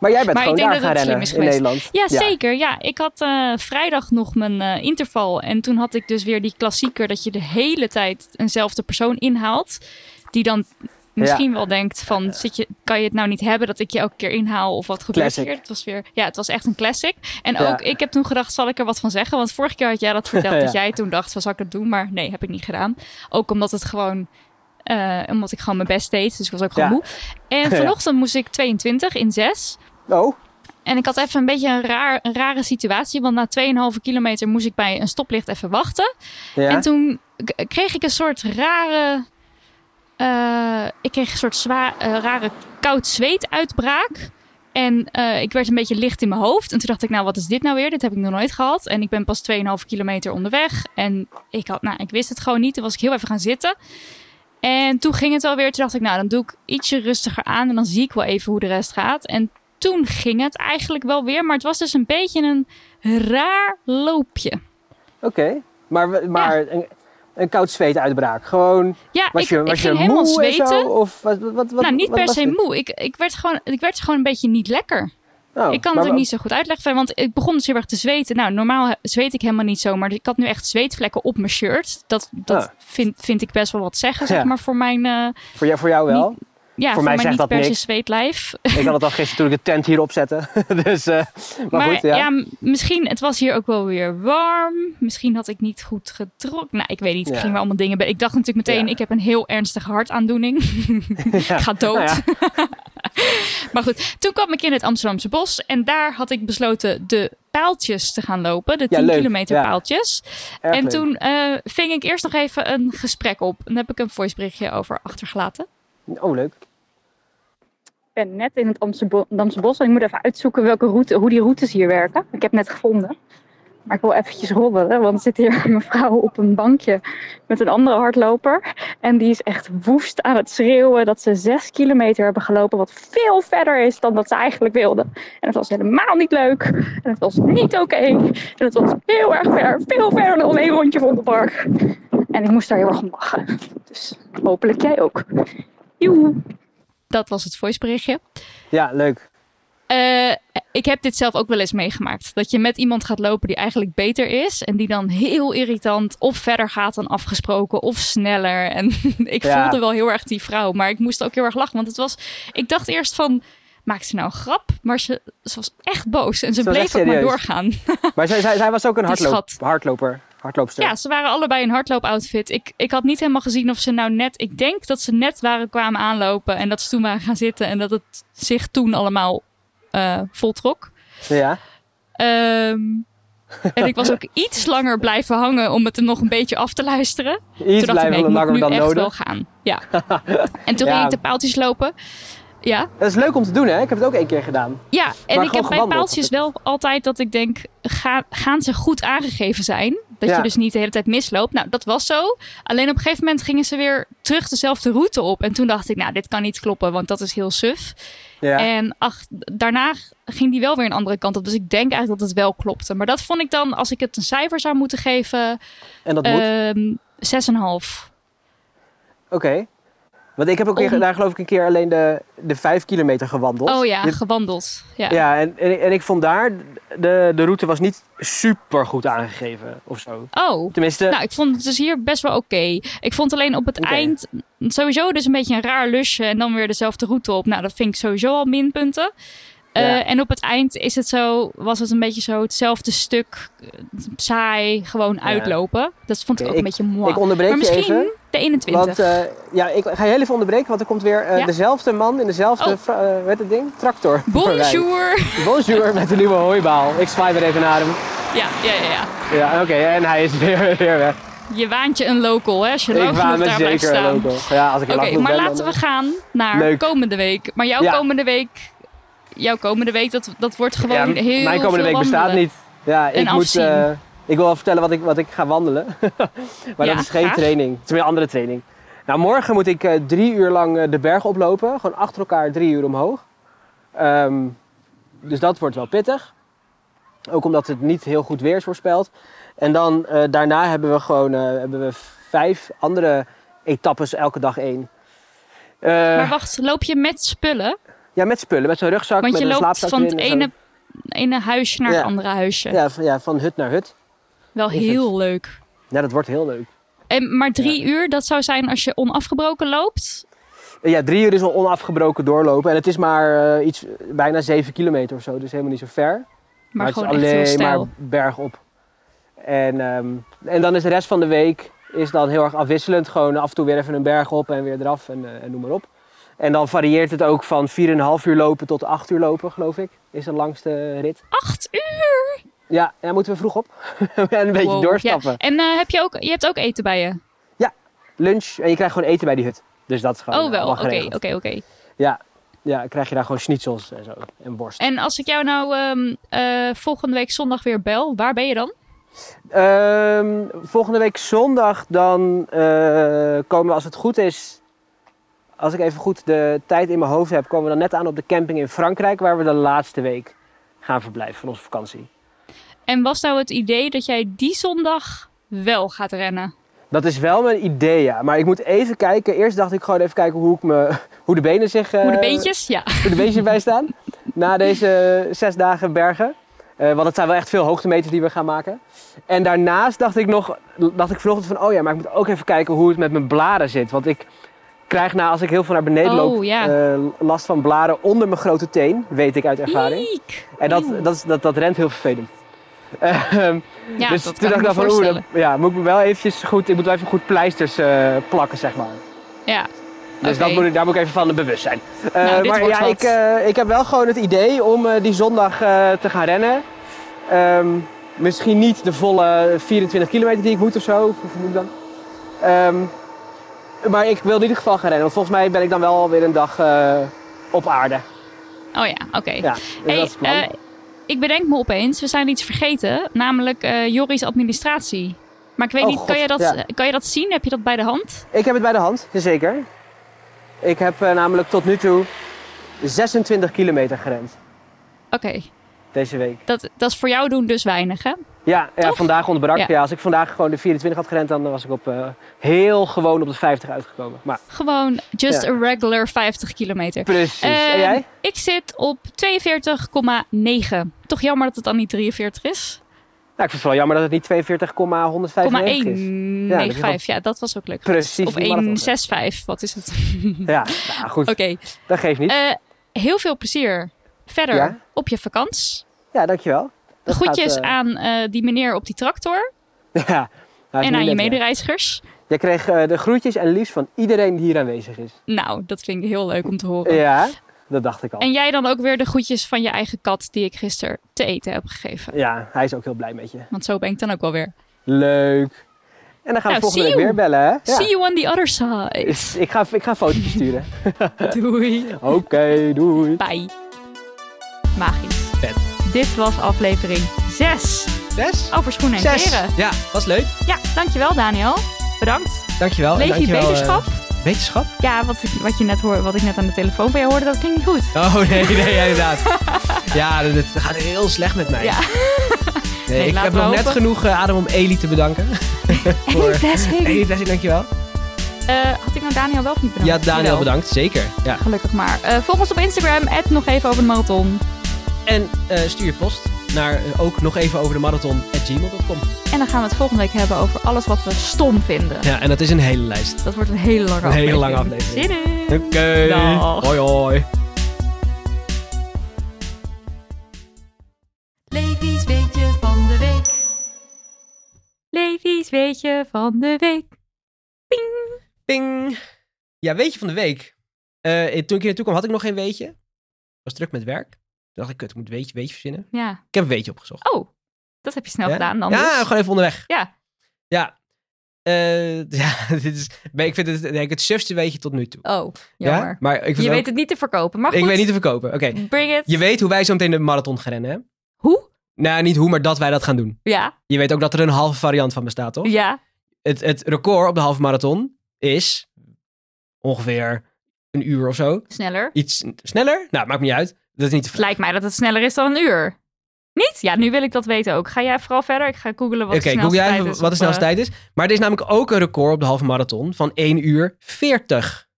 [SPEAKER 2] Maar jij
[SPEAKER 1] Maar
[SPEAKER 2] bent
[SPEAKER 1] ik
[SPEAKER 2] gewoon
[SPEAKER 1] denk dat
[SPEAKER 2] daar gaan
[SPEAKER 1] het slim
[SPEAKER 2] rennen
[SPEAKER 1] is
[SPEAKER 2] in
[SPEAKER 1] geweest.
[SPEAKER 2] Nederland.
[SPEAKER 1] Ja, zeker. Ja, ik had eh, vrijdag nog mijn eh, interval. En toen had ik dus weer die klassieker dat je de hele tijd eenzelfde persoon inhaalt. Die dan misschien wel denkt van, zit je, kan je het nou niet hebben dat ik je elke keer inhaal? Of wat gebeurt
[SPEAKER 2] Classic.
[SPEAKER 1] hier? Het was weer, ja, het was echt een classic. En
[SPEAKER 2] Ja.
[SPEAKER 1] ook, ik heb toen gedacht, zal ik er wat van zeggen? Want vorige keer had jij dat verteld,
[SPEAKER 2] Ja.
[SPEAKER 1] dat jij toen dacht, van, zal ik het doen? Maar nee, heb ik niet gedaan. Ook omdat het gewoon... eh, omdat ik gewoon mijn best deed, dus ik was ook gewoon
[SPEAKER 2] Ja.
[SPEAKER 1] moe. En
[SPEAKER 2] Ja.
[SPEAKER 1] vanochtend moest ik 22 in 6.
[SPEAKER 2] Oh,
[SPEAKER 1] En ik had even een beetje een, raar, een rare situatie. Want na 2,5 kilometer moest ik bij een stoplicht even wachten.
[SPEAKER 2] ja.
[SPEAKER 1] En toen k- kreeg ik een soort rare. eh, ik kreeg een soort zwa- eh, rare koud zweetuitbraak. En eh, ik werd een beetje licht in mijn hoofd. En toen dacht ik, nou, wat is dit nou weer? Dit heb ik nog nooit gehad. En ik ben pas 2,5 kilometer onderweg. En ik, had, nou, ik wist het gewoon niet. Toen was ik heel even gaan zitten. En toen ging het wel weer. Toen dacht ik, nou, dan doe ik ietsje rustiger aan. En dan zie ik wel even hoe de rest gaat. En toen ging het eigenlijk wel weer. Maar het was dus een beetje een raar loopje.
[SPEAKER 2] Oké, maar, we- maar een, een koud zweetuitbraak. Gewoon,
[SPEAKER 1] Ja,
[SPEAKER 2] was
[SPEAKER 1] ik,
[SPEAKER 2] je,
[SPEAKER 1] ik
[SPEAKER 2] was
[SPEAKER 1] ging
[SPEAKER 2] je
[SPEAKER 1] helemaal
[SPEAKER 2] moe en
[SPEAKER 1] zweten.
[SPEAKER 2] zo? Of wat, wat, wat,
[SPEAKER 1] nou, niet
[SPEAKER 2] wat
[SPEAKER 1] per
[SPEAKER 2] was
[SPEAKER 1] se
[SPEAKER 2] dit?
[SPEAKER 1] moe. Ik, ik, werd gewoon, ik werd gewoon een beetje niet lekker.
[SPEAKER 2] Oh,
[SPEAKER 1] ik kan het
[SPEAKER 2] maar
[SPEAKER 1] ook
[SPEAKER 2] wa-
[SPEAKER 1] niet zo goed uitleggen. Want ik begon dus heel erg te zweten. Nou, normaal he- zweet ik helemaal niet zo. Maar ik had nu echt zweetvlekken op mijn shirt. Dat, dat
[SPEAKER 2] Ah.
[SPEAKER 1] vind, vind ik best wel wat zeggen, zeg
[SPEAKER 2] Ja.
[SPEAKER 1] maar, voor mijn, eh,
[SPEAKER 2] Voor jou, voor jou wel.
[SPEAKER 1] ja, voor
[SPEAKER 2] mij
[SPEAKER 1] mijn
[SPEAKER 2] zegt
[SPEAKER 1] niet
[SPEAKER 2] dat
[SPEAKER 1] per se
[SPEAKER 2] niks.
[SPEAKER 1] zweetlijf.
[SPEAKER 2] Ik had het al gisteren toen ik de tent hier opzette. dus, eh, maar,
[SPEAKER 1] Maar,
[SPEAKER 2] goed, ja.
[SPEAKER 1] ja. m- misschien, het was hier ook wel weer warm. Misschien had ik niet goed getrokken. Nou, ik weet niet. Ik
[SPEAKER 2] Ja.
[SPEAKER 1] ging wel allemaal dingen. be- Ik dacht natuurlijk meteen,
[SPEAKER 2] Ja.
[SPEAKER 1] ik heb een heel ernstige hartaandoening.
[SPEAKER 2] Ja.
[SPEAKER 1] Ik ga dood.
[SPEAKER 2] Nou ja.
[SPEAKER 1] maar goed, toen kwam ik in het Amsterdamse bos. En daar had ik besloten de paaltjes te gaan lopen. De
[SPEAKER 2] Ja,
[SPEAKER 1] 10
[SPEAKER 2] leuk.
[SPEAKER 1] kilometer
[SPEAKER 2] Ja.
[SPEAKER 1] paaltjes.
[SPEAKER 2] Erg
[SPEAKER 1] en
[SPEAKER 2] leuk.
[SPEAKER 1] toen eh, ving ik eerst nog even een gesprek op. En daar heb ik een voiceberichtje over achtergelaten.
[SPEAKER 2] Oh, leuk.
[SPEAKER 3] Ik ben net in het Amsterdamse Bo- Damse Bos en ik moet even uitzoeken welke route, hoe die routes hier werken. Ik heb net gevonden. Maar ik wil eventjes roddelen, want er zit hier een mevrouw op een bankje met een andere hardloper. En die is echt woest aan het schreeuwen dat ze zes kilometer hebben gelopen, wat veel verder is dan dat ze eigenlijk wilden. En het was helemaal niet leuk. En het was niet oké. En het was heel erg ver, veel verder dan één rondje van het park. En ik moest daar heel erg om lachen. Dus hopelijk jij ook. Joehoe!
[SPEAKER 1] Dat was het voiceberichtje.
[SPEAKER 2] Ja, leuk.
[SPEAKER 1] Eh, ik heb dit zelf ook wel eens meegemaakt. Dat je met iemand gaat lopen die eigenlijk beter is. En die dan heel irritant of verder gaat dan afgesproken of sneller. En ik
[SPEAKER 2] Ja.
[SPEAKER 1] voelde wel heel erg die vrouw. Maar ik moest ook heel erg lachen. Want het was, ik dacht eerst van, maakt ze nou een grap? Maar ze, ze was echt boos. En ze,
[SPEAKER 2] Ze was
[SPEAKER 1] bleef
[SPEAKER 2] echt
[SPEAKER 1] ook maar
[SPEAKER 2] serieus.
[SPEAKER 1] doorgaan.
[SPEAKER 2] Maar zij, zij, zij was ook een
[SPEAKER 1] Die
[SPEAKER 2] hardloop,
[SPEAKER 1] schat.
[SPEAKER 2] hardloper. Hardloopster.
[SPEAKER 1] Ja, ze waren allebei in hardloopoutfit. Ik, ik had niet helemaal gezien of ze nou net... Ik denk dat ze net waren kwamen aanlopen. En dat ze toen waren gaan zitten. En dat het zich toen allemaal eh, voltrok.
[SPEAKER 2] Ja.
[SPEAKER 1] Ehm, en ik was ook iets langer blijven hangen om het er nog een beetje af te luisteren.
[SPEAKER 2] Iets
[SPEAKER 1] toen dacht ik, nee,
[SPEAKER 2] blijven
[SPEAKER 1] ik moet
[SPEAKER 2] langer
[SPEAKER 1] nu
[SPEAKER 2] dan
[SPEAKER 1] echt wel
[SPEAKER 2] nodig.
[SPEAKER 1] gaan. Ja. En toen
[SPEAKER 2] Ja.
[SPEAKER 1] ging ik de paaltjes lopen. Ja,
[SPEAKER 2] Dat is leuk om te doen, hè? Ik heb het ook één keer gedaan.
[SPEAKER 1] ja. en
[SPEAKER 2] Maar
[SPEAKER 1] ik heb
[SPEAKER 2] gewoon
[SPEAKER 1] bij
[SPEAKER 2] gewandeld,
[SPEAKER 1] paaltjes wel altijd dat ik denk, ga, gaan ze goed aangegeven zijn? Dat
[SPEAKER 2] Ja.
[SPEAKER 1] je dus niet de hele tijd misloopt. Nou, dat was zo. Alleen op een gegeven moment gingen ze weer terug dezelfde route op. En toen dacht ik, nou, dit kan niet kloppen, want dat is heel suf.
[SPEAKER 2] Ja.
[SPEAKER 1] En ach, daarna ging die wel weer een andere kant op. Dus ik denk eigenlijk dat het wel klopte. Maar dat vond ik dan, als ik het een cijfer zou moeten geven,
[SPEAKER 2] En dat moet.
[SPEAKER 1] ehm 6,5.
[SPEAKER 2] Oké. Want ik heb ook een keer,
[SPEAKER 1] om-
[SPEAKER 2] daar geloof ik een keer alleen de, de vijf kilometer gewandeld.
[SPEAKER 1] Oh ja,
[SPEAKER 2] Dit-
[SPEAKER 1] gewandeld. Ja.
[SPEAKER 2] ja, en, en, ik- en ik vond daar, de, de route was niet super goed aangegeven of zo.
[SPEAKER 1] Oh,
[SPEAKER 2] Tenminste,
[SPEAKER 1] nou, ik vond het dus hier best wel oké. Ik vond alleen op het
[SPEAKER 2] Oké.
[SPEAKER 1] eind sowieso dus een beetje een raar lusje en dan weer dezelfde route op. Nou, dat vind ik sowieso al minpunten. Eh,
[SPEAKER 2] Ja.
[SPEAKER 1] En op het eind is het zo, was het een beetje zo hetzelfde stuk, eh, saai, gewoon uitlopen. Dat vond ik
[SPEAKER 2] Oké,
[SPEAKER 1] ook een beetje mooi.
[SPEAKER 2] ik onderbreek
[SPEAKER 1] Maar
[SPEAKER 2] je
[SPEAKER 1] misschien
[SPEAKER 2] even.
[SPEAKER 1] de 21.
[SPEAKER 2] Want eh, ja, ik ga je heel even onderbreken, want er komt weer eh,
[SPEAKER 1] Ja.
[SPEAKER 2] dezelfde man in dezelfde,
[SPEAKER 1] Oh.
[SPEAKER 2] fra- eh, hoe heet het ding? Tractor.
[SPEAKER 1] Bonjour!
[SPEAKER 2] Bonjour, met de nieuwe hooibaal. Ik zwaai weer even naar hem.
[SPEAKER 1] Ja, ja, ja, ja.
[SPEAKER 2] Ja, oké, en hij is weer, weer weg.
[SPEAKER 1] Je waant je een local, hè? Als je
[SPEAKER 2] ik
[SPEAKER 1] lang
[SPEAKER 2] waar
[SPEAKER 1] genoeg
[SPEAKER 2] me
[SPEAKER 1] daar blijft
[SPEAKER 2] zeker
[SPEAKER 1] staan.
[SPEAKER 2] ook
[SPEAKER 1] Oké,
[SPEAKER 2] wel. Ja, als ik er lang genoeg
[SPEAKER 1] maar
[SPEAKER 2] ben,
[SPEAKER 1] laten
[SPEAKER 2] dan-
[SPEAKER 1] we gaan naar
[SPEAKER 2] Leuk.
[SPEAKER 1] komende week. Maar jouw
[SPEAKER 2] Ja.
[SPEAKER 1] komende week, jouw komende week, dat, dat wordt gewoon
[SPEAKER 2] Ja,
[SPEAKER 1] heel
[SPEAKER 2] Mijn komende
[SPEAKER 1] veel
[SPEAKER 2] week bestaat
[SPEAKER 1] wandelen.
[SPEAKER 2] niet. Ja, ik moet...
[SPEAKER 1] afzien.
[SPEAKER 2] eh, ik wil wel vertellen wat ik, wat ik ga wandelen. maar
[SPEAKER 1] Ja,
[SPEAKER 2] dat is geen
[SPEAKER 1] graag.
[SPEAKER 2] training. Het is weer een andere training. Nou, morgen moet ik eh, drie uur lang eh, de berg oplopen. Gewoon achter elkaar drie uur omhoog. Ehm, dus dat wordt wel pittig. Ook omdat het niet heel goed weer is voorspeld. En dan eh, daarna hebben we gewoon eh, hebben we vijf andere etappes elke dag één. Eh,
[SPEAKER 1] Maar wacht, loop je met spullen?
[SPEAKER 2] ja, met spullen, met zo'n rugzak,
[SPEAKER 1] Want
[SPEAKER 2] met
[SPEAKER 1] je
[SPEAKER 2] een
[SPEAKER 1] loopt
[SPEAKER 2] slaapzak
[SPEAKER 1] van het
[SPEAKER 2] erin en zo.
[SPEAKER 1] ene, ene huisje naar
[SPEAKER 2] Ja.
[SPEAKER 1] het andere huisje.
[SPEAKER 2] Ja, van, ja, van hut naar hut.
[SPEAKER 1] Wel
[SPEAKER 2] is het.
[SPEAKER 1] heel leuk.
[SPEAKER 2] Ja, Nou, dat wordt heel leuk.
[SPEAKER 1] En, maar drie uur, dat zou zijn als je onafgebroken loopt.
[SPEAKER 2] Eh, Ja, drie uur is al onafgebroken doorlopen. En het is maar eh, iets, bijna zeven kilometer of zo. Dus helemaal niet zo ver.
[SPEAKER 1] Maar,
[SPEAKER 2] het is
[SPEAKER 1] gewoon echt heel
[SPEAKER 2] alleen
[SPEAKER 1] stijl.
[SPEAKER 2] maar bergop. En, ehm, en dan is de rest van de week is dan heel erg afwisselend. Gewoon af en toe weer even een berg op en weer eraf en, eh, en noem maar op. En dan varieert het ook van 4,5 uur lopen tot 8 uur lopen, geloof ik. Is de langste rit.
[SPEAKER 1] Acht uur!
[SPEAKER 2] Ja, daar moeten we vroeg op. en een beetje
[SPEAKER 1] Wow,
[SPEAKER 2] doorstappen.
[SPEAKER 1] ja. En eh, heb je, ook, je hebt ook eten bij je?
[SPEAKER 2] Lunch en je krijgt gewoon eten bij die hut. Dus dat is gewoon
[SPEAKER 1] Oh
[SPEAKER 2] eh,
[SPEAKER 1] wel,
[SPEAKER 2] allemaal
[SPEAKER 1] oké,
[SPEAKER 2] geregeld.
[SPEAKER 1] oké, oké.
[SPEAKER 2] Ja, ja, dan krijg je daar gewoon schnitzels en zo. En worst.
[SPEAKER 1] En als ik jou nou ehm, eh, volgende week zondag weer bel, waar ben je dan?
[SPEAKER 2] Ehm, volgende week zondag dan eh, komen we als het goed is, als ik even goed de tijd in mijn hoofd heb, komen we dan net aan op de camping in Frankrijk waar we de laatste week gaan verblijven van onze vakantie.
[SPEAKER 1] En was nou het idee dat jij die zondag wel gaat rennen?
[SPEAKER 2] Dat is wel mijn idee, ja. Maar ik moet even kijken. Eerst dacht ik gewoon even kijken hoe, ik me, hoe de benen zich... eh,
[SPEAKER 1] Hoe de beentjes? Ja.
[SPEAKER 2] hoe de beentjes bij staan. Na deze zes dagen bergen. Eh, want het zijn wel echt veel hoogtemeters die we gaan maken. En daarnaast dacht ik nog, dacht ik vanochtend van, oh ja, maar ik moet ook even kijken hoe het met mijn blaren zit. Want ik krijg na, als ik heel veel naar beneden
[SPEAKER 1] Oh,
[SPEAKER 2] loop,
[SPEAKER 1] ja.
[SPEAKER 2] eh, last van blaren onder mijn grote teen. Weet ik uit ervaring.
[SPEAKER 1] Eek.
[SPEAKER 2] En dat,
[SPEAKER 1] Eeuw.
[SPEAKER 2] dat, is- dat, dat rent heel vervelend. Ehm,
[SPEAKER 1] Ja,
[SPEAKER 2] dus
[SPEAKER 1] dat
[SPEAKER 2] toen
[SPEAKER 1] kan ik me
[SPEAKER 2] dacht ik dan van, oeh,
[SPEAKER 1] voorstellen.
[SPEAKER 2] dan- ja, moet ik me wel eventjes goed, ik moet wel even goed pleisters eh, plakken, zeg maar.
[SPEAKER 1] Ja.
[SPEAKER 2] Dus
[SPEAKER 1] Oké.
[SPEAKER 2] dat moet ik, daar moet ik even van bewust zijn. Eh,
[SPEAKER 1] Nou, dit
[SPEAKER 2] maar
[SPEAKER 1] wordt
[SPEAKER 2] ja,
[SPEAKER 1] wat.
[SPEAKER 2] ik, eh, ik heb wel gewoon het idee om eh, die zondag eh, te gaan rennen. Ehm, misschien niet de volle 24 kilometer die ik moet of zo. of Hoeveel moet ik dan? Ehm, maar ik wil in ieder geval gaan rennen. Want volgens mij ben ik dan wel weer een dag eh, op aarde.
[SPEAKER 1] Oh ja, oké.
[SPEAKER 2] Ja, dus
[SPEAKER 1] Hey,
[SPEAKER 2] dat is het plan.
[SPEAKER 1] eh, ik bedenk me opeens, we zijn iets vergeten, namelijk eh, Joris administratie. Maar ik weet
[SPEAKER 2] Oh,
[SPEAKER 1] niet, kan,
[SPEAKER 2] God,
[SPEAKER 1] je dat,
[SPEAKER 2] ja.
[SPEAKER 1] kan je dat zien? Heb je dat bij de hand?
[SPEAKER 2] Ik heb het bij de hand, zeker. Ik heb eh, namelijk tot nu toe 26 kilometer gerend
[SPEAKER 1] Oké,
[SPEAKER 2] deze week.
[SPEAKER 1] dat, dat is voor jou doen dus weinig, hè?
[SPEAKER 2] Ja, ja
[SPEAKER 1] Toch?
[SPEAKER 2] vandaag ontbrak.
[SPEAKER 1] Ja.
[SPEAKER 2] Ja. als ik vandaag gewoon de 24 had gerend, dan was ik op, eh, heel gewoon op de 50 uitgekomen. Maar
[SPEAKER 1] Gewoon just
[SPEAKER 2] Ja.
[SPEAKER 1] a regular 50 kilometer.
[SPEAKER 2] precies.
[SPEAKER 1] Ehm,
[SPEAKER 2] en jij?
[SPEAKER 1] Ik zit op 42,9. Toch jammer dat het dan niet 43 is.
[SPEAKER 2] Nou, ik vind het wel jammer dat het niet 42,195 is.
[SPEAKER 1] 1,95. Ja, dat was ook leuk.
[SPEAKER 2] Precies.
[SPEAKER 1] Of
[SPEAKER 2] die marathon.
[SPEAKER 1] 1,65. Wat is het?
[SPEAKER 2] Ja, nou, goed.
[SPEAKER 1] Oké.
[SPEAKER 2] Dat geeft niet.
[SPEAKER 1] eh, heel veel plezier verder
[SPEAKER 2] Ja.
[SPEAKER 1] op je vakantie.
[SPEAKER 2] ja, dankjewel.
[SPEAKER 1] De
[SPEAKER 2] Dat
[SPEAKER 1] groetjes
[SPEAKER 2] gaat, eh,
[SPEAKER 1] aan eh, die meneer op die tractor
[SPEAKER 2] ja, nou,
[SPEAKER 1] en aan je
[SPEAKER 2] net, ja.
[SPEAKER 1] medereizigers.
[SPEAKER 2] Jij kreeg eh, de groetjes en liefst van iedereen die hier aanwezig is.
[SPEAKER 1] Nou, dat vind ik heel leuk om te horen.
[SPEAKER 2] Ja, dat dacht ik al.
[SPEAKER 1] En jij dan ook weer de groetjes van je eigen kat die ik gisteren te eten heb gegeven.
[SPEAKER 2] Ja, hij is ook heel blij met je.
[SPEAKER 1] Want zo ben ik dan ook wel weer.
[SPEAKER 2] Leuk. En dan gaan
[SPEAKER 1] Nou,
[SPEAKER 2] we volgende
[SPEAKER 1] see you.
[SPEAKER 2] week weer bellen, hè? Ja.
[SPEAKER 1] See you on the other side.
[SPEAKER 2] Ik ga, ik ga foto's sturen.
[SPEAKER 1] Doei.
[SPEAKER 2] Oké, doei.
[SPEAKER 1] Bye. Magisch.
[SPEAKER 4] Vet.
[SPEAKER 1] Dit was aflevering 6
[SPEAKER 4] Zes?
[SPEAKER 1] over schoenen en
[SPEAKER 4] Zes.
[SPEAKER 1] kleren.
[SPEAKER 4] Ja, was leuk.
[SPEAKER 1] Ja, dankjewel Daniel. Bedankt.
[SPEAKER 4] Dankjewel. en
[SPEAKER 1] Leef je
[SPEAKER 4] dankjewel, eh,
[SPEAKER 1] beterschap?
[SPEAKER 4] Wetenschap?
[SPEAKER 1] Ja, wat ik, wat, je net hoor, wat ik net aan de telefoon van jou hoorde, dat klinkt niet goed.
[SPEAKER 4] Oh nee, nee, ja, inderdaad. ja, dat, dat gaat heel slecht met mij.
[SPEAKER 1] Ja.
[SPEAKER 4] Nee,
[SPEAKER 1] Nee,
[SPEAKER 4] ik
[SPEAKER 1] laten
[SPEAKER 4] heb
[SPEAKER 1] we
[SPEAKER 4] nog net
[SPEAKER 1] hopen.
[SPEAKER 4] genoeg eh, adem om Eli te bedanken. Voor...
[SPEAKER 1] Blessing.
[SPEAKER 4] Eli, blessing, dankjewel.
[SPEAKER 1] Eh, had ik nou Daniel wel of niet
[SPEAKER 4] Ja,
[SPEAKER 1] bedankt?
[SPEAKER 4] Daniel,
[SPEAKER 1] Jawel.
[SPEAKER 4] bedankt. Zeker. Ja.
[SPEAKER 1] Gelukkig maar. Eh, volg ons op Instagram, at nog even over de marathon.
[SPEAKER 4] En eh, stuur je post naar eh, ook nog even over de marathon at gmail.com.
[SPEAKER 1] En dan gaan we het volgende week hebben over alles wat we stom vinden.
[SPEAKER 4] Ja, en dat is een hele lijst.
[SPEAKER 1] Dat wordt een hele lange
[SPEAKER 4] Een
[SPEAKER 1] aflevering.
[SPEAKER 4] hele lange aflevering.
[SPEAKER 1] Zin in.
[SPEAKER 4] Oké.
[SPEAKER 1] Dag.
[SPEAKER 4] Hoi, hoi.
[SPEAKER 5] Levi's weetje van de week.
[SPEAKER 1] Levi's weetje van de week.
[SPEAKER 4] Ping. Ja, weetje van de week. Eh, toen ik hier naartoe kwam, had ik nog geen weetje. Ik was druk met werk. Toen dacht ik, kut, ik moet weetje, weetje verzinnen.
[SPEAKER 1] Ja.
[SPEAKER 4] Ik heb een weetje opgezocht.
[SPEAKER 1] Oh, dat heb je snel
[SPEAKER 4] Ja?
[SPEAKER 1] gedaan dan
[SPEAKER 4] ja,
[SPEAKER 1] dus.
[SPEAKER 4] gewoon even onderweg.
[SPEAKER 1] Ja.
[SPEAKER 4] Ja. Eh, ja, dit is, maar ik vind het denk ik, het sufste weetje tot nu toe.
[SPEAKER 1] Oh, jammer.
[SPEAKER 4] Ja? Maar ik, vind
[SPEAKER 1] Je
[SPEAKER 4] ook-
[SPEAKER 1] weet het niet te verkopen, maar goed.
[SPEAKER 4] ik weet niet te verkopen. Oké.
[SPEAKER 1] Bring it.
[SPEAKER 4] Je weet hoe wij zo meteen de marathon gaan rennen, hè?
[SPEAKER 1] Hoe?
[SPEAKER 4] Nou, niet hoe, maar dat wij dat gaan doen.
[SPEAKER 1] Ja,
[SPEAKER 4] Je weet ook dat er een halve variant van bestaat, toch?
[SPEAKER 1] ja.
[SPEAKER 4] Het, het record op de halve marathon is ongeveer een uur of zo.
[SPEAKER 1] Sneller.
[SPEAKER 4] Iets sneller? Nou, maakt me niet uit. Dat is niet te
[SPEAKER 1] Het
[SPEAKER 4] vraag.
[SPEAKER 1] lijkt mij dat het sneller is dan een uur. Niet? Ja, nu wil ik dat weten ook. Ga jij vooral verder? Ik ga googlen wat
[SPEAKER 4] Oké,
[SPEAKER 1] de snelste
[SPEAKER 4] Google jij
[SPEAKER 1] tijd
[SPEAKER 4] even
[SPEAKER 1] is.
[SPEAKER 4] wat de
[SPEAKER 1] op, eh,
[SPEAKER 4] snelste tijd is. Maar er is namelijk ook een record op de halve marathon van 1 uur 40.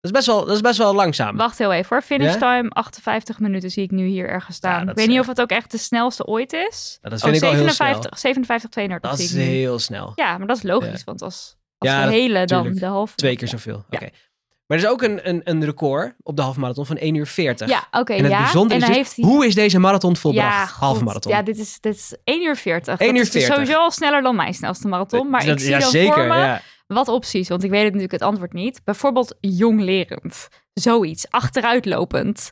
[SPEAKER 2] is best wel, dat is best wel langzaam.
[SPEAKER 1] Wacht heel even hoor. Finish
[SPEAKER 2] Ja?
[SPEAKER 1] time 58 minuten zie ik nu hier ergens staan.
[SPEAKER 2] dat
[SPEAKER 1] ik weet
[SPEAKER 2] is
[SPEAKER 1] niet
[SPEAKER 2] echt-
[SPEAKER 1] of het ook echt de snelste ooit is. Oh,
[SPEAKER 2] Nou, dat vind ik al heel snel.
[SPEAKER 1] 57, 32
[SPEAKER 2] Dat
[SPEAKER 1] zie
[SPEAKER 2] is
[SPEAKER 1] ik nu.
[SPEAKER 2] heel snel.
[SPEAKER 1] Ja, maar dat is logisch, want als, als
[SPEAKER 2] Ja,
[SPEAKER 1] de
[SPEAKER 2] dat-
[SPEAKER 1] hele dan
[SPEAKER 2] tuurlijk.
[SPEAKER 1] de halve.
[SPEAKER 2] Twee keer zoveel. Oké. Maar er is ook een, een, een record op de halve marathon van 1 uur 40.
[SPEAKER 1] Ja, oké.
[SPEAKER 2] en het
[SPEAKER 1] ja.
[SPEAKER 2] bijzondere
[SPEAKER 1] en
[SPEAKER 2] is,
[SPEAKER 1] dan
[SPEAKER 2] dus,
[SPEAKER 1] heeft hij...
[SPEAKER 2] hoe is deze marathon volbracht?
[SPEAKER 1] god.
[SPEAKER 2] halve marathon.
[SPEAKER 1] Ja, dit is, dit is 1 uur 40.
[SPEAKER 2] 1
[SPEAKER 1] dat
[SPEAKER 2] uur
[SPEAKER 1] is dus
[SPEAKER 2] 40.
[SPEAKER 1] sowieso al sneller dan mijn snelste marathon. Maar
[SPEAKER 2] Dat-
[SPEAKER 1] ik zie
[SPEAKER 2] ja,
[SPEAKER 1] dan
[SPEAKER 2] zeker,
[SPEAKER 1] voor me
[SPEAKER 2] ja.
[SPEAKER 1] wat opties. Want ik weet het natuurlijk het antwoord niet. Bijvoorbeeld jonglerend. Zoiets. Achteruitlopend.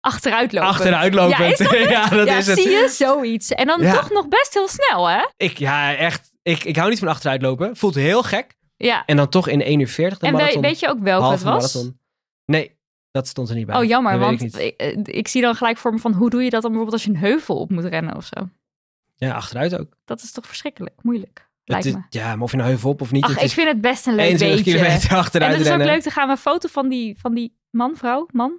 [SPEAKER 1] Achteruitlopend.
[SPEAKER 2] Achteruitlopend.
[SPEAKER 1] Ja, is dat het?
[SPEAKER 2] Ja, dat
[SPEAKER 1] Ja,
[SPEAKER 2] is het.
[SPEAKER 1] zie je? Zoiets. En dan
[SPEAKER 2] Ja.
[SPEAKER 1] toch nog best heel snel, hè?
[SPEAKER 2] Ik, ja, echt. Ik, ik hou niet van achteruitlopen. Voelt heel gek.
[SPEAKER 1] Ja.
[SPEAKER 2] En dan toch in 1 uur 40 de
[SPEAKER 1] En we-
[SPEAKER 2] marathon.
[SPEAKER 1] weet je ook welke het
[SPEAKER 2] halve
[SPEAKER 1] was?
[SPEAKER 2] marathon. Nee, dat stond er niet bij.
[SPEAKER 1] Oh, jammer,
[SPEAKER 2] Dat weet
[SPEAKER 1] want
[SPEAKER 2] ik niet.
[SPEAKER 1] ik, eh, ik zie dan gelijk voor me van hoe doe je dat dan bijvoorbeeld als je een heuvel op moet rennen of zo.
[SPEAKER 2] Ja, achteruit ook.
[SPEAKER 1] Dat is toch verschrikkelijk moeilijk, lijkt
[SPEAKER 2] Het is-
[SPEAKER 1] me.
[SPEAKER 2] Ja, maar of je nou heuvel op of niet.
[SPEAKER 1] Ach,
[SPEAKER 2] het
[SPEAKER 1] ik
[SPEAKER 2] is
[SPEAKER 1] vind het best een leuk
[SPEAKER 2] 21
[SPEAKER 1] beetje. En
[SPEAKER 2] kilometer achteruit
[SPEAKER 1] het is ook
[SPEAKER 2] rennen.
[SPEAKER 1] leuk, dan gaan we een foto van die, van die man, vrouw, man,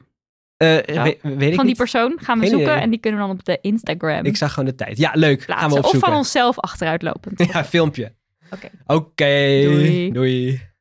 [SPEAKER 2] Eh, we- weet ik
[SPEAKER 1] van die
[SPEAKER 2] niet.
[SPEAKER 1] persoon gaan we
[SPEAKER 2] Geen
[SPEAKER 1] zoeken.
[SPEAKER 2] idee.
[SPEAKER 1] En die kunnen we dan op de Instagram
[SPEAKER 2] Ik zag gewoon de tijd. Ja, leuk. Gaan we
[SPEAKER 1] plaatsen. Of
[SPEAKER 2] opzoeken.
[SPEAKER 1] van onszelf achteruitlopend.
[SPEAKER 2] Ja, filmpje.
[SPEAKER 1] Oké.
[SPEAKER 2] Oké.
[SPEAKER 1] Doei.
[SPEAKER 2] Doei.